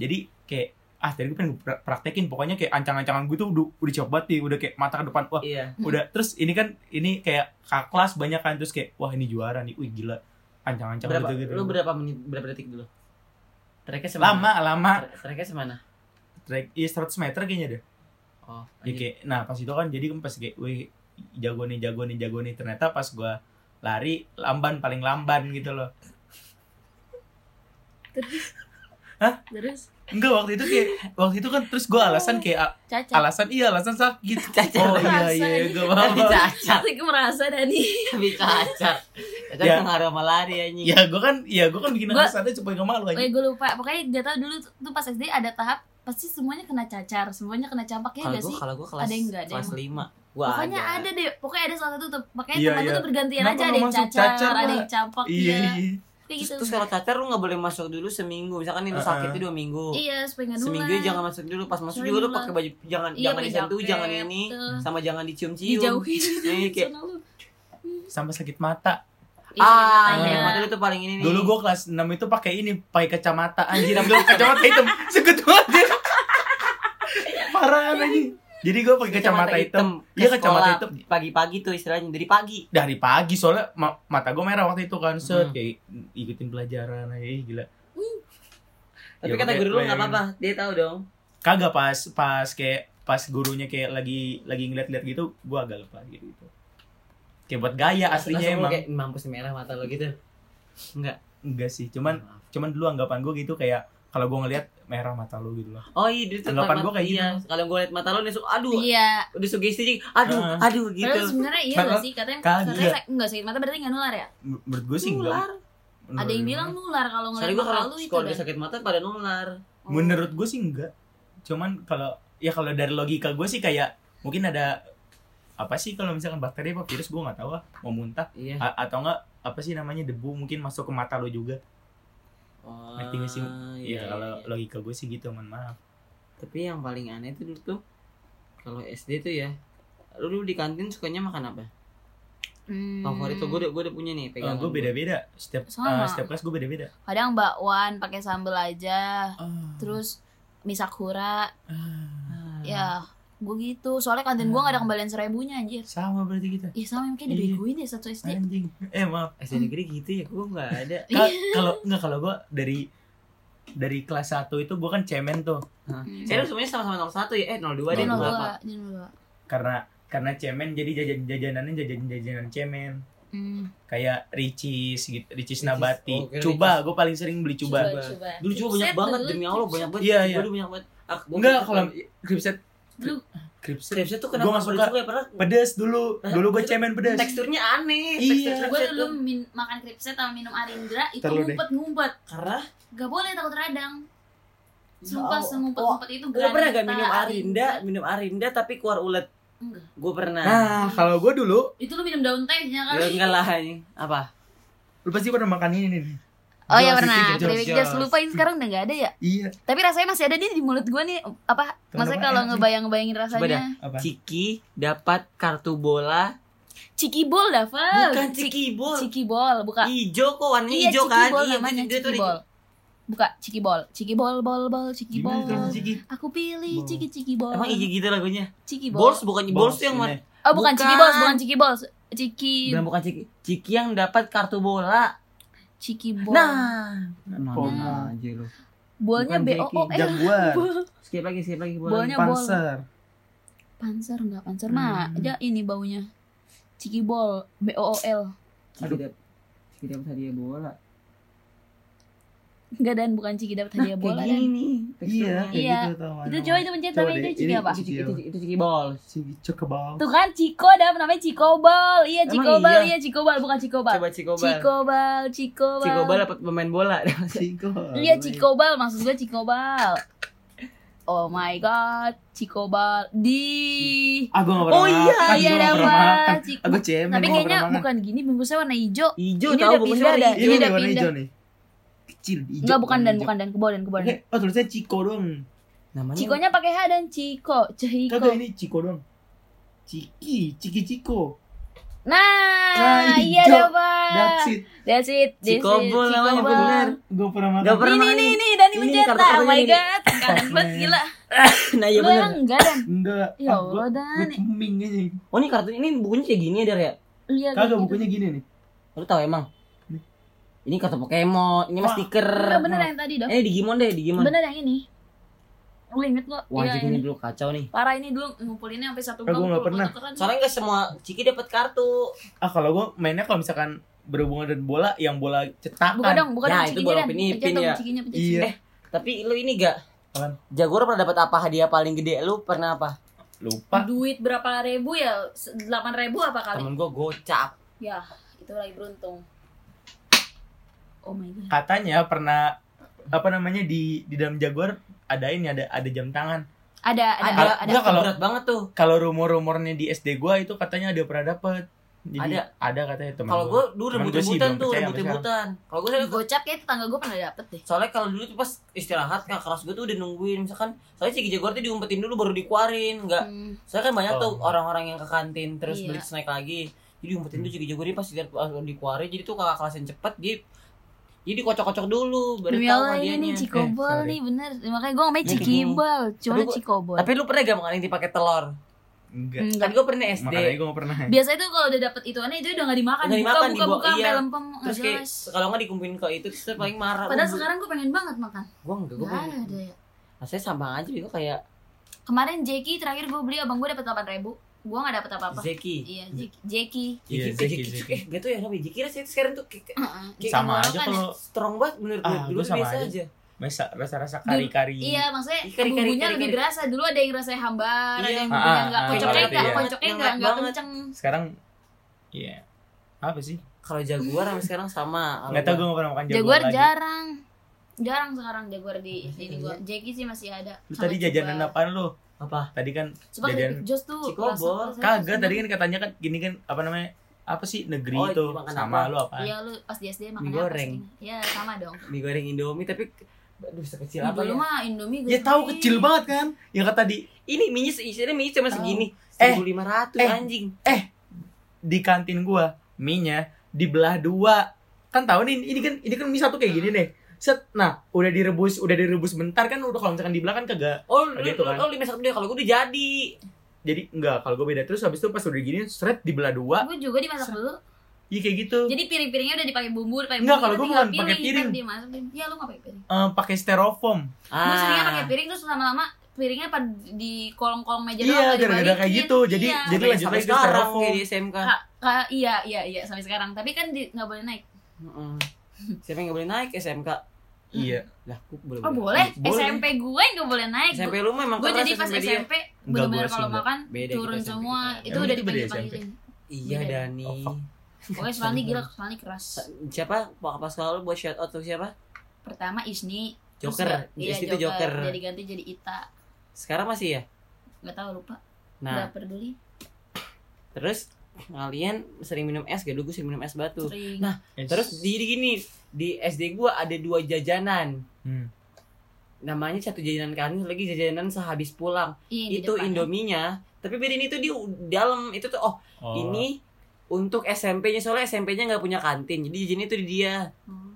jadi kayak ah tadi gue pengen gua pra- praktekin pokoknya kayak ancang-ancangan gue tuh udah udah siap banget nih udah kayak mata ke depan wah
Iya.
udah terus ini kan ini kayak kakak kelas banyak kan terus kayak wah ini juara nih wih gila ancang-ancang
Berapa
gitu, gitu.
lu berapa menit berapa detik dulu? Treknya semana?
lama lama
Tre- Treknya semana?
track iya 100 meter kayaknya deh
Oh,
Ya,
lanjut.
kayak, nah pas itu kan jadi kan pas kayak wih jago nih jago nih jago nih ternyata pas gua lari lamban paling lamban gitu loh
terus
enggak waktu itu kayak waktu itu kan terus
Oh,
gua alasan kayak a-
cacar.
alasan iya alasan sakit
Cacar
oh iya
terasa.
iya gak
Tapi
apa
cacar,
Tapi gue merasa Dani
tapi cacar. Cacar
Ya.
pengaruh sama lari anjing.
ya gua kan ya gua kan bikin
Gua-
alasannya supaya gak malu aja
Eh gue lupa, pokoknya gak tau dulu tuh tuh pas SD ada tahap Pasti semuanya kena cacar, semuanya kena campak ya
Kalau
gak
gua
sih?
kalau gua kelas
Ada yang nggak, ada
kelas
yang-
5. Gua
Pokoknya ada. deh, pokoknya ada salah satu tuh. Makanya
Iya,
teman lu
iya.
tuh bergantian
Kenapa
aja,
lu
ada yang
masuk
cacar,
cacar,
ada
Mbak?
yang
Oh,
campak
iya
iya.
iya
Kayak
Terus,
gitu.
terus kalau cacar lu nggak boleh masuk dulu seminggu. Misalkan ini lu
Uh-uh.
sakit tuh 2 minggu.
Iya, supaya nggak
oh, Seminggu
nular.
jangan masuk dulu. Pas masuk
Jangan
juga lu
nular.
pakai baju jangan
Iya,
jangan
pakai
disentuh,
jaket,
jangan ini,
tuh.
sama jangan dicium-cium.
dijauhin
Iya, kayak-
Sana lu.
sampai sakit mata
Iya,
Ah,
makanya.
yang mata lu tuh paling ini nih.
dulu gua kelas 6 itu pakai ini pakai kacamata anjir gua kacamata hitam sekut anjir parah anjing jadi gua pakai kacamata hitam Iya, kacamata
Ke sekolah
hitam.
Pagi-pagi tuh istilahnya dari pagi.
dari pagi soalnya ma- mata gue merah waktu itu kan set
Hmm.
kayak ikutin pelajaran aja ih, gila Ya,
Tapi kata
pakai
guru lu enggak
bayangin.
apa-apa, dia tahu dong.
kagak pas pas kayak pas gurunya kayak lagi lagi ngeliat-liat gitu gue agak lepas gitu gitu kayak buat gaya aslinya
Langsung lu
emang
kayak mampus nih, merah mata lu gitu. Enggak.
enggak sih cuman
Maaf.
cuman dulu anggapan gue gitu kayak kalau gue ngeliat merah mata lu gitu loh
Oh iya, dulu tuh
Anggapan
mat-
gua kayak gitu.
iya. Kalau gua liat mata lu nih, su- aduh,
Iya.
udah sugesti sih. Aduh,
Ah.
aduh gitu.
Padahal sebenarnya iya
Padahal
gak sih? Katanya,
kagak.
katanya sa- enggak sakit mata berarti gak nular ya?
Mer- menurut gue sih enggak
Nular.
Menurut
Ada yang
gua-
bilang nular kalau ngeliat
Soalnya Hmm. gua
mata
kalau
lu itu
kalau dia
kan.
sakit mata pada nular.
Oh.
menurut gue sih enggak cuman kalau ya kalau dari logika gue sih kayak mungkin ada apa sih kalau misalkan bakteri apa virus gue nggak tahu ah mau muntah
Iya.
A- atau enggak apa sih namanya debu mungkin masuk ke mata lo juga
Oh,
ngerti nggak sih?
iya,
Iya kalau
iya.
logika gue sih gitu mohon maaf
Tapi yang paling aneh itu dulu tuh kalau SD tuh ya lu dulu di kantin sukanya makan apa?
Hmm.
Favorit tuh gue udah, gua udah punya nih pegangan.
gue beda beda setiap
Sama.
eh, setiap kelas gue beda beda
Kadang bakwan pakai sambel aja. Terus misakura.
Hmm.
Ah.
Ah,
Ya, gue gitu. Soalnya kantin gue gak
Hmm.
ada kembalian seribunya anjir.
sama berarti kita
Ih sama yang kayak
Iya.
dibegoin deh satu
Nah,
SD.
anjing eh maaf
SD negeri gitu ya, gue nggak ada.
Ka- kalau enggak kalau gue dari dari kelas 1 itu gue kan cemen tuh
Hmm.
Eh lu semuanya sama-sama 01 ya? Eh
Jangan
Dia
02 deh nol
nol
berapa?
dua, dia nol dua.
karena karena cemen jadi jajan jajanannya jajan jajanan cemen
Hmm.
kayak ricis gitu ricis
Ricis.
nabati
Oh, oke,
coba gue paling sering beli coba
Dulu juga banyak
Set
banget
dulu,
demi Allah banyak banget.
Iya,
Gua
iya.
dulu banyak banget. Ah, gua
enggak
punya-
kalau kripset
lu
Kripset.
Kripsnya tuh
Gua
kenapa
nggak
gak
suka.
suka ya pernah
Pedes dulu. Dulu gue cemen pedes.
teksturnya aneh.
Iya.
tekstur
gue
kripsnya
dulu
tuh.
min- makan kripset sama minum arindra itu
Ntar lu deh.
ngumpet-ngumpet
karena
gak boleh takut radang sumpah
Oh,
ngumpet-ngumpet itu
Gue pernah gak
granita,
minum Arinda, minum Arinda tapi keluar ulet.
Enggak.
Gue pernah.
Nah, kalau gue dulu,
itu lu minum daun tehnya
Iya,
kan?
Ya,
kali
enggak lah ini. Apa?
lu pasti pernah makan ini nih.
oh ya
Jos,
pernah
itu Jos,
kriwik
Jos.
jas lupain sekarang udah gak ada ya
Iya.
tapi rasanya masih ada nih di mulut gue nih apa
Teman-teman
maksudnya kalau
enak nih.
ngebayang ngebayangin rasanya
dah.
Apa?
Ciki dapat kartu bola.
cikibol dah Fal.
Bukan
Cik-
ciki bol.
cikibol buka
Ijo kok warnanya
iya
ijo kan?
cikibol
Iya,
namanya
dia tuh di-
cikibol buka cikibol cikibol bol bol cikibol
Gimana tuh, Ciki?
aku pilih
Bol.
ciki ciki bol
Iya, Emang iya gitu lagunya.
cikibol
Balls bukan balls tuh yang
Balls,
mana?
ini.
oh bukan
Bukan.
ciki bol bukan ciki bol ciki
Bukan bukan ciki. Ciki yang dapat kartu bola.
ciki bol
Nah,
Poma.
aja lu.
bolnya
bukan
b o o
Jackie.
l
Jaguar.
Skip lagi, skip lagi bola.
Iya.
bolnya bol
Panser.
panser enggak panser mah
Hmm.
ada ini baunya ciki bol b o o l
Ciki dapat Ciki dapat hadiah bola.
enggak dan bukan ciki dapat hadiah
Nah, Kayak
bola
gini
dan
nih.
Iya,
teksturnya.
Iya.
kayak gitu tuh.
itu coba itu mencet
Coba
tapi
deh,
itu ciki
ini
apa
Itu, itu, itu ciki bol.
Ciki cekebal.
tuh kan ciko ada namanya cikobol iya
Emang
cikobol
iya?
iya cikobol bukan cikobal
Coba cikobal.
cikobal cikobal
Cikobal dapat pemain bola.
Ciko.
Iya Cikobal maksud gue Cikobal. Oh my god, Cikobal di.
Ah, gue gak pernah
Oh iya,
makan.
iya,
Gua nggak
ada
pernah
apa?
makan.
Cik-
Ah, gua cemen.
Tapi
gua nggak
kayaknya
pernah makan.
bukan gini, bungkusnya warna hijau.
Ijo
Ini
tahu
udah
bungkusnya
pindah
warna
dah.
Ini
hijau.
Ini
udah
udah
warna
pindah.
hijau nih. Kecil, hijau.
Enggak bukan dan
hijau.
bukan dan kebo dan kebo dan.
Eh, Oh, tulisnya Ciko doang.
Namanya
Cikonya pakai H dan Ciko, Cihiko.
Kagak ini Ciko doang. Ciki, Ciki Ciko. Nah,
Nah, iya
hijau.
dah, Pak.
That's it.
That's it. That's it.
Cikobol namanya,
Cikobol.
bener.
Gue pernah
Nggak
makan.
pernah.
Ini nih nih Dani
Ini
mencetak.
kartu-kartunya
Oh my
ini.
god, kangen banget
man.
gila.
Nah, iya
Lu
benar.
emang enggak dan?
Enggak.
Ya
Ah, gua-
Allah dan.
Gue ceming aja.
Oh, ini kartu ini bukunya kayak gini ya, Dar ya?
Iya. kayak
Kagak
gitu.
bukunya gini nih.
Lu tahu emang?
Nih.
Ini kartu Pokemon, ini mah
Wah.
stiker.
Enggak Iya, bener yang tadi dong.
Eh, ini Digimon deh, Digimon.
Bener yang ini. Lu inget kok. Iya,
Wajib ini
ini.
dulu kacau nih.
Parah ini dulu ngumpulinnya sampai
Eh,
satu
Ah, gua nggak pernah.
Soalnya
Soalnya enggak semua Ciki dapat kartu.
Ah, kalau gue mainnya kalau misalkan berhubungan dengan bola, yang bola cetakan.
bukan dong, bukan
Ya,
dong
itu
cikinya
bola
dan.
pinipin
Pencet dong
ya.
cikinya, pencet
Iya.
cikinya.
Tapi lu ini gak
Apaan?
Jaguar pernah dapat apa hadiah paling gede? Lu pernah apa?
Lupa.
Duit berapa ribu ya? 8 ribu apa kali?
Temen gua gocap.
Ya, itu lagi beruntung. Oh my god.
Katanya pernah apa namanya di di dalam Jaguar ada ini ada ada jam tangan.
Ada ada ada,
Ada,
ada.
ada,
Enggak, kalau-
berat banget tuh.
Kalau rumor-rumornya di SD gua itu katanya ada pernah dapet. Jadi
Ada.
ada, katanya teman.
Kalau
gua.
gua dulu
Temen gua sih
rebut-rebutan
belum
tuh,
percaya sampai
rebut-rebutan. Kalau gua saya-
Gocap kayak tetangga gue pernah dapet deh.
soalnya kalau dulu tuh pas istirahat kakak kelas gue tuh udah nungguin misalkan soalnya si Jaguar tuh diumpetin dulu baru dikeluarin enggak
Hmm.
soalnya kan banyak tuh
Oh.
orang-orang yang ke kantin terus
Iya.
beli snack lagi jadi diumpetin tuh Ciki Jaguar dia pas lihat pas dikeluarin jadi tuh kakak kelas yang cepet dia jadi kocok-kocok dulu baru
Demi
tahu
Allah ini
hadiahnya
nih Cikobol
sorry.
nih bener. Makanya gue namanya
Ini
Cikibol, cuma
Tapi gua-
Cikobol.
tapi lu pernah gak makan yang dipakai telur
Enggak.
kan
Enggak.
gue pernah SD
Makanya gua gak pernah.
Biasanya tuh kalau udah dapet ituannya itu udah gak dimakan,
Nggak
dibuka
dimakan,
buka
dibawa-
buka sampai
iya.
lempem nggak
terus kayak
jelas.
kalau nggak dikumpulin ke itu terus dia paling marah
Padahal sekarang gue pengen banget makan.
gue enggak gue
Gak ada ya.
rasanya sama aja gue kayak
Kemarin Jeki terakhir gue beli abang gue dapat delapan ribu. Gue nggak dapat apa-apa.
Zeki
Iya Jeki. Jeki.
Iya,
Zeki,
Zeki,
Zeki,
Zeki.
eh gitu ya namanya Zeki rasanya sekarang tuh kayak-
Heeh.
Kayak
Sama
tenggorokan
aja
ya.
kalau
strong banget menurut gue
Ah,
dulu
gua
tuh
sama
biasa
aja.
aja
masa rasa-rasa kari-kari.
Iya maksudnya
Kari, kari,
bumbunya
kari,
lebih
kari.
berasa dulu ada yang rasanya hambar, ada
Iya.
yang
Ah,
bumbunya
ah,
nggak
ah,
kocoknya
iya,
nggak
iya.
kocoknya
Yang
nggak
lengket
nggak
banget.
kenceng.
Sekarang iya. Apa sih?
kalau jaguar sama sekarang sama
Enggak tahu gua gak pernah makan Jaguar.
Jaguar
lagi.
jarang, jarang sekarang Jaguar di
Masih
ini
ada
gue. Jeki sih masih ada.
Lu
Sama
tadi jajanan
Jubal.
apaan lu?
apa
Tadi kan
Coba
jajan-
keripik jos tuh.
Cikobol.
rasa- rasa-
kagak
rasa-
tadi kan katanya kan gini kan apa namanya? Apa sih negeri
Oh,
itu
makan
sama
apa?
lu apa?
Iya lu pas di SD makan
Mie
apa
goreng.
sih? Iya sama dong.
mie goreng indomie tapi aduh sekecil apa
Dulu
ya
mah Indomie
Ya tahu kecil banget kan? Ya kata tadi
ini mie isinya mie
Tahu.
cuma segini
Eh,
seribu lima ratus
eh.
anjing
di kantin gua mie-nya dibelah dua. Kan tahu nih ini kan ini kan mie satu kayak gini nih. Set, nah udah direbus, udah direbus bentar kan udah kalau misalkan dibelah kan kagak.
oh lu
Gitu kan.
lu lima satu deh kalau gue udah jadi
Jadi enggak kalau gue beda terus habis itu pas udah gini seret dibelah dua.
Gue juga dimasak dulu.
Iya kayak gitu.
Jadi piring-piringnya udah dipakai bumbu, dipakai
Enggak,
bumbu,
kalau
kita
gua
tinggal
bukan pakai
ntar
piring.
dimasak. Ya lu nggak pakai piring.
Eh, pakai styrofoam.
Ah.
Gue seringnya pakai piring terus lama-lama piringnya pada di kolong-kolong meja doang,
Iya,
nggak
gara-gara kayak
dibalikin.
gitu. Jadi
Iya.
jadi
Sampai-
lanjut
sampai
lagi ke
sekarang
styrofoam.
kayak di SMK
Ka- ka- iya iya iya sampai sekarang tapi kan di- nggak boleh naik
Mm-mm. siapa yang nggak boleh naik SMK
Iya.
Lah, aku belum.
Oh boleh,
Boleh.
SMP gue nggak boleh naik.
SMP lu memang
gue
keras
jadi pas
dia.
SMP
Enggak,
bener-bener
gua
kalau
sih,
makan
Beda
turun
kita SMP
semua
kita.
itu
Emang
udah
itu beda
dipanggil
SMP?
panggilin.
Iya,
Beda.
Dani.
Oh, fuck.
Pokoknya Svalni gila, Svalni keras.
Siapa? Pak Kapas kalau buat shout out tuh siapa?
Pertama Isni. terus
Joker.
gak- Iya
Yes, itu Joker.
Jadi ganti jadi Ita.
Sekarang masih ya?
Gak tau lupa.
Nah,
Gak peduli.
terus kalian sering minum es gak? Dulu gue sering minum es batu.
Sering.
Nah, Terus di, di gini, di SD gua ada dua jajanan.
Hmm.
Namanya satu jajanan kanan, lagi jajanan sehabis pulang.
Iya, di
itu
depan.
Indominya. Tapi bedain itu di u- dalam itu tuh oh,
Oh.
ini untuk SMP-nya soalnya SMP-nya nggak punya kantin. Jadi jajan itu di dia
Hmm.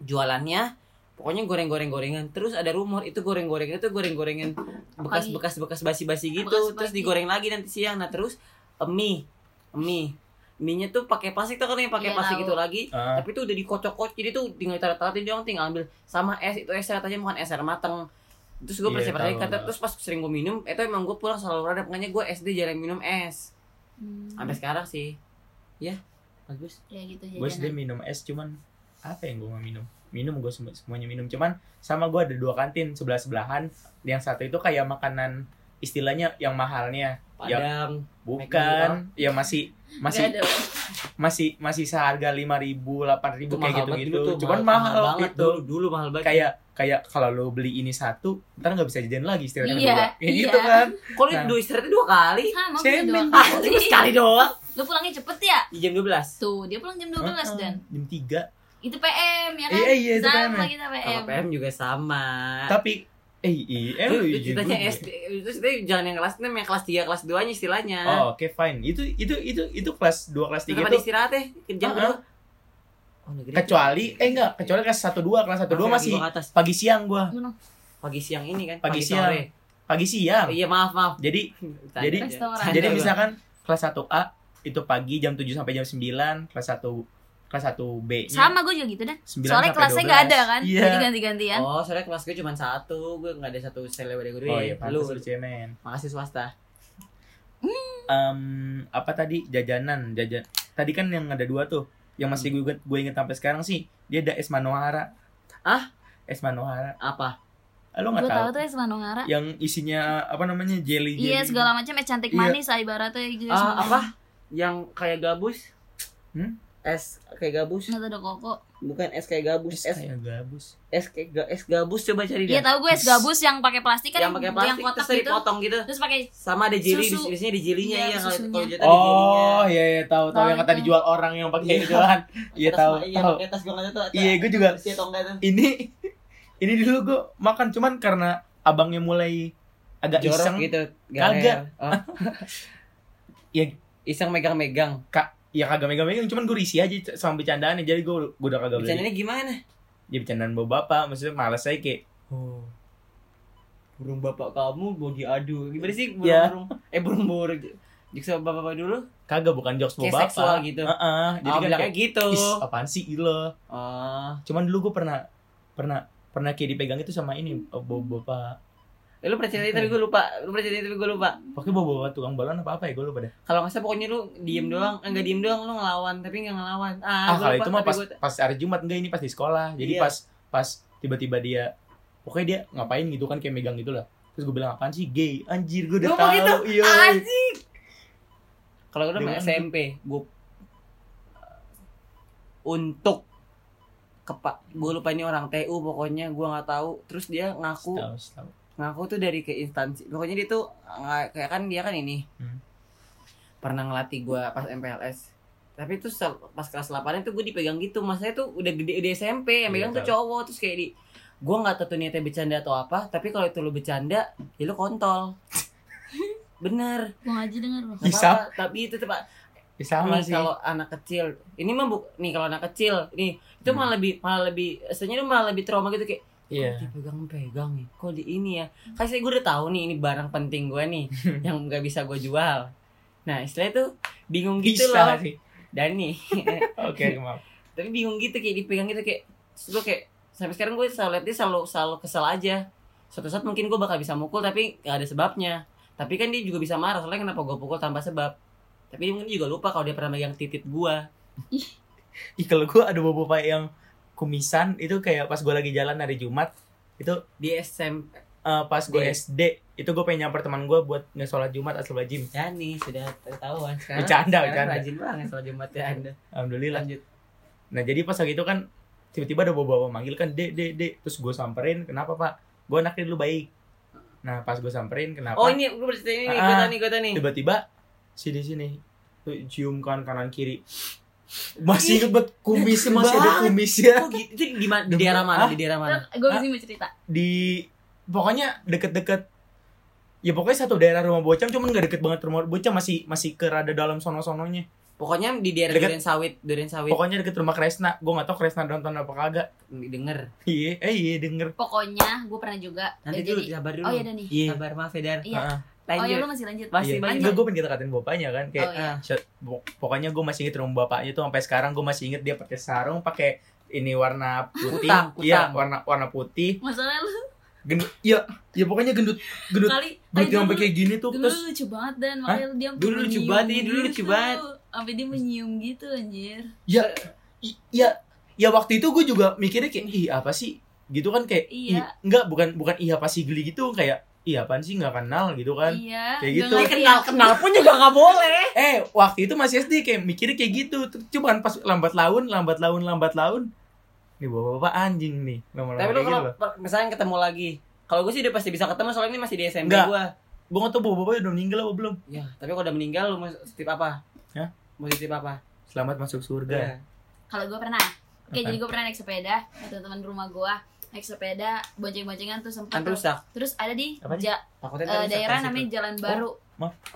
jualannya pokoknya goreng-goreng-gorengan terus ada rumor itu goreng-gorengan itu goreng-gorengan bekas
Pagi.
bekas bekas basi-basi gitu
Bekas
terus
basi.
digoreng lagi nanti siang nah terus mie mie mie-nya tuh pakai plastik tuh kan yang pakai
Iya,
plastik
tahu.
itu lagi
Ah.
tapi itu udah dikocok-kocok jadi tuh tinggal ditaruh-taruh doang tinggal ambil sama es itu es katanya bukan es air mateng terus gue
Iya,
percaya percaya
tahu.
kata terus pas sering gue minum itu emang gue pulang selalu ada makanya gue SD jarang minum es
Hmm.
sampai sekarang sih ya bagus
Ya gitu
gue SD
jajanan.
minum es cuman apa yang gue mau minum minum gue semuanya minum cuman sama gue ada dua kantin sebelah sebelahan yang satu itu kayak makanan istilahnya yang mahalnya Ya.
padang
bukan ya masih
Gak
masih
ada.
masih masih seharga lima ribu delapan ribu
itu
kayak
mahal
gitu
banget
gitu
dulu tuh
cuman mahal,
banget
gitu
dulu dulu mahal banget
kayak kayak kalau lo beli ini satu ntar nggak bisa jajan lagi istilahnya
Iya,
kedua. kayak
iya.
gitu kan
Kok lu
Nah.
dua istirahatnya dua kali?
Sama gue
Cemen.
dua
Ah,
kali.
cuma sekali doang.
Lu pulangnya cepet ya?
Di jam 12.
Tuh, dia pulang jam 12 dan
jam tiga
itu PM ya kan?
Iya, iya, itu
Sama
PM.
kita
Kalau
PM.
PM juga sama.
tapi eh iya
Lu-
lu
lu
izin
ceritanya
dulu ya.
SD, itu ceritanya jangan yang kelas 6, yang kelas 3, kelas 2 nya istilahnya.
oh oke fine itu itu itu itu kelas dua kelas tiga
Tetap
itu
ada istirahatnya, ke jam
Heeh.
berapa? ya, Oh, negeri.
kecuali eh enggak kecuali kelas satu dua kelas satu dua
Maaf,
masih
yang di bawah atas.
pagi siang gua
Mana?
Pagi siang ini kan?
Pagi siang.
sore.
pagi
Oh,
siang
iya, maaf, maaf.
jadi
Bercanda
Jadi-
aja.
Restoran.
Bercanda
jadi
gua.
misalkan kelas 1 A itu pagi jam 7 sampai jam 9 kelas 1 kelas 1 B -nya
Sama gue juga gitu dan.
9
Soalnya
Iya. sampai
kelasnya
12.
gak ada kan?
iya
Jadi ganti-gantian.
Oh, soalnya kelas gue cuma satu, gue nggak ada satu sel dari gue.
oh iya pantes
lu,
lu cemen
makasih swasta.
Em, apa tadi jajanan jajan tadi kan yang ada dua tuh yang masih
Hmm.
gue inget, gue inget sampai sekarang sih dia ada es manohara
Ah?
es manohara
Apa?
ah, lo
Gue
nggak
tahu
tahu
tuh es Manungara.
yang isinya apa namanya jelly
Iya
jelly.
segala macam es cantik
Iya.
manis lah ibaratnya gitu.
Ah, apa? Yang kayak gabus?
Hmm?
Es kayak gabus?
Nggak ada koko.
Bukan es kayak gabus,
es
es
kayak gabus
es kayak ga- es gabus coba cari
Iya
deh.
tahu gue es gabus yang pakai plastik kan
yang pakai plastik
yang kotak
terus tadi
gitu.
potong gitu.
Terus pakai
Sama ada jeli,
Susu.
biasanya di jelinya
Iya,
iya kalau
susunya.
kalau jatah di jelinya.
Oh iya iya tahu tahu
Tahu
yang kata
itu.
dijual orang yang pakai
Iya.
itu kan. Iya
Atas-
tahu
Iya,
tahu.
pakai tas gua nggak tahu.
Iya gue juga
Bersih atau enggak tuh.
ini ini dulu gue makan cuman karena abangnya mulai agak
Jorok
iseng
gitu.
Kagak.
Iya, iseng megang-megang.
ya kagak megang-megang cuman gue risih aja c- sama bercandaannya jadi gue gue udah kagak beli
Bercandanya gimana?
ya bercandaan bawa bapak maksudnya malas saya kayak
Oh. Burung bapak kamu mau diadu. Gimana sih burung,
Iya.
burung eh burung burung jiksa bapak-bapak dulu
kagak bukan jokes
kayak
bawa
seksual
bapak
gitu.
Heeh, jadi
Oh,
kan
bilangnya
kayak
gitu.
"Is, apaan sih ilo
Oh.
cuman dulu gue pernah pernah pernah kayak dipegang itu sama ini bawa bapak
Eh, lu percaya tapi gue lupa. Lu percaya tapi gue lupa.
pokoknya bawa bapak tukang balon apa apa ya gue lupa deh
Kalau nggak salah pokoknya lu diem doang, enggak diem doang lu ngelawan tapi nggak ngelawan.
ah
Ah, gua
kalau
lupa,
itu mah
tapi
pas
gua-
pas hari Jumat enggak ini pas di sekolah jadi
Iya.
pas pas tiba-tiba dia pokoknya dia ngapain gitu kan kayak megang gitu lah terus gue bilang apaan sih gay anjir gue udah
Ngomong
tahu
gitu?
iya
Anjing. Kalau gue udah
Dengan-
SMP, gue untuk kepa gue lupa ini orang TU pokoknya gue nggak tahu terus dia ngaku
Tahu, tahu.
ngaku tuh dari ke instansi pokoknya dia tuh nga- kayak kan dia kan ini
Hmm.
pernah ngelatih gue pas MPLS tapi tuh se- pas kelas 8 itu gue dipegang gitu masanya tuh udah gede udah SMP
Iya,
yang megang tuh
tahu.
cowok terus kayak di gue nggak tahu tuh niatnya bercanda atau apa tapi kalau itu lu bercanda ya lu kontol bener
mau ngaji denger loh.
nggak
Hisap.
apa-apa. tapi itu tuh pak
Ya, sama
nih
sih
kalau anak kecil ini mah bu nih kalau anak kecil nih itu
Hmm.
malah lebih malah lebih sebenarnya malah lebih trauma gitu kayak
iya
dipegang-pegang nih kok di ini ya kasih gue udah tahu nih ini barang penting gue nih yang nggak bisa gue jual nah istilahnya tuh bingung gitu
bisa
loh
sih
dan nih
oke maaf
tapi bingung gitu kayak dipegang gitu kayak terus gue kayak sampai sekarang gue selalu lihat dia selalu selalu kesel aja suatu saat mungkin gue bakal bisa mukul tapi nggak ada sebabnya tapi kan dia juga bisa marah soalnya kenapa gue pukul tanpa sebab tapi dia mungkin juga lupa kalau dia pernah megang titit gue
ih kalau gue ada bapak bapak yang kumisan itu kayak pas gue lagi jalan hari Jumat itu
di SMP
eh, pas gue
Iya.
SD itu gue pengen nyamper teman gue buat nggak sholat Jumat asal bajim
ya nih sudah ketahuan sekarang
Bercanda,
sekarang
bercanda.
rajin banget soal Jumat ya anda
alhamdulillah
lanjut
nah jadi pas waktu itu kan tiba-tiba ada bawa bawa manggil kan dek dek dek terus gue samperin kenapa pak gue anaknya dulu baik nah pas gue samperin kenapa
oh ini gue bercerita ini nih gue
Ah,
tau nih gue tau nih
tiba-tiba sini sini tuh cium kan kanan kiri masih inget banget kumisnya masih ada ya.
Banget.
kumisnya
Oh, gitu. itu di mana di
Demi-
daerah mana
Ah?
di daerah mana
gue bisa mau cerita
di pokoknya deket-deket ya pokoknya satu daerah rumah bocam cuman nggak deket banget rumah bocam masih masih ke rada dalam sono-sononya
pokoknya di daerah
Dekat-
Duren Sawit Duren Sawit
pokoknya deket rumah Kresna gue nggak tau Kresna nonton apa kagak
denger
iya eh iya denger
pokoknya gue pernah juga Eh,
nanti dulu
jadi
sabar dulu
oh iya Dani
iya
sabar maaf ya Dar
Iya.
Heeh.
oh iya
lanjut Eh,
lu masih lanjut
Masih
Iya.
banyak.
Enggak, gue pengen dikatain bapaknya kan kayak
oh iya
Shot- bo- pokoknya gue masih inget rumah bapaknya tuh sampai sekarang gue masih inget dia pakai sarung pakai ini warna putih
Kutang, kutang.
iya warna warna putih
masalahnya lu
gendut iya ya pokoknya gendut gendut
kali
gendut
kali
yang
dulu-
sampai kayak gini tuh
dulu
terus
lucu banget dan makanya dia sampai
Dulu lucu
menyium
banget, iya, dulu lucu
gitu.
banget.
sampai dia menyium gitu anjir
ya i- ya ya waktu itu gue juga mikirnya kayak ih apa sih gitu kan kayak ih,
Iya.
enggak bukan bukan ih apa sih geli gitu kayak ih apaan sih nggak kenal gitu kan
iya
Kayak
nggak
gitu.
ngerti
kenal
aku.
kenal pun juga nggak boleh
eh waktu itu masih SD kayak mikirnya kayak gitu Terus cuman pas lambat laun lambat laun lambat laun nih bapak bapak anjing nih lama-lama
tapi lu
kayak gitu
kalau
loh.
misalnya ketemu lagi kalau gue sih udah pasti bisa ketemu soalnya ini masih di SMP
Enggak.
gue
gue nggak tahu bapak bapak udah meninggal apa belum
ya tapi kalau udah meninggal lu mau titip apa
Hah?
mau titip apa Ya,
selamat masuk
Iya.
surga
kalau gue pernah
Apa?
oke jadi gue pernah naik sepeda ada teman rumah gue naik sepeda bonceng-boncengan tuh sempat
kan rusak
terus ada di
Apa sih?
ja-
takutnya
eh,
ntar rusak
daerah
dari
namanya
situ.
Jalan Baru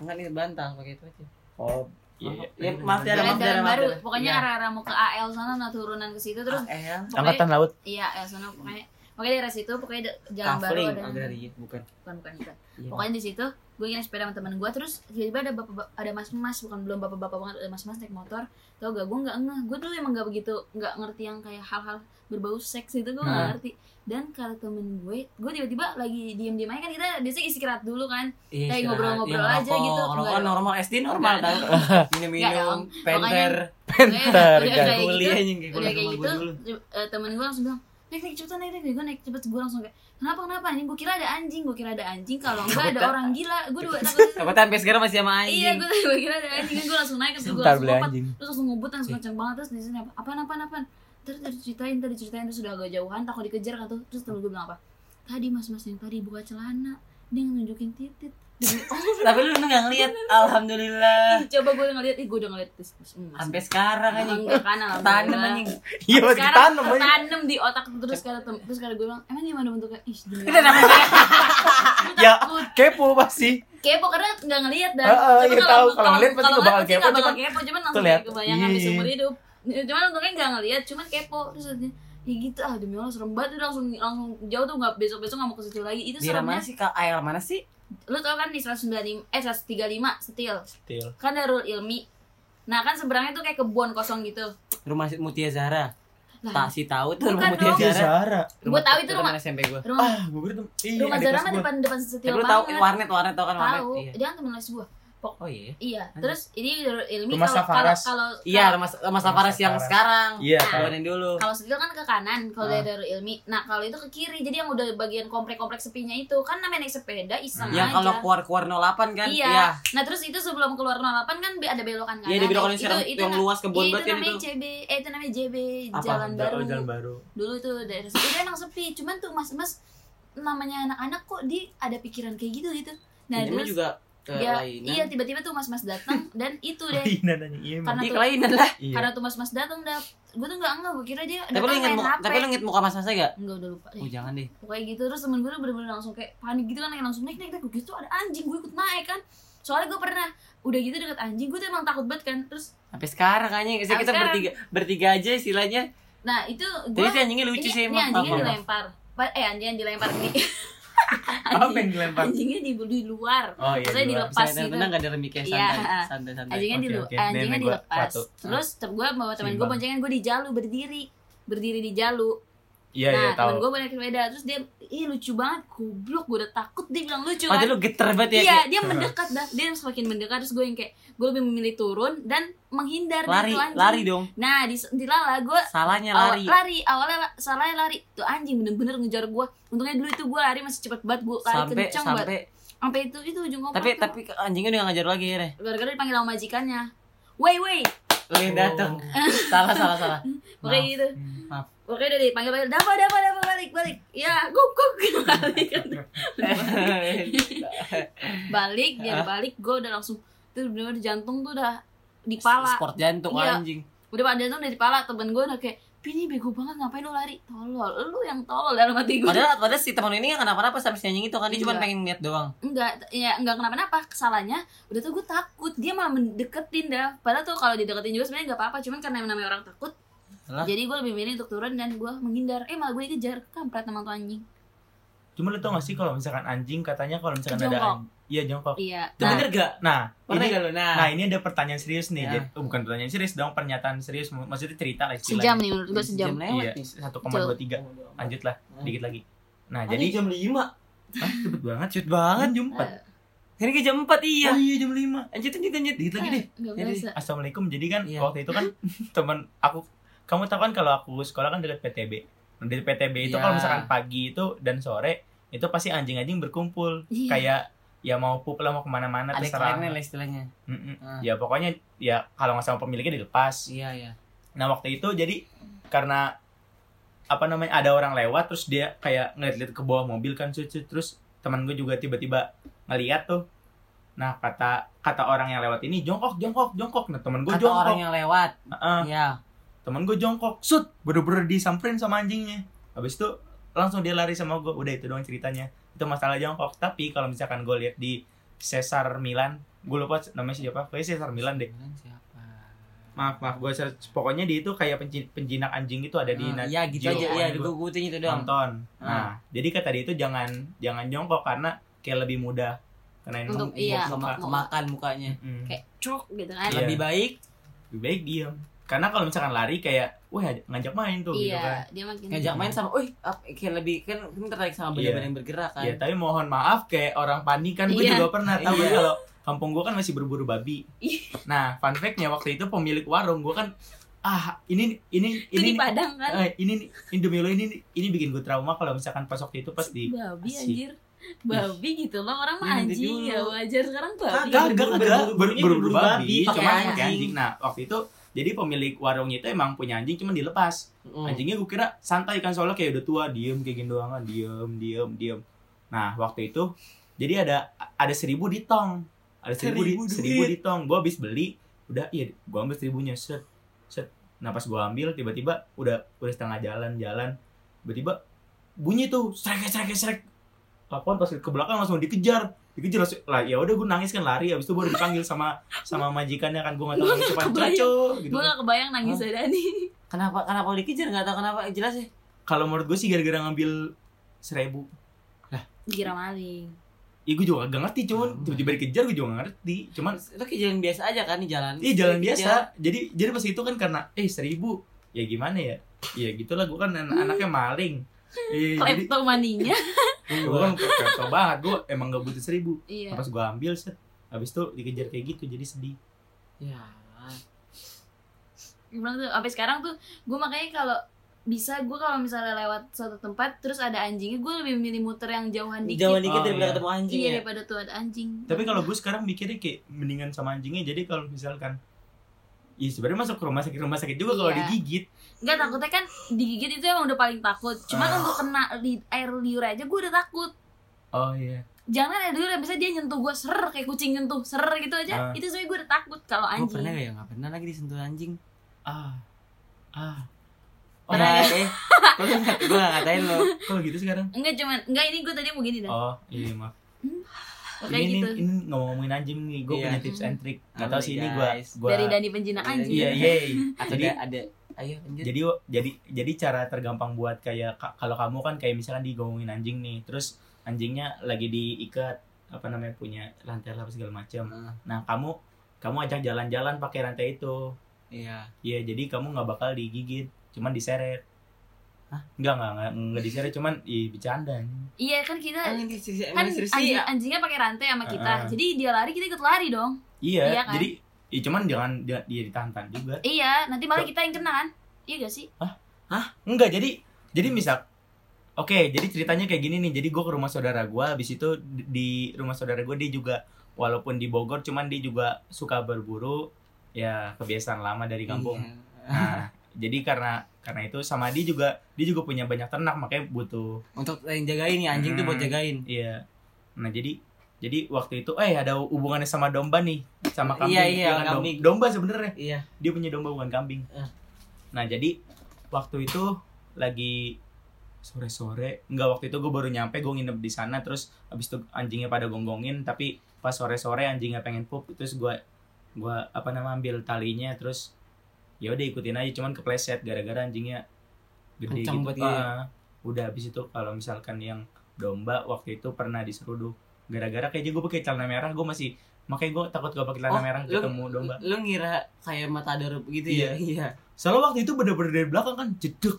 enggak nih bantal pakai itu aja
oh
iya. Ya, maaf ya,
Jalan,
Daerah-
Jalan
daerah-
Baru
daerah.
pokoknya
Iya.
arah-arah mau ke AL sana nah turunan ke situ terus
AL
pokoknya
angkatan laut
iya AL sana pokoknya pokoknya daerah situ pokoknya da- Jalan Baru
kafling
ada
agraria Oh, bukan
bukan bukan bukan
Iya.
pokoknya di situ gue naik sepeda sama temen gue terus tiba-tiba ada bapak ada mas-mas bukan belum bapak-bapak banget ada mas-mas naik motor tau gak gue nggak ngeh gue dulu emang gak begitu nggak ngerti yang kayak hal-hal berbau seks itu gue nggak
Nah.
Hmm.
ngerti dan kalau temen gue gue tiba-tiba lagi diem-diem aja kan kita biasanya istirahat dulu kan Kayak
Iya, istirahat.
ngobrol-ngobrol
Iya,
aja gitu.
ngerokok. Ngerokok
Enggak dong.
normal SD normal
Enggak
kan.
Enggak
Minum-minum,
dong.
penter,
Bentar,
Iya,
kan.
kayak gitu.
kuliah anjing kayak
udah
kuliah
kayak
sama
gitu
gue dulu.
eh, temen gue langsung bilang naik naik cepetan naik naik gue naik cepet gue langsung kayak kenapa kenapa anjing gue kira ada anjing gue kira ada anjing kalau enggak ada
Takut,
orang gila gue dua takut
Apa sampai sekarang masih sama anjing.
iya gue gue kira ada anjing gue langsung naik terus gue
bentar
langsung
beli
lompat
anjing
terus langsung ngebut langsung kenceng banget terus di sini apa apaan apaan apaan terus tadi ceritain tadi ceritain terus udah agak jauhan takut dikejar kan tuh terus temen gue bilang apa tadi mas mas yang tadi buka celana dia nunjukin titit Demi Allah.
Tapi lu enggak ngeliat.
Ih,
Alhamdulillah.
coba gue ngeliat ih gue udah ngeliat terus terus, hmm, mas
Sampai sekarang anjing.
enggak kan alhamdulillah.
Tanam anjing.
iya masih
sekarang
tanam
tertanam
aja
di otak terus kata tem- terus kata gue bilang emang gimana bentuknya ih demi
Udah
Allah,
namanya
gue
ya
takut
kepo pasti
kepo karena nggak ngelihat dan
Heeh, iya tahu. Kalau ngelihat pasti
kalau
nggak bakal
nggak
kepo,
nggak bakal
cuman
kepo cuman langsung
lihat.
kayak kebayangan di
Iya.
seumur hidup Ya, cuman untungnya nggak ngelihat cuman kepo terus dia, ya gitu ah demi Allah serem banget Udah langsung langsung jauh tuh nggak besok besok nggak mau ke situ lagi itu
di mana
seremnya
sih Kak? Ael mana sih?
lu tau kan di 195 eh 135 setil
Still.
kan darul ilmi nah kan seberangnya tuh kayak kebun kosong gitu
Rumah si- Mutia Zara.
Lah,
Tak sih tahu tuh rumah
Bukan
Mutia
dong.
Iya,
Zara.
Zara.
Gua tahu itu
teman SMP gue.
rumah
Ah, gue kira tuh. Iya,
rumah
adik
Zara
kelas
mah
gua.
depan depan
Tapi
setil
lu Eh, tahu
banget
warnet warnet tau kan warnet.
tahu
Iya.
dia kan temen les gua
Oh iya.
iya terus ini darul ilmi
Rumah
kalau kalau
Safaras.
kalau
Iya, rumah rumah Safaras yang
Safaras.
sekarang.
Iya,
Ah.
tahu.
Keluarin dulu.
kalau setil kan ke kanan kalau
Ah.
dari Darul ilmi nah kalau itu ke kiri jadi yang udah bagian komplek-komplek sepinya itu kan namanya naik sepeda iseng aja
Yang Ya, kalau keluar-keluar 08 kan?
Iya. nah terus itu sebelum keluar 08 kan be- ada belokan kanan
Iya, di belokan
Nah,
yang sekarang
itu, itu,
yang
na-
luas kebun
iya,
banget
itu
kan
namanya
itu.
JB eh itu namanya JB
Apa?
Jalan Baru
Oh, jalan baru.
dulu tuh daerah situ itu emang sepi cuman tuh mas-mas namanya anak-anak kok di ada pikiran kayak gitu gitu nah
Ini
terus
juga eh,
dia
kelainan.
iya tiba-tiba tuh mas-mas datang dan itu deh
Iya, nanya iya. emang.
Karena
Iya,
tuh-
kelainan lah.
Iya.
karena tuh mas-mas datang dah gue tuh nggak enggak gue kira dia
Tapi lu
datang
inget
main
muka,
HP.
tapi lu inget muka mas-masnya gak?
Enggak udah lupa deh.
Oh jangan deh.
pokoknya gitu terus temen gue tuh bener-bener langsung kayak panik gitu kan kayak langsung naik naik naik gitu ada anjing gue ikut naik kan soalnya gue pernah udah gitu deket anjing gue tuh emang takut banget kan terus
Sampai sekarang anjing, Saya
Sampai
kita
sekarang.
bertiga bertiga aja istilahnya.
nah itu
Jadi
gue
si anjingnya lucu
ini,
sih
ini
emang.
anjingnya
Apa?
dilempar Pa- eh anjing yang dilempar nih
Apa yang dilempar?
anjingnya di, di luar
Oh iya.
Maksudnya
di luar.
dilepas
Bisa
gitu.
tenang gak ada remiknya
Iya.
santai, santai santai.
anjingnya di
Oke,
luar
oke.
anjingnya
Nenek gua
dilepas
satu.
terus gue bawa temen gue
Seimbang.
boncengan gue di jalu berdiri berdiri di jalu
Iya, iya,
nah
tahu.
temen gue banyak beda terus dia ih lucu banget goblok gue udah takut dia
Oh,
bilang lucu
Padahal
kan
lu geter banget ya.
iya dia mendekat dah dia semakin mendekat terus gue yang kayak gue lebih memilih turun dan menghindar dari
Lari,
itu anjing.
lari dong.
nah di, di lala gue
Salahnya
awal-
lari.
lari awalnya la- salahnya lari tuh anjing bener-bener ngejar gue untungnya dulu itu gue lari masih cepet banget gue lari
Sampai
kencang banget
sampai
sampai itu itu ujung komplek
tapi
tuh.
tapi anjingnya udah gak ngajar lagi ya. Reh.
gara-gara dipanggil sama majikannya Wei wei,
Lu yang
Oh.
dateng.
Eh.
Salah salah salah.
pokoknya gitu.
Hmm.
Maaf.
Pokoknya udah dipanggil-panggil, dapat dapat dapat balik balik. Ya, guk guk balik. kan. balik dia balik, gue udah langsung tuh bener-bener jantung tuh udah di pala.
Sport jantung
Iya.
anjing.
Udah pada jantung udah di pala, temen gue udah kayak, Pini bego banget ngapain lu lari? Tolol, lu yang tolol dalam hati gue.
Padahal padahal si teman ini nggak kenapa-napa sampai si anjing itu kan dia cuma
Iya.
pengen lihat doang.
Nah,
enggak ya enggak kenapa-napa kesalahannya udah tuh gue takut dia malah mendeketin dah padahal tuh kalau dideketin juga sebenarnya nggak apa-apa cuman karena yang namanya orang takut
Alah.
jadi gue lebih milih untuk turun dan gue menghindar eh malah gue dikejar kampret sama tuh anjing
Cuma lu tau gak sih kalau misalkan anjing katanya kalau misalkan ada
Jongkok.
anjing. Iya jongkok.
iya
Itu
nah,
bener gak?
Nah,
Pernah
ini,
gak lu? Nah,
nah ini ada pertanyaan serius nih.
Iya.
Ya.
Jadi, oh, bukan pertanyaan serius dong, pernyataan serius. Mak- Maksudnya cerita lah
sejam
istilahnya.
nih menurut gue sejam
Jam lewat
Iya,
nih.
1,23. Lanjut lah, dikit lagi. Nah,
Jadi
jadi
jam 5.
Hah, cepet banget.
Cut banget.
jam 4.
Ini ke jam 4 iya.
Oh iya jam 5.
Anjir anjir anjir.
Dikit lagi Iya deh.
Gak
Jadi-
Eh, berasa
Assalamualaikum. Jadi kan
Iya.
waktu itu kan teman aku kamu tahu kan kalau aku sekolah kan dekat PTB. Nah, Di PTB itu
Iya.
kalau misalkan pagi itu dan sore itu pasti anjing-anjing berkumpul
Iya.
kayak ya mau pup lah mau kemana-mana
Ada
terserah.
kerennya lah istilahnya.
Mm-mm.
Ah.
Ya pokoknya ya kalau nggak sama pemiliknya dilepas.
Iya iya.
Nah waktu itu jadi karena apa namanya ada orang lewat terus dia kayak ngeliat-liat ke bawah mobil kan cucu terus teman gue juga tiba-tiba ngeliat tuh. Nah kata kata orang yang lewat ini jongkok jongkok jongkok. Nah teman gue
Kata
jongkok.
orang yang lewat.
Heeh.
Iya.
temen gue jongkok sut bener-bener disamperin sama anjingnya habis itu langsung dia lari sama gue udah itu doang ceritanya itu masalah jongkok tapi kalau misalkan gue lihat di Cesar Milan gue lupa namanya siapa kayak Cesar Milan deh
Milan siapa?
maaf maaf gue search pokoknya dia itu kayak penji- penjinak anjing itu ada di
Ah,
Nat
Iya gitu
Geo
aja.
One
Iya,
gua
gue guting itu doang.
nonton
Ah.
nah jadi kata dia itu jangan jangan jongkok karena kayak lebih mudah karena
Untuk-
emang-
iya,
Kema-
mau-
kemakan mukanya.
Mm.
kayak cok gitu kan
Iya.
Lebih baik
lebih baik diam karena kalau misalkan lari kayak wah ngajak main tuh gitu
iya
kan
dia makin
ngajak main sama, "Uy, ap- kayak lebih kan kan tertarik sama
Iya.
benda-benda yang bergerak kan."
Ya tapi mohon maaf kayak orang panik kan gue
Iya.
juga pernah tahu
Iya.
kalau kampung gue kan masih berburu babi.
Iya.
Nah fun fact-nya waktu itu pemilik warung gue kan ah ini ini
itu di
ini
Padang kan
eh, ini ini demi lo ini ini bikin gue trauma kalau misalkan pas waktu itu pas di
babi
Asik.
anjir babi gitu loh orang mah
Iya, nanti
anjing
dulu.
ya wajar sekarang babi gitu.
Kagak.
Kagak,
berburu-
kagak.
berburu-
Ber- berburu
berburu
babi,
babi,
cuman
pakai
pakai
anjing.
anjing. Nah waktu itu jadi pemilik warungnya itu emang punya anjing cuman dilepas.
Mm.
Anjingnya gue kira santai kan soalnya kayak udah tua, diem kayak gini doang, ah, diem, diem, diem. Nah waktu itu jadi ada ada seribu di tong, ada seribu,
Seribu
di
duit.
seribu di tong. Gue habis beli, udah iya, gue ambil seribunya set set. Nah pas gue ambil tiba-tiba udah udah setengah jalan jalan, tiba-tiba bunyi tuh srek srek srek. Apaan pas ke belakang langsung dikejar, dikejar langsung lah ya udah gue nangis kan lari, habis itu baru dipanggil sama sama majikannya kan gue nggak tahu nangis apa
Kebayang.
"Coco," gitu.
gue gak kebayang nangis ada nih
Kenapa kenapa lu dikejar enggak tahu kenapa eh, jelas ya.
Kalau menurut gue sih gara-gara ngambil seribu
dikira maling
Ya gue juga gak ngerti cuman
Hmm.
tiba-tiba dikejar gue juga gak ngerti Cuman
Lu kayak jalan biasa aja kan di jalan.
iya jalan
Jalan.
biasa Jadi jadi pas itu kan karena eh seribu Ya gimana ya Ya gitulah gue kan an- anaknya maling Iya jadi
kleptomaninya
gue
Iya.
kan kepepet banget Gue emang gak butuh seribu
iya
Pas gue ambil set Habis itu dikejar kayak gitu jadi sedih
Ya.
Gua bilang tuh sampai sekarang tuh gue makanya kalau bisa gue kalau misalnya lewat suatu tempat terus ada anjingnya gue lebih memilih muter yang jauhan dikit
Jauh dikit
Oh,
daripada
iya.
ketemu anjing
iya
ya.
daripada tuh ada anjing
Tapi kalau gue sekarang mikirnya kayak mendingan sama anjingnya Jadi kalau misalkan Ya sebenarnya masuk ke rumah sakit rumah sakit juga kalau
Iya.
digigit
Enggak takutnya kan digigit itu emang udah paling takut. Cuman
Ah.
untuk kena li- air liur aja gue udah takut.
Oh iya
Jangan air liur yang bisa dia nyentuh gue ser kayak kucing nyentuh ser gitu aja.
Ah. Oh,
Itu sebenernya gue udah takut kalau
Gue
anjing.
pernah gak ya? Gak pernah lagi disentuh anjing
Ah Ah Oh,
Pernah ya? gak sih? Gue gak ngatain lo
kalau gitu sekarang
Enggak cuman enggak ini gue tadi mau gini dah.
Oh iya maaf
kayak
ini,
gitu.
ini, ini ngomong-ngomongin anjing nih, gue
Iya.
punya tips and trick. Gak
Oh
tau
my
sih ini gue,
guys.
gue
Dari Dani penjinak
Dari
anjing.
iya yeay.
Ada,
jadi
ada Ayo lanjut
jadi jadi jadi cara tergampang buat kayak ka- kalau kamu kan kayak misalkan digomongin anjing nih, terus anjingnya lagi diikat apa namanya punya rantai apa segala macam.
Ah,
Nah kamu kamu ajak jalan-jalan pakai rantai itu,
Iya
ya jadi kamu nggak bakal digigit, cuman diseret. Enggak, enggak, enggak, enggak diseret cuman ih bercanda.
Iya kan kita
Ah.
kan ini sih
kan
emang istri
anjing,
sih ya.
anjingnya pakai rantai sama kita.
Heeh.
Jadi dia lari kita ikut lari dong.
Iya,
Iya kan?
jadi ih, cuman jangan dia, dia ditahan juga.
Iya, nanti malah kita yang kena kan? Iya gak sih?
Enggak, jadi jadi misal Oke, jadi ceritanya kayak gini nih. Jadi gue ke rumah saudara gue, habis itu di- di rumah saudara gue dia juga walaupun di Bogor, cuman dia juga suka berburu. Ya kebiasaan lama dari kampung.
Iya.
Nah, jadi karena karena itu sama dia juga dia juga punya banyak ternak makanya butuh.
untuk yang jagain nih anjing tuh buat
Hmm.
jagain
Iya. Nah, jadi jadi waktu itu eh ada hubungannya sama domba nih, sama kambing.
Iya, iya,
Bukan dom-
kambing.
Domba sebenarnya.
iya
Dia punya domba bukan kambing.
Ah.
Nah, jadi waktu itu lagi sore-sore enggak waktu itu gue baru nyampe gue nginep di sana terus abis itu anjingnya pada gonggongin tapi pas sore-sore anjingnya pengen pup terus gue gue apa nama ambil talinya terus ya udah ikutin aja cuman kepleset gara-gara anjingnya gede
Kencang
gitu
banget gitu ya.
Ah, udah abis itu kalau misalkan yang domba waktu itu pernah diseruduk gara-gara kayaknya gue pakai celana merah gue masih makanya gue takut gue pakai celana
Oh,
merah
lu-
ketemu domba
lu ngira kayak matador gitu ya iya
soalnya waktu itu bener-bener dari belakang kan jeduk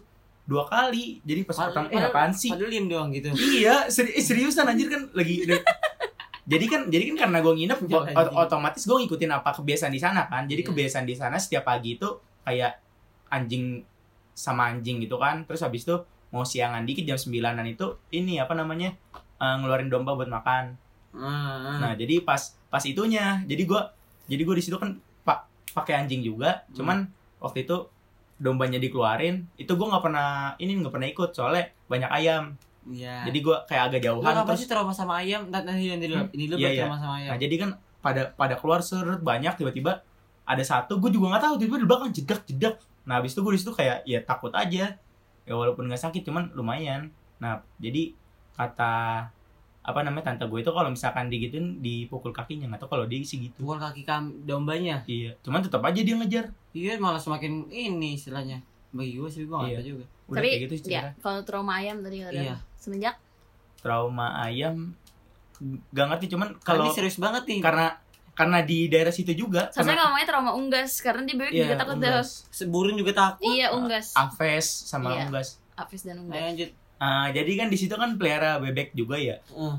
dua kali jadi pas pertama
Padahal-
eh apaan sih
padahal diem doang gitu
iya seri- eh, seriusan anjir kan lagi jadi kan jadi kan karena gue nginep gua-
Anjing.
ot- otomatis gue ngikutin apa kebiasaan di sana kan jadi
Iya.
kebiasaan di sana setiap pagi itu kayak anjing sama anjing gitu kan terus habis itu mau siangan dikit jam 9an itu ini apa namanya eh, ngeluarin domba buat makan
nah
Nah, jadi pas pas itunya. Jadi gua jadi gua di situ kan pak pakai anjing juga, cuman waktu itu dombanya dikeluarin, itu gua nggak pernah ini nggak pernah ikut soalnya banyak ayam.
iya
Jadi gua kayak agak
lu
jauhan
apa
terus.
sih trauma sama ayam Ntar- nanti nanti dulu
Hmm?
ini lu
Iya, iya.
trauma sama ayam
Nah, jadi kan pada pada keluar seret banyak tiba-tiba ada satu gua juga nggak tahu tiba-tiba di belakang jedak jedak. Nah, habis itu gua di situ kayak ya takut aja. Ya walaupun nggak sakit cuman lumayan. Nah, jadi kata apa namanya tante gue itu kalau misalkan digituin dipukul kakinya nggak tahu kalau dia sih gitu
pukul kaki kam dombanya
Iya, cuman tetap aja dia ngejar.
iya malah semakin ini istilahnya bagi gue sih gue nggak
Iya.
tahu juga
Udah
Tapi,
kayak gitu sih cerita.
Iya, kalau trauma ayam tadi ada
Iya.
semenjak
Trauma ayam gak ngerti cuman kalau
kalau ini serius banget nih
karena karena di daerah situ juga ya,
Seharusnya nggak namanya trauma unggas karena dia bebek juga takut dah.
unggas.
seburun juga takut
Iya unggas,
Aves sama
Iya.
unggas.
apes dan
Ayo
unggas.
lanjut
Ah, jadi kan di situ kan pelihara bebek juga ya,
Eh,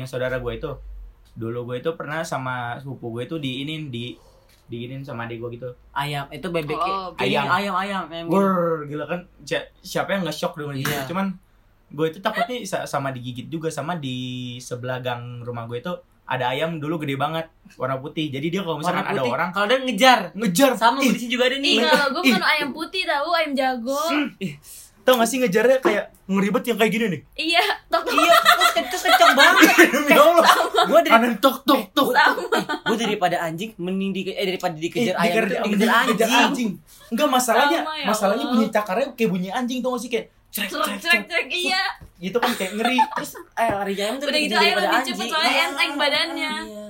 yang saudara gue itu. Dulu gue itu pernah sama sepupu gue itu diinin di diinin sama adik gue gitu.
ayam itu bebek
Oh,
ayam
bebek.
ayam ayam ayam gitu.
Wur, gila kan si- siapa yang nggak shock dengan gitu.
Iya.
Cuman gue itu takutnya sa- sama digigit juga sama di sebelah gang rumah gue itu ada ayam dulu gede banget warna putih. Jadi dia kalau misalkan
Warna
ada
putih.
orang
kalau dia ngejar
ngejar
sama gue
Ih,
di sini juga ada nih
Ih, kalau gue bukan ayam putih tahu, ayam jago.
tau gak sih ngejarnya kayak ngeribet yang kayak gini nih.
Iya, tok tok.
iya terus ke- terus kenceng banget
Ya Allah,
gue dari Eh,
ada tok tok tok.
gue daripada anjing mending di, eh daripada
Ih,
dikejar ayam itu
dikejar-
dikejar
dikejar
anjing
Enggak masalahnya,
Sama ya
masalahnya
Allah.
bunyi cakarnya kayak bunyi anjing tuh gak sih kayak crek
Cerek
crek
cerek
crek.
cerek iya.
Gitu kan kayak ngeri. Terus
eh lari ayam tuh
Udah gitu
dikejar
ayam
daripada
lebih cepet,
anjing.
soalnya
Ah,
enteng badannya.
iya.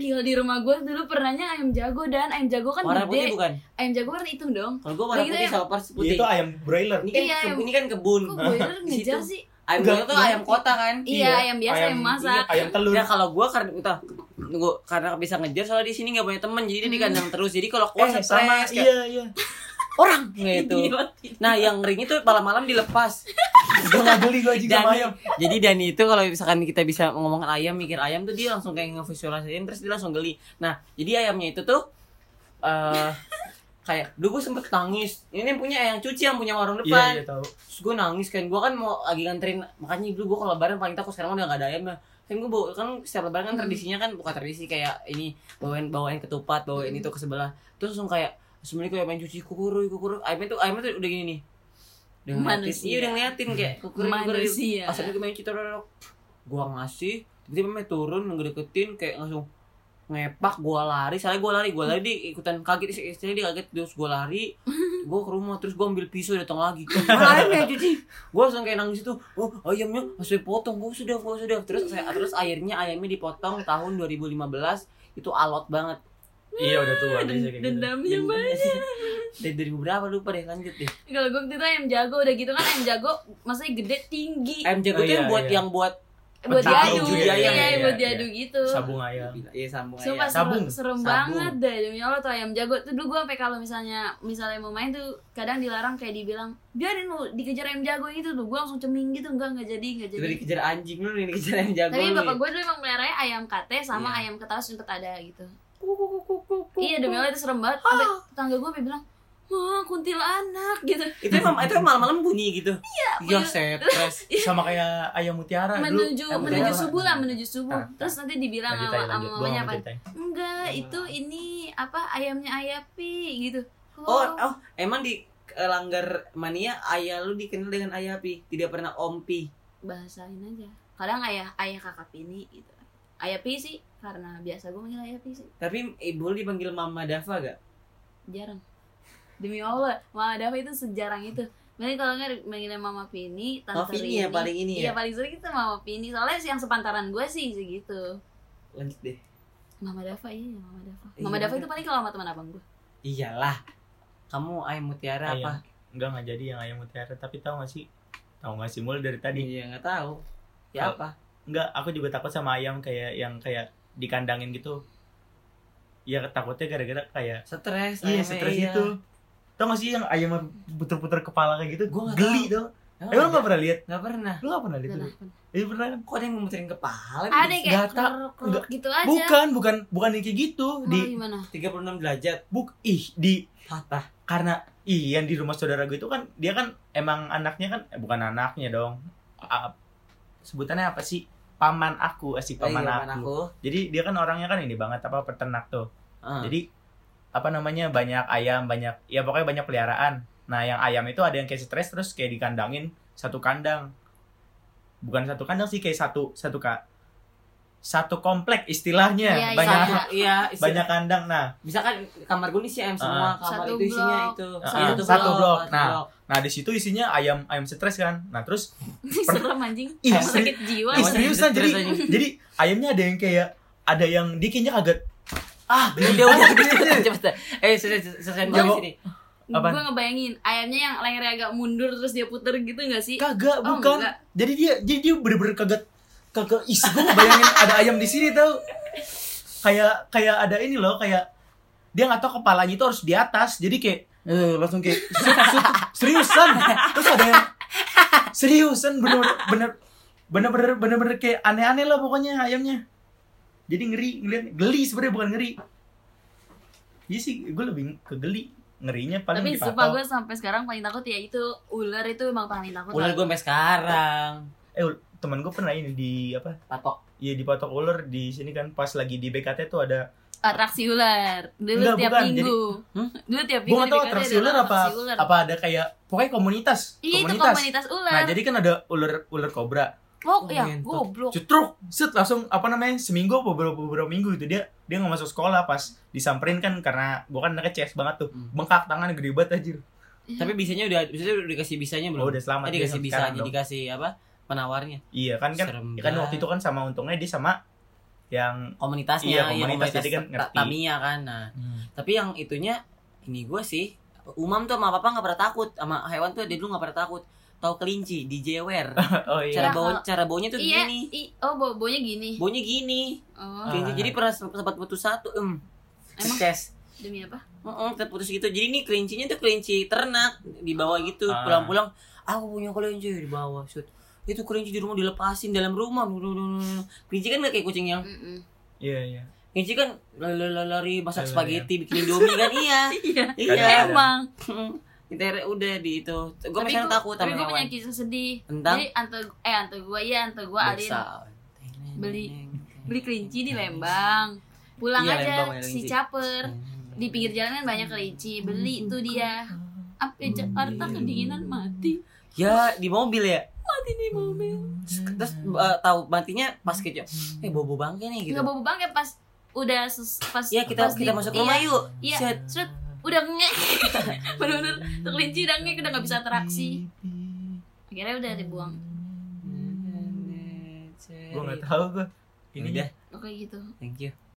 Gila di rumah gue dulu pernahnya ayam jago dan ayam jago kan
warna putih
gede.
bukan
Ayam jago warna hitam dong.
kalau gue warna
Udah gitu
putih
ayam-
sama pers putih
Iya, itu ayam broiler.
ini kan
Iya,
ke-
ayam-
ini kan kebun
Kok boiler
Di
ngejar
situ.
sih?
ayam
Enggak,
gue tuh
iya.
ayam kota kan
Iya, ayam biasa yang masak.
iya, ayam telur.
Ya kalau gue karena entah, gua, karena bisa ngejar soalnya di sini nggak punya teman jadi dia di
Hmm.
kandang terus jadi kalau keluar
eh,
stres
sama
kayak,
iya iya.
orang gitu.
Idiot.
Nah yang ring itu malam-malam dilepas.
Gue gak geli gue juga sama
Dani,
ayam.
jadi Dani itu kalau misalkan kita bisa ngomongin ayam mikir ayam tuh dia langsung kayak ngevisualisasiin terus dia langsung geli. Nah jadi ayamnya itu tuh eh kayak dulu gue sempet nangis. Ini yang punya yang cuci yang punya warung
Iya
depan.
iya tahu.
Terus gue nangis kan gue kan mau lagi nganterin makanya dulu gue kalau lebaran paling takut sekarang udah gak ada ayam ya. Kan gue bawa kan setiap lebaran kan tradisinya kan bukan tradisi kayak ini bawain bawain ketupat bawain itu ke sebelah. Terus langsung kayak Assalamualaikum ayam cuci kukurui kukurui ayamnya tuh ayamnya tuh udah gini nih. Udah ngeliatin,
Manusia.
iya udah ngeliatin kayak kukurui kukurui
Manusia.
Assalamualaikum main cita dorok. Gua ngasih, tiba-tiba main turun ngedeketin kayak langsung ngepak gua lari, soalnya gua lari, gua lari di ikutan kaget istri- istrinya dia kaget terus gua lari. Gua ke rumah terus gua ambil pisau datang lagi. Mana ayamnya cuci? Gua langsung kayak nangis itu. Oh, ayamnya harus dipotong. Gua sudah, gua sudah. Terus saya terus akhirnya ayamnya dipotong tahun 2015 itu alot banget.
Iya udah tua biasa
Hmm,
kayak gitu.
Dendamnya Iya, banyak.
Dari 2000 berapa lupa deh lanjut deh.
Kalau gue waktu itu ayam jago udah gitu kan ayam jago maksudnya gede tinggi.
Ayam jago
Oh,
tuh yang
iya,
buat
iya.
yang buat
buat
Tahu
diadu
Eh, juga
iya,
ya,
iya,
iya,
buat
iya.
diadu gitu
sabung ayam
Iya sambung
Sumpah
aja.
Sabung.
serem, serem
Sabung.
banget deh demi Allah tuh ayam jago tuh dulu gue sampai kalau misalnya misalnya mau main tuh kadang dilarang kayak dibilang biarin lu dikejar ayam jago gitu tuh gue langsung ceming gitu enggak enggak jadi enggak
Kita
jadi
dikejar anjing lu nih dikejar yang jago.
tapi
lu ya.
bapak
nih.
gue dulu emang melihara ayam kate sama
Iya.
ayam ketara sumpet ada gitu iya demi Allah itu serem banget sampai tetangga gue sampai bilang wah kuntilanak gitu
itu emang itu emang malam-malam bunyi gitu. Iya,
bunyi.
stres.
sama kayak ayam mutiara Nah, dulu.
Iya. menuju
Ayam
menuju
mutiara.
subuh lah menuju subuh
Ah, ah.
terus nanti dibilang
lanjut
sama
aja
sama
lanjut Nah. Gua
mamanya
nggak
apa
mau ceritain.
enggak
Wah.
itu ini apa ayamnya ayapi gitu
Oh,
Wow.
oh, emang di eh, langgar mania ayah lu dikenal dengan ayapi, tidak pernah ompi.
bahasain aja kadang ayah ayah kakak pini gitu ayah pi sih karena biasa gue manggil ayah pi sih
Tapi ibu lu dipanggil Mama Dava gak?
jarang demi allah mama Dava itu sejarang itu Mending kalau nggak manggilnya mama pini tante
Oh, Vini ya
Rini.
paling ini
iya
ya.
paling sering itu mama pini soalnya sih yang sepantaran gue sih segitu
Lanjut deh.
mama Dava iya mama Dava
Iya,
mama Dava
kan?
itu paling kalau sama teman abang gue
Iyalah. Kamu ayam mutiara
Ayam.
apa?
enggak nggak jadi yang ayam mutiara tapi tahu gak sih tahu gak sih mulai dari tadi
Iya, nggak tahu. Ya
Tahu.
apa?
enggak aku juga takut sama ayam kayak yang kayak dikandangin gitu ya takutnya gara-gara kayak
Stres. ya.
iya
ayamnya,
stres gitu tau gak sih yang ayam puter-puter kepala kayak gitu
Gua nggak
geli dong emang
Emang ada?
nggak pernah lihat
Oh, Nggak pernah.
lu nggak pernah
Gitu.
lihat
Pernah,
itu
pernah.
iya pernah Iya, kan
Kok ada yang memuterin kepala?
ada yang kayak
Nggak tak-
krok, krok
nggak.
gitu aja Oh, iya.
bukan bukan bukan yang kayak gitu
Malah
di
gimana
36 derajat
buk ih di
patah.
karena ih yang di rumah saudara gue itu kan dia kan emang anaknya kan eh, bukan anaknya dong A- sebutannya apa sih paman aku eh, si paman
Lagi
aku. jadi dia kan orangnya kan ini banget apa peternak tuh
Ah.
jadi apa namanya banyak ayam banyak ya pokoknya banyak peliharaan nah yang ayam itu ada yang kayak stres terus kayak dikandangin satu kandang bukan satu kandang sih kayak satu satu kak satu komplek istilahnya
Iya, iya,
banyak
Satu- iya, isi-
banyak kandang nah
misalkan kamar gue nih si ayam semua, kamar
Satu
itu isinya
blok.
itu.
Ah,
Iya,
satu blok.
satu
Nah.
blok.
nah di situ isinya ayam ayam stres kan nah terus
serem anjing
Ih,
Iya, sakit jiwa
Ih,
Namanya
seriusan jadi
ceritanya.
jadi ayamnya ada yang kayak ada yang dia kayaknya kaget ah
Udah, udah, udah, udah, cepet. Eh, sudah selesai
Gua-
dulu sini.
Apaan?
Gue ngebayangin ayamnya yang lehernya agak mundur terus dia puter gitu gak sih?
kagak
Oh,
bukan
enggak.
jadi dia jadi dia bener-bener kaget kagak is gue bayangin ada ayam di sini tau kayak kayak ada ini loh kayak dia nggak tahu kepalanya itu harus di atas jadi kayak eh, langsung kayak sut, sut, seriusan terus ada yang seriusan bener bener bener bener bener bener kayak aneh-aneh lah pokoknya ayamnya jadi ngeri ngeliat geli sebenarnya bukan ngeri iya sih gue lebih ke geli ngerinya paling
Tapi
di
sumpah
patok.
gue sampai sekarang paling takut ya itu ular itu emang paling takut.
Ular gue sampai sekarang.
temen gue pernah ini di apa
Patok.
Iya di patok ular di sini kan pas lagi di BKT tuh ada
Atraksi ular. Dulu
Enggak,
tiap
bukan.
minggu.
Hmm?
Dulu tiap
gue
minggu.
gak tau
di BKT
atraksi
ada
ular apa
atraksi ular.
apa ada kayak pokoknya komunitas
Iya itu
komunitas.
komunitas ular.
Nah jadi kan ada ular ular kobra
Wow, ya
Komunitas.
goblok.
cetruk set langsung apa namanya seminggu apa beberapa beberapa minggu itu dia dia nggak masuk sekolah pas disamperin kan karena gue kan anaknya CS banget tuh
Hmm.
bengkak tangan gede banget anjir
Tapi bisanya udah, bisanya udah dikasih bisanya belum?
oh udah selamat
Eh,
dia
dikasih
sampai sekarang
bisanya,
dong.
dikasih apa? Penawarnya.
iya kan kan
Serem
ya kan waktu itu kan sama untungnya dia sama yang
komunitasnya
Iya,
ya,
komunitas, jadi kan
ta-
ngerti.
Tamiya kan nah tapi yang itunya ini gue sih umam tuh sama papa nggak pernah takut sama hewan tuh dia dulu nggak pernah takut tahu kelinci di jewer
oh iya
cara
Ya,
bau
kalau-
cara baunya tuh
Iya.
gini
i- oh bo- baunya gini.
baunya gini
Oh,
Ah.
kelinci jadi pernah se- sempat putus satu em
Emang?
stres
demi apa?
Heeh, terputus gitu. Jadi ini kelincinya tuh kelinci ternak dibawa gitu.
Ah.
Pulang-pulang, aku punya kelinci dibawa. Shoot. Itu kelinci di rumah dilepasin dalam rumah. Kelinci kan gak kayak kucing yang
Mm-mm.
iya iya
kelinci kan lari, lari masak
Lari-lari.
spaghetti bikin indomie kan iya.
Iya.
Iya.
Kadang-kadang.
Emang.
Kita udah di itu. Gue
Tapi
misalnya
gua-
takut sama
Tapi gue punya
hewan.
kisah sedih.
Tentang?
Jadi ante eh ante gue ya ante gue Arin
Besar.
Beli- beli kelinci di Lembang. Pulang
Iya,
aja
Lembang ada
si
kelinci. Hmm.
caper. di pinggir jalan kan banyak kelinci beli itu dia apa ya, Jakarta kedinginan mati
Ya di mobil ya.
mati di mobil
Terus eh, tahu matinya pas kecil. Eh bobo bangke nih gitu.
nggak bobo bang ya pas udah ses- pas
Ya
pas
kita
di-
kita masuk
iya,
rumah yuk.
iya
Set.
set, udah ngek bener-bener tuh kelinci udah ngek udah nggak
Hmm.
bisa atraksi akhirnya udah dibuang
gue nggak tahu gue ini
Udah.
oke gitu
Thank you.